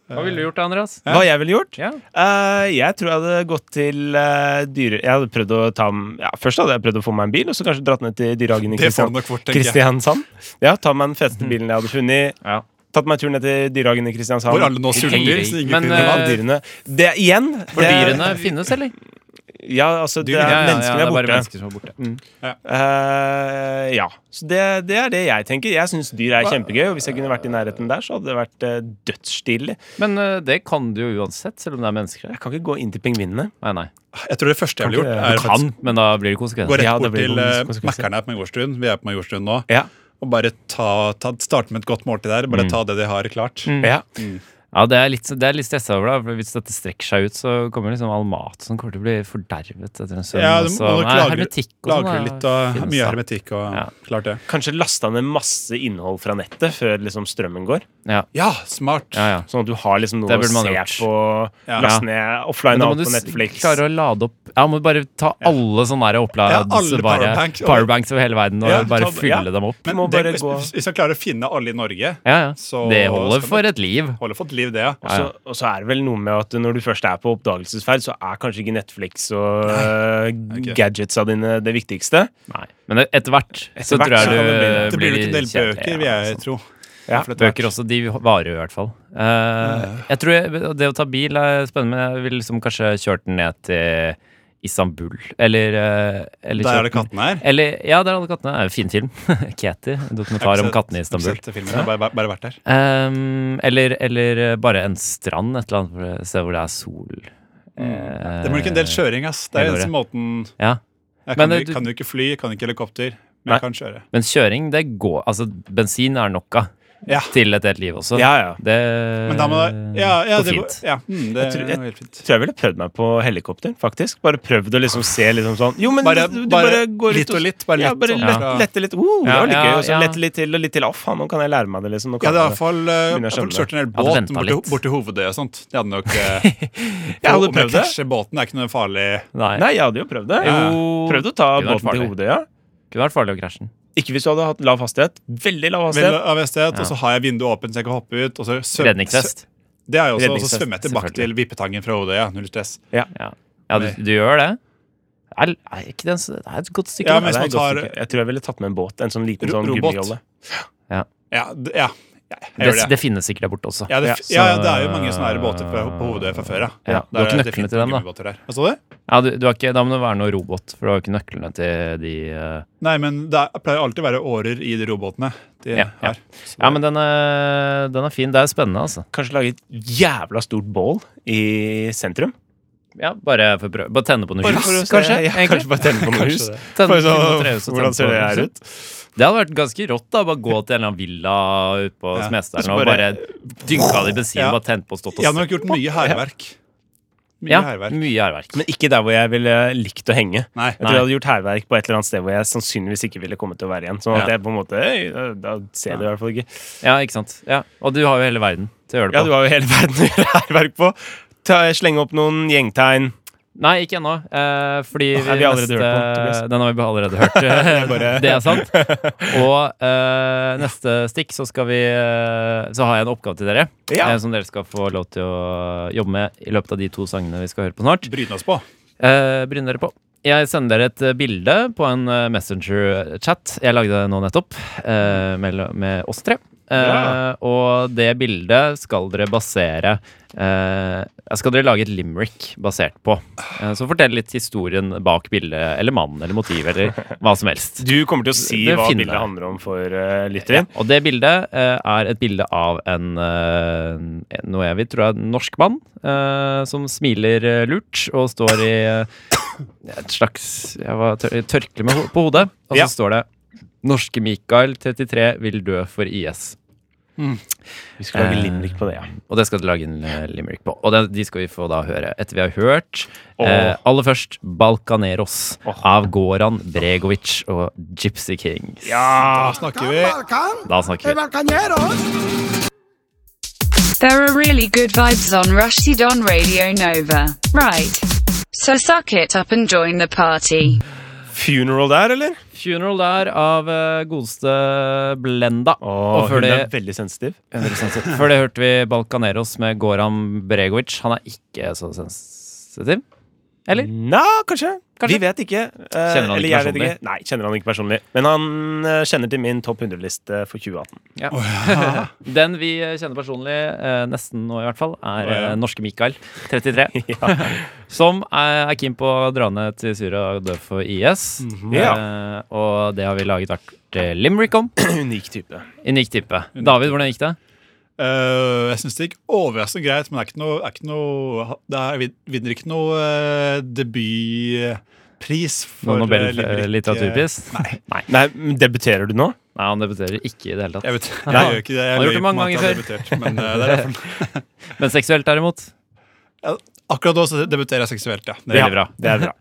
Speaker 1: Hva ville du gjort, Andreas?
Speaker 2: Hva jeg ville gjort?
Speaker 1: Ja.
Speaker 2: Eh, jeg tror jeg hadde gått til eh, dyre... Jeg hadde prøvd å ta m- ja, Først hadde jeg prøvd å få meg en bil, og så kanskje dratt ned til dyrehagen i
Speaker 3: Det får
Speaker 2: Kristian,
Speaker 3: du nok fort, tenker jeg. Mhm.
Speaker 2: Kristiansand. Ja, Ta meg den feteste bilen jeg hadde funnet.
Speaker 1: Ja.
Speaker 2: Tatt meg turen ned til dyrehagen i Kristiansand.
Speaker 3: Hvor alle nå sulter.
Speaker 1: Tenker
Speaker 3: så
Speaker 1: jeg.
Speaker 3: ingen
Speaker 1: Men,
Speaker 3: finner
Speaker 2: Av
Speaker 1: eh,
Speaker 3: mat.
Speaker 2: dyrene. Det igjen
Speaker 1: For
Speaker 2: det,
Speaker 1: dyrene finnes, eller?
Speaker 2: Ja, altså, det er
Speaker 1: Ja, ja, ja,
Speaker 2: menneskene
Speaker 1: det er bare
Speaker 2: er borte. Mm.
Speaker 1: mennesker som er borte.
Speaker 2: Eh, ja. Så det, det er det jeg tenker. Jeg syns dyr er kjempegøy, og hvis jeg kunne vært i nærheten der, så hadde det vært uh, dødsstilig.
Speaker 1: Men eh, det kan du jo uansett, selv om det er mennesker her.
Speaker 2: Jeg kan ikke gå inn til pingvinene.
Speaker 1: Nei, nei.
Speaker 3: Jeg tror det første jeg ville gjort,
Speaker 2: Kan
Speaker 3: er faktisk
Speaker 1: eh, Kan, men da blir det
Speaker 3: Gå
Speaker 1: konsekvenser.
Speaker 3: rett
Speaker 2: Ja, det
Speaker 3: bort
Speaker 2: blir
Speaker 3: til
Speaker 2: noen
Speaker 3: uh,
Speaker 2: konsekvenser.
Speaker 3: Mækkern her på Majorstuen. Vi er på Majorstuen nå.
Speaker 2: Ja.
Speaker 3: Og bare ta, ta, starte med et godt måltid der.
Speaker 1: Mm.
Speaker 3: Bare ta det de har klart.
Speaker 2: Ja.
Speaker 1: Ja, det er litt, det er litt stressa over, da. For hvis dette strekker seg ut, så kommer liksom all mat som kommer til å bli fordervet etter en stund.
Speaker 3: Ja,
Speaker 1: og
Speaker 3: du må
Speaker 1: så-
Speaker 3: nok
Speaker 1: Nei,
Speaker 3: lagre,
Speaker 1: hermetikk og sånn,
Speaker 3: lagre
Speaker 1: da,
Speaker 3: litt av
Speaker 1: finnes,
Speaker 3: mye
Speaker 1: da.
Speaker 3: hermetikk og
Speaker 1: Ja.
Speaker 3: klart det.
Speaker 2: Kanskje lasta ned masse innhold fra nettet før liksom strømmen går.
Speaker 3: Ja, smart!
Speaker 1: Ja, ja.
Speaker 2: Sånn at du har liksom noe
Speaker 1: Det
Speaker 2: å
Speaker 1: burde man
Speaker 2: se
Speaker 1: gjort.
Speaker 2: på.
Speaker 3: Ja.
Speaker 2: Last ned offline
Speaker 1: Men da
Speaker 2: alt
Speaker 1: må du
Speaker 2: på
Speaker 1: s-
Speaker 2: Netflix.
Speaker 1: klare å lade opp Ja, må bare ta alle sånne der
Speaker 3: Ja,
Speaker 1: opplads
Speaker 3: alle
Speaker 1: bare,
Speaker 3: powerbanks og-
Speaker 1: powerbanks over hele verden og
Speaker 3: Ja,
Speaker 1: bare
Speaker 3: ta-
Speaker 1: fylle
Speaker 2: ja.
Speaker 1: dem opp.
Speaker 2: må
Speaker 3: Men det,
Speaker 2: bare
Speaker 3: hvis,
Speaker 2: gå-
Speaker 3: hvis jeg klarer å finne alle i Norge,
Speaker 1: Ja, ja.
Speaker 3: Så
Speaker 1: det holder
Speaker 3: skal
Speaker 1: for
Speaker 3: man-
Speaker 1: et liv.
Speaker 3: holder fått liv, det. ja.
Speaker 2: Og så- Og så er det vel noe med at når du først er på oppdagelsesferd, så er kanskje ikke Netflix og eh,
Speaker 3: Ok.
Speaker 2: gadgetsa dine det viktigste.
Speaker 1: Nei. Men etter hvert så
Speaker 2: Etter hvert så
Speaker 1: tror
Speaker 2: kan det bli det.
Speaker 1: jeg du
Speaker 3: Det blir jo ikke en del
Speaker 1: kjedelig,
Speaker 3: bøker,
Speaker 1: ja,
Speaker 3: vil jeg
Speaker 1: sånn.
Speaker 3: tro.
Speaker 2: Ja,
Speaker 3: For etter hvert.
Speaker 1: Bøker også, de varer jo i hvert fall. Eh, jeg tror jeg, Det å ta bil er spennende, men jeg ville liksom kanskje kjørt den ned til Istanbul. Eller, eh, eller
Speaker 3: Der
Speaker 1: kjørt
Speaker 3: er det
Speaker 1: den-
Speaker 3: kattene her.
Speaker 1: Eller, ja, der er alle kattene. Det er en Fin film. [laughs] Katie. en Dokumentar om kattene i Istanbul.
Speaker 3: Sett filmen, jeg har bare, bare vært der.
Speaker 1: Ehm, eller, eller bare en strand, et eller annet sted hvor det er sol. Eh,
Speaker 3: Det blir ikke en del kjøring, ass. Det er
Speaker 1: det går
Speaker 3: eneste måten
Speaker 1: Ja.
Speaker 3: Jeg
Speaker 1: Men
Speaker 3: kan,
Speaker 1: det-
Speaker 3: jo- kan jo ikke fly, kan ikke helikopter, men
Speaker 1: Nei.
Speaker 3: jeg kan kjøre.
Speaker 1: Men kjøring, det går Altså, bensin er nok av
Speaker 3: Ja.
Speaker 1: til et helt liv også.
Speaker 2: Ja, ja.
Speaker 1: Det
Speaker 3: Men da må det Ja, ja,
Speaker 1: går
Speaker 3: det går
Speaker 1: Eh, fint.
Speaker 3: ja, mm, det
Speaker 2: tror-
Speaker 3: er
Speaker 2: jeg-
Speaker 3: jo helt fint.
Speaker 2: Tror jeg ville prøvd meg på helikopter, faktisk. Bare prøvd å liksom se liksom sånn Jo, men
Speaker 3: Bare-
Speaker 2: du, du bare
Speaker 3: bare
Speaker 2: går
Speaker 3: litt og litt, bare
Speaker 2: ja,
Speaker 3: lett
Speaker 2: bare
Speaker 3: opp
Speaker 2: lett,
Speaker 3: fra-
Speaker 2: lette litt. Uh, det
Speaker 1: Ja,
Speaker 2: var litt
Speaker 1: ja,
Speaker 2: gøy. Og så
Speaker 1: ja.
Speaker 2: lette litt til og litt til. Å, faen, nå kan jeg lære meg det, liksom. Nå
Speaker 3: Jeg
Speaker 2: kan
Speaker 3: hadde
Speaker 2: jeg
Speaker 3: i hvert
Speaker 2: det.
Speaker 3: fall eh,
Speaker 2: Begynner å
Speaker 3: jeg
Speaker 2: skjønne
Speaker 3: hadde kjørt en hel
Speaker 1: Hadde
Speaker 3: båt
Speaker 1: ventet
Speaker 3: bort,
Speaker 1: litt.
Speaker 3: til- bort til hovedøya og sånt. Det hadde nok
Speaker 1: [laughs]
Speaker 3: eh,
Speaker 2: Jeg hadde
Speaker 3: om jeg
Speaker 2: prøvd det.
Speaker 3: krasjer båten, det er ikke noe farlig.
Speaker 1: Nei.
Speaker 2: Nei, jeg hadde jo prøvd det.
Speaker 1: Jo,
Speaker 2: Prøvd å ta
Speaker 1: Kunne vært
Speaker 2: båten til
Speaker 1: farlig.
Speaker 2: hovedøya.
Speaker 1: kunne vært farlig å krasje den.
Speaker 2: Ikke hvis du hadde hatt lav hastighet. Veldig lav
Speaker 3: Vel
Speaker 2: hastighet.
Speaker 3: av hastighet, Og så har jeg vinduet åpent, så jeg kan hoppe ut. Og så svøm-
Speaker 1: Redningsvest.
Speaker 3: svø- Det er jo også, og så
Speaker 1: Redningsvest,
Speaker 3: svømmer jeg tilbake til Vippetangen fra Hovedøya. Null stress.
Speaker 1: Ja, ja du, du gjør det? Er, er ikke den, så- det er et godt stykke.
Speaker 3: Ja,
Speaker 1: da.
Speaker 3: men hvis
Speaker 2: Nei,
Speaker 3: man
Speaker 2: det er godt
Speaker 3: tar-
Speaker 2: sånn ikke. Jeg tror jeg ville tatt med en båt. En sånn liten
Speaker 3: Ro-
Speaker 2: sånn
Speaker 3: robåt.
Speaker 2: gummijolle.
Speaker 3: Ja, d ja. Jeg
Speaker 1: Det,
Speaker 3: gjør
Speaker 1: det finnes sikkert der borte også.
Speaker 3: Ja, det,
Speaker 2: Ja,
Speaker 3: f- ja,
Speaker 1: så-
Speaker 3: det er jo mange sånne her båter på, på hodet fra før, ja.
Speaker 1: Ja, du har ikke
Speaker 3: Der er
Speaker 1: nøklene
Speaker 3: definitivt
Speaker 1: til dem, da.
Speaker 3: gummibåter her. Hva sa du?
Speaker 1: Ja, du, du har ikke, da må det være noe robot, for du har jo ikke nøklene til de eh,
Speaker 3: Nei, men det er- pleier alltid å være årer i de robåtene. De
Speaker 1: Ja, ja.
Speaker 3: her. Så
Speaker 1: Ja, men den er, den er fin. Det er spennende, altså.
Speaker 2: Kanskje lage et jævla stort bål i sentrum?
Speaker 1: Ja, bare for å prøve. Bare tenne på noe
Speaker 2: Bare
Speaker 1: hus,
Speaker 2: for å se-
Speaker 1: kanskje?
Speaker 2: Ja,
Speaker 1: egentlig?
Speaker 2: kanskje bare tenne på noe
Speaker 3: Kanskje
Speaker 2: hus.
Speaker 3: det.
Speaker 1: Tenne
Speaker 2: Bare så,
Speaker 1: på noe trehus og tenne
Speaker 2: hvordan ser
Speaker 1: på
Speaker 2: det her
Speaker 1: huset.
Speaker 2: ut?
Speaker 1: Det hadde vært ganske rått. da Bare gå til en eller annen villa ute på
Speaker 3: Ja.
Speaker 2: Så
Speaker 1: Smestadalen og bare
Speaker 2: bare-
Speaker 1: dynka det i bensin,
Speaker 3: Ja.
Speaker 1: bare tent på og stått og
Speaker 3: Jeg hadde nok gjort mye hærverk. Mye
Speaker 1: Ja,
Speaker 3: hærverk.
Speaker 1: mye hærverk.
Speaker 2: Men ikke der hvor jeg ville likt å henge.
Speaker 3: Nei.
Speaker 2: Jeg tror jeg hadde gjort hærverk på et eller annet sted hvor jeg sannsynligvis ikke ville kommet til å være igjen. Sånn at
Speaker 1: Ja.
Speaker 2: jeg på en måte, «Øy, da, da ser jeg det i hvert fall ikke.
Speaker 1: Ja, ikke sant. Ja. Og du har jo hele verden til å gjøre
Speaker 2: Ja,
Speaker 1: det
Speaker 2: du
Speaker 1: på.
Speaker 2: har jo hele verden å gjøre hærverk på. Ta, slenge opp noen gjengtegn.
Speaker 1: Nei, ikke ennå. Eh, fordi
Speaker 2: Åh, er vi allerede
Speaker 1: neste,
Speaker 2: hørt på, Tobias?
Speaker 1: Den har vi allerede
Speaker 2: [laughs]
Speaker 1: hørt. [laughs] Det er sant. Og eh, neste stikk så skal vi eh, Så har jeg en oppgave til dere.
Speaker 2: Ja.
Speaker 1: eh, som dere skal få lov til å jobbe med i løpet av de to sangene vi skal høre på snart.
Speaker 3: Bryne oss på.
Speaker 1: Eh, Bryn dere på. Jeg sender dere et eh, bilde på en eh, Messenger-chat jeg lagde nå nettopp, eh, mellom- med oss tre. Eh,
Speaker 2: Ja.
Speaker 1: Og det bildet skal dere basere eh, Skal dere lage et limerick basert på. Eh, så fortell litt historien bak bildet, eller mannen, eller motivet, eller hva som helst.
Speaker 2: Du kommer til å si
Speaker 1: Det
Speaker 2: hva
Speaker 1: finner
Speaker 2: bildet
Speaker 1: jeg.
Speaker 2: handler om for uh,
Speaker 1: Ja,
Speaker 2: lytteren.
Speaker 1: og det bildet eh, er et bilde av en, eh, noe jeg vil tro er en norsk mann, eh, som smiler eh, lurt og står i eh, et slags jeg var tør tørkle med ho på hodet. Og så
Speaker 2: Ja.
Speaker 1: står det 'Norske Mikael 33 vil dø for IS'.
Speaker 2: Vi skal lage
Speaker 1: Eh,
Speaker 2: limerick på det, ja.
Speaker 1: Og det skal du lage en eh, limerick på. Og den, de skal vi få da høre etter vi har hørt.
Speaker 2: Åh.
Speaker 1: Eh, aller først 'Balkaneros'
Speaker 2: Åh.
Speaker 1: av Goran Bregovic og Gypsy Kings.
Speaker 2: Ja!
Speaker 3: Da snakker vi.
Speaker 1: Da snakker vi.
Speaker 9: There are really good vibes on Rushdie on Radio Nova. Right. So suck it up and join the party.
Speaker 2: Funeral der, eller?
Speaker 1: Funeral der av eh, godeste Blenda.
Speaker 2: Åh,
Speaker 1: og før
Speaker 2: hun
Speaker 1: det,
Speaker 2: er veldig sensitiv.
Speaker 1: [laughs] før det hørte vi Balkaneros med Goran Bregovic. Han er ikke så sensitiv. Eller?
Speaker 2: Nja, kanskje. Vi vet ikke. eh,
Speaker 1: Kjenner han
Speaker 2: eller jeg
Speaker 1: ikke
Speaker 2: vet
Speaker 1: personlig?
Speaker 2: Ikke. Nei, kjenner han ikke personlig. Men han eh, kjenner til min topp 100-liste for 2018.
Speaker 1: Ja. [laughs] Den vi eh, kjenner personlig, eh, nesten nå i hvert fall, er
Speaker 3: Å, ja.
Speaker 1: eh, norske Mikael, 33. Som er, er keen på å dra ned til Syria og dø for IS.
Speaker 2: Ja.
Speaker 1: Eh, og det har vi laget hvert eh, limerick om.
Speaker 2: Unik type.
Speaker 1: Unik type. David, hvordan gikk det?
Speaker 3: Eh, jeg syns det gikk overraskende greit, men det er ikke noe, er ikke noe Det er, vin- vinner ikke noe eh, debutpris for
Speaker 1: Noen
Speaker 3: eh, limerick, eh,
Speaker 1: Nobel-litteraturpris? Nei. Nei.
Speaker 2: Nei, men Debuterer du nå?
Speaker 1: han debuterer ikke i det hele tatt.
Speaker 3: Jeg vet [laughs] jeg
Speaker 1: Nei.
Speaker 3: gjør ikke det. Jeg
Speaker 1: Han har
Speaker 3: løy
Speaker 1: gjort det
Speaker 3: på
Speaker 1: mange
Speaker 3: meg at
Speaker 1: ganger
Speaker 3: jeg debuterte, Men eh, det
Speaker 1: [laughs]
Speaker 3: er derfor
Speaker 1: Men seksuelt, derimot.
Speaker 3: Akkurat da så debuterer jeg seksuelt, ja. Det
Speaker 1: Veldig
Speaker 3: er
Speaker 1: bra.
Speaker 2: Det er bra.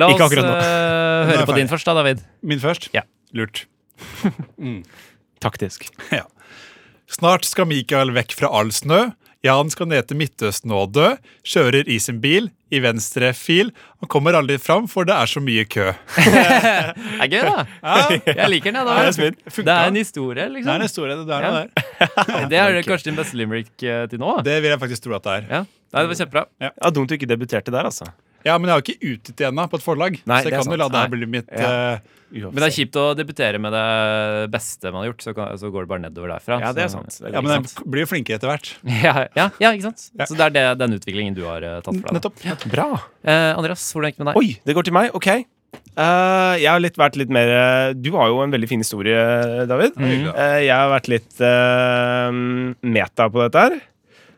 Speaker 1: La
Speaker 2: Ikke
Speaker 1: oss
Speaker 2: akkurat nå.
Speaker 1: eh,
Speaker 3: Nå er
Speaker 1: høre
Speaker 3: jeg
Speaker 1: på din
Speaker 3: ferdig.
Speaker 1: først, da, David.
Speaker 3: Min først?
Speaker 1: Ja.
Speaker 3: Lurt.
Speaker 2: Taktisk.
Speaker 3: Ja. Snart skal Mikael vekk fra all snø. Jan skal ned til Midtøsten og dø. Kjører i sin bil, i venstre fil. Han kommer aldri fram, for det er så mye kø.
Speaker 1: Det er gøy, da. Jeg liker den. jeg,
Speaker 2: det er
Speaker 1: da.
Speaker 2: smitt.
Speaker 1: Det er en historie,
Speaker 3: Det er
Speaker 1: liksom.
Speaker 3: en historie, det er
Speaker 1: Ja.
Speaker 3: noe der.
Speaker 1: Det er kanskje din beste limerick eh, til nå. da.
Speaker 3: Det vil jeg faktisk tro at det er.
Speaker 1: Ja. Nei, det var kjempebra.
Speaker 2: Ja, Dumt du ikke debuterte der, altså.
Speaker 3: Ja, men jeg har jo ikke utgitt det ennå på et forlag.
Speaker 2: Nei,
Speaker 3: så
Speaker 2: det
Speaker 3: jeg
Speaker 2: er
Speaker 3: kan jo la
Speaker 2: sant.
Speaker 3: det her
Speaker 1: Nei.
Speaker 3: bli mitt
Speaker 2: Ja.
Speaker 3: eh,
Speaker 1: Men det er kjipt å debutere med det beste man har gjort, så, kan, så går det bare nedover derfra.
Speaker 2: Ja, det er
Speaker 1: Så-
Speaker 2: sant. Det er
Speaker 3: Ja, men
Speaker 2: veldig sant.
Speaker 3: jeg blir jo flinkere etter hvert.
Speaker 1: [laughs] Ja, ja, ja, ikke sant?
Speaker 3: Ja.
Speaker 1: Så det er det, den utviklingen du har eh, tatt for deg. da.
Speaker 3: [laughs] Nettopp. nettopp.
Speaker 2: Bra.
Speaker 1: Eh, Andreas, hvordan gikk det med deg?
Speaker 2: Oi, det går til meg. Ok. Eh, jeg har litt, vært litt mer eh, Du har jo en veldig fin historie, David.
Speaker 3: Mm. hyggelig, da.
Speaker 2: Eh, jeg har vært litt eh, meta på dette her.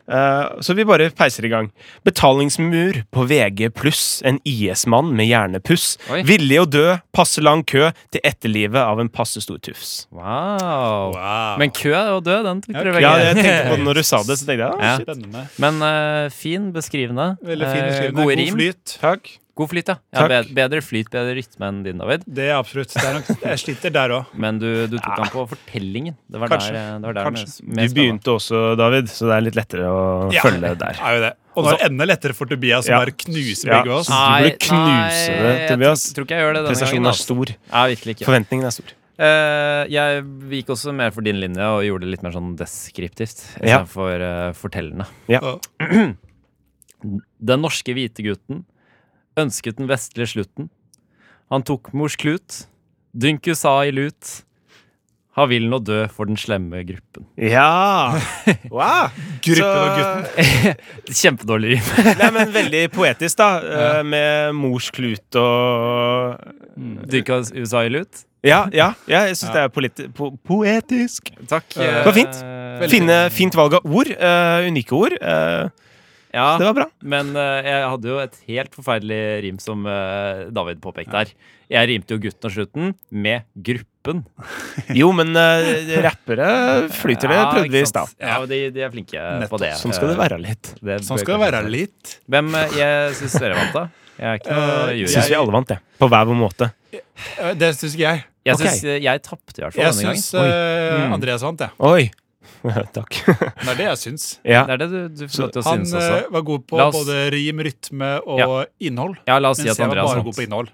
Speaker 2: Eh, så vi bare peiser i gang. Betalingsmur på VG pluss. En IS-mann med hjernepuss.
Speaker 1: Oi.
Speaker 2: Villig å dø, passe lang kø til etterlivet av en passe stor tufs.
Speaker 1: Wow.
Speaker 3: Wow.
Speaker 1: Men kø og død, den tok dere
Speaker 3: Ja,
Speaker 1: begge.
Speaker 2: Ja, jeg tenkte på det når du sa det, så tenkte jeg
Speaker 1: Ja.
Speaker 2: ah, shit.
Speaker 3: Spennende.
Speaker 1: Men eh, fin, beskrivende.
Speaker 3: Veldig fin
Speaker 1: Eh,
Speaker 3: beskrivende.
Speaker 1: gode
Speaker 3: God
Speaker 1: rim.
Speaker 3: flyt.
Speaker 2: Takk.
Speaker 1: God flyt, ja. ja
Speaker 2: Takk.
Speaker 1: bed- bedre flyt, bedre rytme enn din, David.
Speaker 3: Det er absolutt. Det er nok, jeg sliter der òg.
Speaker 1: Men du, du tok han på fortellingen. Det var
Speaker 3: Kanskje.
Speaker 1: der, eh, det var der
Speaker 3: Kanskje.
Speaker 2: Du
Speaker 1: med, med spennende.
Speaker 2: begynte også, David, så det er litt lettere å følge der.
Speaker 3: Er jo det. Og nå er det enda lettere for Tobias, som
Speaker 2: Ja.
Speaker 3: bare knuser
Speaker 2: Ja.
Speaker 3: begge oss.
Speaker 2: Ah. Du burde knuse det,
Speaker 1: jeg tr-
Speaker 2: Tobias.
Speaker 1: Tror ikke jeg gjør det denne gangen.
Speaker 2: Prestasjonen er
Speaker 1: altså.
Speaker 2: stor.
Speaker 1: Ja, virkelig ikke.
Speaker 2: Forventningen er stor.
Speaker 1: Eh, jeg gikk også mer for din linje og gjorde det litt mer sånn deskriptivt
Speaker 2: Ja.
Speaker 1: istedenfor uh, fortellende.
Speaker 2: Ja.
Speaker 3: Ja.
Speaker 1: Den norske hvite gutten ønsket den vestlige slutten. Han tok mors klut, dynk USA i lut. har villen å dø for den slemme gruppen.
Speaker 2: [laughs] Ja! Wow.
Speaker 3: Gruppen og
Speaker 2: gutten.
Speaker 1: Kjempedårlig rim.
Speaker 2: eh, Nei, men veldig poetisk, [laughs] da. eh, Med mors klut og
Speaker 1: Dyrka USA-ilut.
Speaker 2: Ja, ja, ja jeg syns det er politi- po poetisk.
Speaker 1: Takk.
Speaker 3: Det
Speaker 2: var fint.
Speaker 1: Eh,
Speaker 3: Veldig.
Speaker 2: Fine, fint valg av ord. eh, unike ord. eh,
Speaker 1: Ja,
Speaker 2: det var bra.
Speaker 1: men eh, jeg hadde jo et helt forferdelig rim som eh, David påpekte her. Jeg rimte jo gutten og slutten med gruppen.
Speaker 2: Jo, men eh, rappere flyter det,
Speaker 1: Ja,
Speaker 2: prøvde vi
Speaker 1: ikke
Speaker 2: i stad.
Speaker 1: sant? Ja, og de, de er flinke på
Speaker 3: Nettopp.
Speaker 1: det.
Speaker 2: Sånn skal det være litt.
Speaker 1: Det bør
Speaker 3: Sånn skal det
Speaker 1: kanskje
Speaker 3: være
Speaker 1: være.
Speaker 3: litt.
Speaker 1: Hvem eh, jeg syns dere vant, da? Jeg er ikke noe
Speaker 3: Eh,
Speaker 1: jury.
Speaker 2: Syns vi alle vant, det. På hver vår måte.
Speaker 3: Eh, Det syns ikke jeg.
Speaker 1: Jeg
Speaker 2: Ok.
Speaker 1: syns eh, jeg tapte i hvert fall
Speaker 3: Jeg
Speaker 1: denne gangen.
Speaker 3: syns eh, Andreas vant, jeg.
Speaker 2: Oi. [laughs] Takk.
Speaker 3: Det er det jeg syns.
Speaker 2: ja.
Speaker 1: Det er det du, du får lov til å
Speaker 3: Han
Speaker 1: synes
Speaker 3: eh,
Speaker 1: også.
Speaker 3: var god på
Speaker 1: La oss-
Speaker 3: både rim, rytme og
Speaker 1: Ja.
Speaker 3: innhold.
Speaker 1: Ja, la oss si
Speaker 3: Mens
Speaker 1: at
Speaker 3: jeg var
Speaker 1: Andreas
Speaker 3: bare god
Speaker 1: vant.
Speaker 3: på innhold.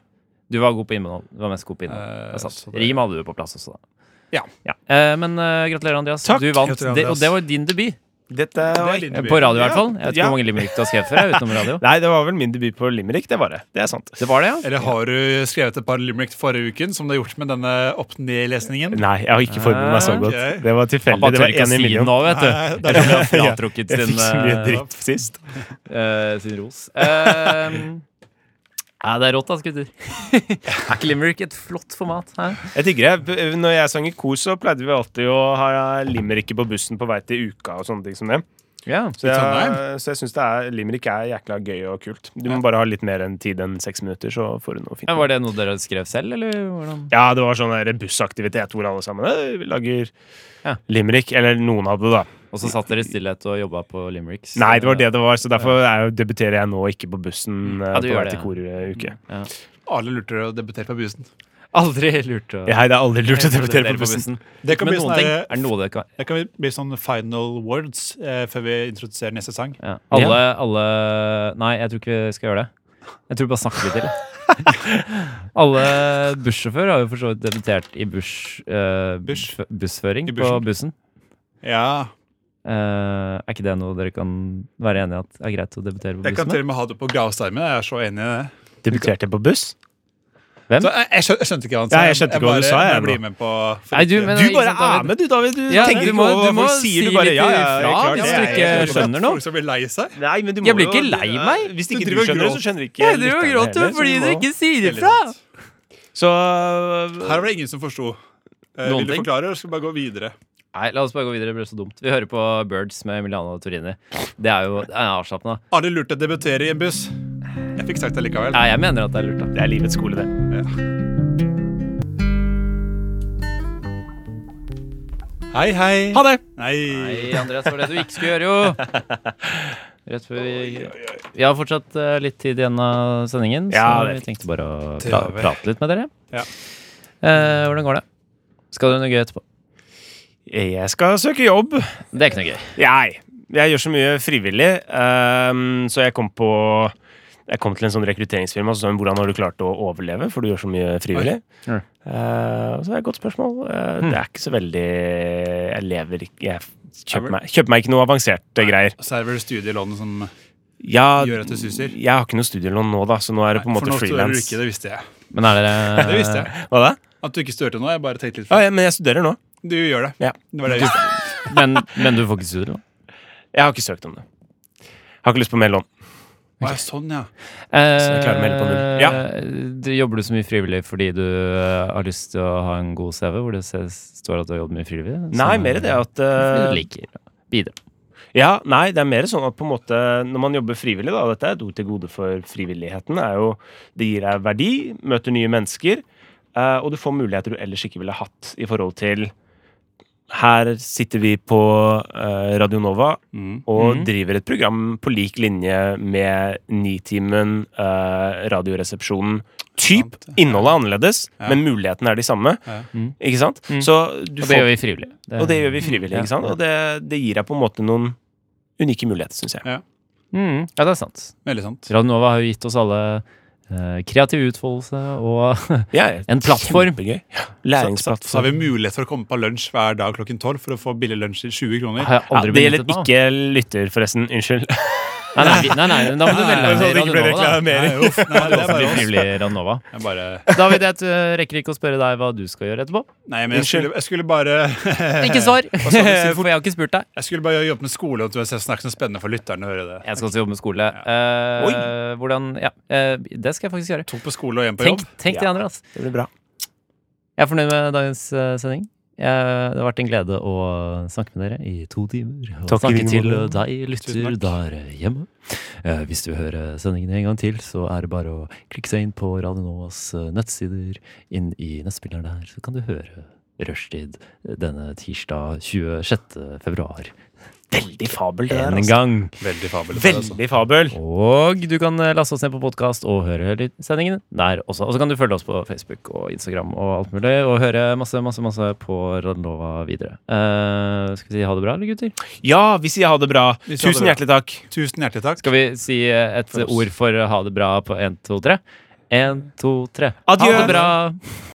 Speaker 1: Du var god på innhold. Du var mest god på innhold.
Speaker 3: Eh,
Speaker 1: Det er sant.
Speaker 3: så det-
Speaker 1: Rim hadde du på plass også, da.
Speaker 3: Ja.
Speaker 1: Eh, men eh, gratulerer, Andreas.
Speaker 2: Takk.
Speaker 1: Du vant.
Speaker 2: Gratulerer,
Speaker 1: Det, og
Speaker 2: Andreas.
Speaker 1: det var din debut.
Speaker 2: Dette var
Speaker 3: litt-
Speaker 1: Eh, På radio, i hvert fall. Jeg vet ikke
Speaker 2: Ja.
Speaker 1: hvor mange limerick du har skrevet før. jeg, utenom radio.
Speaker 2: Nei, det var vel min debut på Limerick. Det var det. Det er sant.
Speaker 1: Det var det, ja?
Speaker 3: Eller har du skrevet et par limerick forrige uken, som du har gjort med denne opp-ned-lesningen?
Speaker 2: Nei, jeg har ikke forberedt meg så godt.
Speaker 3: Ok.
Speaker 2: Det var
Speaker 1: Ah, Han
Speaker 2: tilfeldig.
Speaker 1: bare
Speaker 2: Det
Speaker 1: tør
Speaker 2: var
Speaker 1: ikke
Speaker 2: én
Speaker 1: å
Speaker 2: i
Speaker 1: si det
Speaker 2: million.
Speaker 1: nå, vet du.
Speaker 3: Nei, det er
Speaker 1: Eller han har
Speaker 2: [laughs] Ja,
Speaker 1: fratrukket
Speaker 2: Jeg
Speaker 1: sin,
Speaker 2: fikk så mye
Speaker 1: eh,
Speaker 2: dritt sist.
Speaker 1: eh, sin ros. Eh,
Speaker 2: [laughs]
Speaker 1: ja, det er rått, da, gutter. er ikke Limerick et flott format? Hæ?
Speaker 2: Jeg digger det. B- eh, Når jeg sang i kor, så pleide vi alltid å ha limericker på bussen på vei til uka og sånne ting som det.
Speaker 1: Ja.
Speaker 2: Så jeg,
Speaker 3: Trondheim?
Speaker 2: så jeg syns limerick er jækla gøy og kult. Du må bare ha litt mer enn tid enn seks minutter, så får du noe fint.
Speaker 1: Men Var det noe dere skrev selv, eller hvordan?
Speaker 2: Ja, det var sånn der bussaktivitet hvor alle sammen «Øy, vi lager
Speaker 1: Ja.
Speaker 2: limerick. Eller noen hadde det, da.
Speaker 1: Og så satt dere i stillhet og jobba på Limericks?
Speaker 2: Nei, det var det det var, så derfor er jo, debuterer jeg nå ikke på bussen eh,
Speaker 1: Ja, du
Speaker 2: på
Speaker 1: gjør
Speaker 2: vei
Speaker 1: det,
Speaker 2: til koruke.
Speaker 3: Alle lurte deg å debutere på bussen.
Speaker 1: Aldri lurt å
Speaker 2: Nei, det er aldri lurt å debutere på bussen.
Speaker 3: Det kan
Speaker 1: Men
Speaker 3: bli
Speaker 1: noen
Speaker 3: sånn
Speaker 1: ting
Speaker 3: der-
Speaker 1: er noe dere kan
Speaker 3: Det kan bli sånn final words eh, før vi introduserer neste sang.
Speaker 1: ja. Alle, alle Nei, jeg tror ikke vi skal gjøre det. Jeg tror vi bare snakker litt til. jeg. alle bussjåfører har jo for så vidt debutert i buss, eh,
Speaker 3: Buss.
Speaker 1: f- bussføring
Speaker 3: I
Speaker 1: på
Speaker 3: bussen.
Speaker 1: bussen.
Speaker 3: Ja,
Speaker 1: Eh, er ikke det noe dere kan være enig i at er greit å debutere på
Speaker 3: Jeg kan
Speaker 1: bussen?
Speaker 3: til og med ha det på gravsteimen. Jeg er så enig i det.
Speaker 2: Debuterte jeg på buss?
Speaker 1: Mm.
Speaker 3: Så jeg, jeg skjønte, jeg skjønte ikke hva han
Speaker 2: Ja, jeg skjønte ikke hva du sa, jeg,
Speaker 3: Jeg blir
Speaker 2: nå.
Speaker 3: med på for
Speaker 1: Nei, du,
Speaker 3: ikke-
Speaker 1: men-
Speaker 2: Du
Speaker 1: ikke
Speaker 2: bare
Speaker 1: sant, David?
Speaker 2: er med, du, David. Du
Speaker 1: Ja,
Speaker 2: tenker
Speaker 1: du
Speaker 2: ikke
Speaker 1: må-
Speaker 2: over
Speaker 1: du
Speaker 2: hva
Speaker 1: må
Speaker 2: folk sier.
Speaker 1: si
Speaker 2: Du bare ja,
Speaker 1: litt
Speaker 2: ja, jeg er klar,
Speaker 1: ifra hvis
Speaker 2: det er
Speaker 1: du
Speaker 2: jeg helt
Speaker 1: ikke
Speaker 3: for
Speaker 2: enig i».
Speaker 1: skjønner noe.
Speaker 3: Folk som blir lei seg.
Speaker 2: Nei, men du må
Speaker 1: Jeg blir
Speaker 2: jo-
Speaker 1: ikke lei
Speaker 2: Nei,
Speaker 1: meg.
Speaker 2: Hvis
Speaker 3: Du
Speaker 2: ikke du,
Speaker 3: driver og
Speaker 2: skjønner det, så
Speaker 3: gråter.
Speaker 2: skjønner ikke
Speaker 1: Jeg driver og
Speaker 2: lytterne
Speaker 1: gråter
Speaker 2: heller, så
Speaker 1: fordi
Speaker 2: du
Speaker 1: dere
Speaker 2: må-
Speaker 1: ikke sier
Speaker 3: Veldig
Speaker 1: ifra!
Speaker 3: sant.
Speaker 2: Så
Speaker 3: Her var det ingen som forsto. Eh,
Speaker 1: Noen
Speaker 3: vil du
Speaker 1: ting.
Speaker 3: forklare, eller skal vi bare gå videre?
Speaker 1: Nei, la oss bare gå videre. Det ble så dumt. Vi hører på Birds med Emiliano Torini. Det er jo det er avslappende.
Speaker 3: Arne lurte å debutere i en buss. Jeg fikk sagt det likevel.
Speaker 1: Nei, jeg mener at det er lurt, da.
Speaker 2: Det er livets skole, det.
Speaker 3: Hei, hei.
Speaker 2: Ha det!
Speaker 1: Nei,
Speaker 3: Nei.
Speaker 1: Andreas, det var det du ikke skulle gjøre, jo! Rett før vi Vi har fortsatt eh, litt tid igjen av sendingen, så
Speaker 2: Ja, det er
Speaker 1: vi tenkte bare å
Speaker 3: Det
Speaker 1: pra
Speaker 3: gjør vi.
Speaker 1: prate litt med dere.
Speaker 3: Ja.
Speaker 1: Eh, hvordan går det? Skal du noe gøy etterpå?
Speaker 2: Jeg skal søke jobb.
Speaker 1: Det er ikke noe gøy.
Speaker 2: Jeg, jeg gjør så mye frivillig, ehm, så jeg kom på jeg kom til en sånn rekrutteringsfirma og så sa hun hvordan har du klart å overleve, for du gjør så mye frivillig.
Speaker 1: Oi. Ja.
Speaker 2: Eh, og så er det et godt spørsmål. Eh,
Speaker 3: Mm.
Speaker 2: Det er ikke så veldig Jeg lever ikke Jeg kjøper meg, kjøper meg ikke noe avanserte greier.
Speaker 3: Så er det vel studielånet som
Speaker 2: Ja,
Speaker 3: Gjør at du suser?
Speaker 2: Jeg har ikke noe studielån nå, da, så nå er det på en
Speaker 3: For nå
Speaker 2: måte
Speaker 3: studerer du
Speaker 2: frilans.
Speaker 3: ikke, det visste jeg.
Speaker 1: Men er dere
Speaker 3: [laughs] Det visste jeg.
Speaker 2: Hva da?
Speaker 3: At du ikke størte nå. Jeg bare tenkte litt
Speaker 2: Ja,
Speaker 3: for
Speaker 2: ja, men jeg studerer nå.
Speaker 3: Du gjør det.
Speaker 2: Ja.
Speaker 3: Det var det jeg visste.
Speaker 1: Men, men du får ikke studielån?
Speaker 2: Jeg har ikke søkt om det. Har ikke lyst på mer lån.
Speaker 3: Å, ja, sånn, ja.
Speaker 1: Så
Speaker 2: jeg klarer å melde på null.
Speaker 1: du, Eh, jobber du så mye frivillig fordi du eh, har lyst til å ha en god CV hvor det ses- står at du har jobbet mye frivillig?
Speaker 2: Nei,
Speaker 1: Sånn,
Speaker 2: mer i det at
Speaker 1: fordi
Speaker 2: eh,
Speaker 1: du liker å bidra.
Speaker 2: Ja, nei, det er mer sånn at på en måte når man jobber frivillig, da, dette er et ord til gode for frivilligheten, er jo det gir deg verdi, møter nye mennesker, eh, og du får muligheter du ellers ikke ville hatt i forhold til her sitter vi på eh, Radio Nova
Speaker 3: Mm.
Speaker 2: og driver et program på lik linje med Nitimen, eh, Radioresepsjonen. Typ
Speaker 3: Sant, ja.
Speaker 2: innholdet er annerledes,
Speaker 3: Ja.
Speaker 2: men mulighetene er de samme.
Speaker 3: Ja.
Speaker 1: Mm.
Speaker 2: Ikke sant?
Speaker 1: Mm.
Speaker 2: Så du
Speaker 1: Og
Speaker 2: får
Speaker 1: det gjør vi frivillig. Det-
Speaker 2: og det gjør vi frivillig,
Speaker 1: Eh, Ja.
Speaker 2: ikke sant? Og det, det gir deg på en måte noen unike muligheter, syns jeg.
Speaker 1: Mm, ja, det er sant.
Speaker 3: Veldig sant.
Speaker 1: Radionova har jo gitt oss alle eh, kreativ utfoldelse og [laughs]
Speaker 2: Ja, ja.
Speaker 1: En plattform.
Speaker 2: Kjempegøy.
Speaker 3: Så, så har
Speaker 2: Læringsplattform.
Speaker 3: vi mulighet for å komme på lunsj hver dag klokken tolv for å få billig lunsj til 20 kroner.
Speaker 1: har jeg
Speaker 2: Ja,
Speaker 1: aldri
Speaker 2: det gjelder
Speaker 1: benyttet meg av.
Speaker 2: ikke lytter, forresten. Unnskyld.
Speaker 1: Nei, nei, vi- nei, nei, da må du
Speaker 3: Nei,
Speaker 1: velge
Speaker 3: sånn at det ikke
Speaker 1: Radio
Speaker 3: blir
Speaker 1: Nova, da.
Speaker 3: reklamering. [laughs]
Speaker 1: Nei, uff, nei, det er bare oss.
Speaker 3: Jeg bare
Speaker 1: David, jeg eh, rekker ikke å spørre deg hva du skal gjøre etterpå.
Speaker 3: Nei, men jeg skulle, jeg skulle bare [laughs]
Speaker 1: Ikke svar!
Speaker 3: Hva skal du si?
Speaker 1: For jeg har ikke spurt deg.
Speaker 3: Jeg skulle bare jobbe med skole, og det er snakke så spennende for lytterne å høre det.
Speaker 1: Jeg skal også jobbe med skole. Eh, hvordan Ja, eh, det skal jeg faktisk gjøre.
Speaker 3: To på skole og én på
Speaker 1: Tenk,
Speaker 3: jobb.
Speaker 1: tenk de
Speaker 2: Ja.
Speaker 1: andre, ass.
Speaker 2: Det blir bra.
Speaker 1: Jeg er fornøyd med dagens eh, sending. Jeg, det har vært en glede å snakke med dere i to timer. Og
Speaker 2: Takk i
Speaker 1: snakke
Speaker 2: like
Speaker 1: til
Speaker 2: måte.
Speaker 1: deg, lytter
Speaker 3: Tusen
Speaker 1: der hjemme. Eh, Hvis du hører sendingen en gang til, så er det bare å klikke seg inn på Radio Novas eh, nettsider. Inn i nettspilleren der, så kan du høre Rushtid denne tirsdag 26. februar.
Speaker 2: Veldig fabel, det der.
Speaker 1: En
Speaker 2: Altså.
Speaker 1: gang.
Speaker 3: Veldig fabel.
Speaker 2: Veldig altså. fabel.
Speaker 1: Og du kan eh, laste oss ned på podkast og høre litt sendingene der også. Og så kan du følge oss på Facebook og Instagram og alt mulig, og høre masse, masse, masse på Radnova videre. Eh, skal vi si ha det bra, eller gutter?
Speaker 2: Ja, vi sier ha det bra.
Speaker 3: Vi sier ha det
Speaker 2: Tusen
Speaker 3: bra.
Speaker 2: hjertelig takk.
Speaker 3: Tusen hjertelig takk.
Speaker 1: Skal vi si eh, et
Speaker 3: For oss.
Speaker 1: ord for ha det bra på én, to, tre? Én, to, tre.
Speaker 2: Adjø.
Speaker 1: Ha det bra!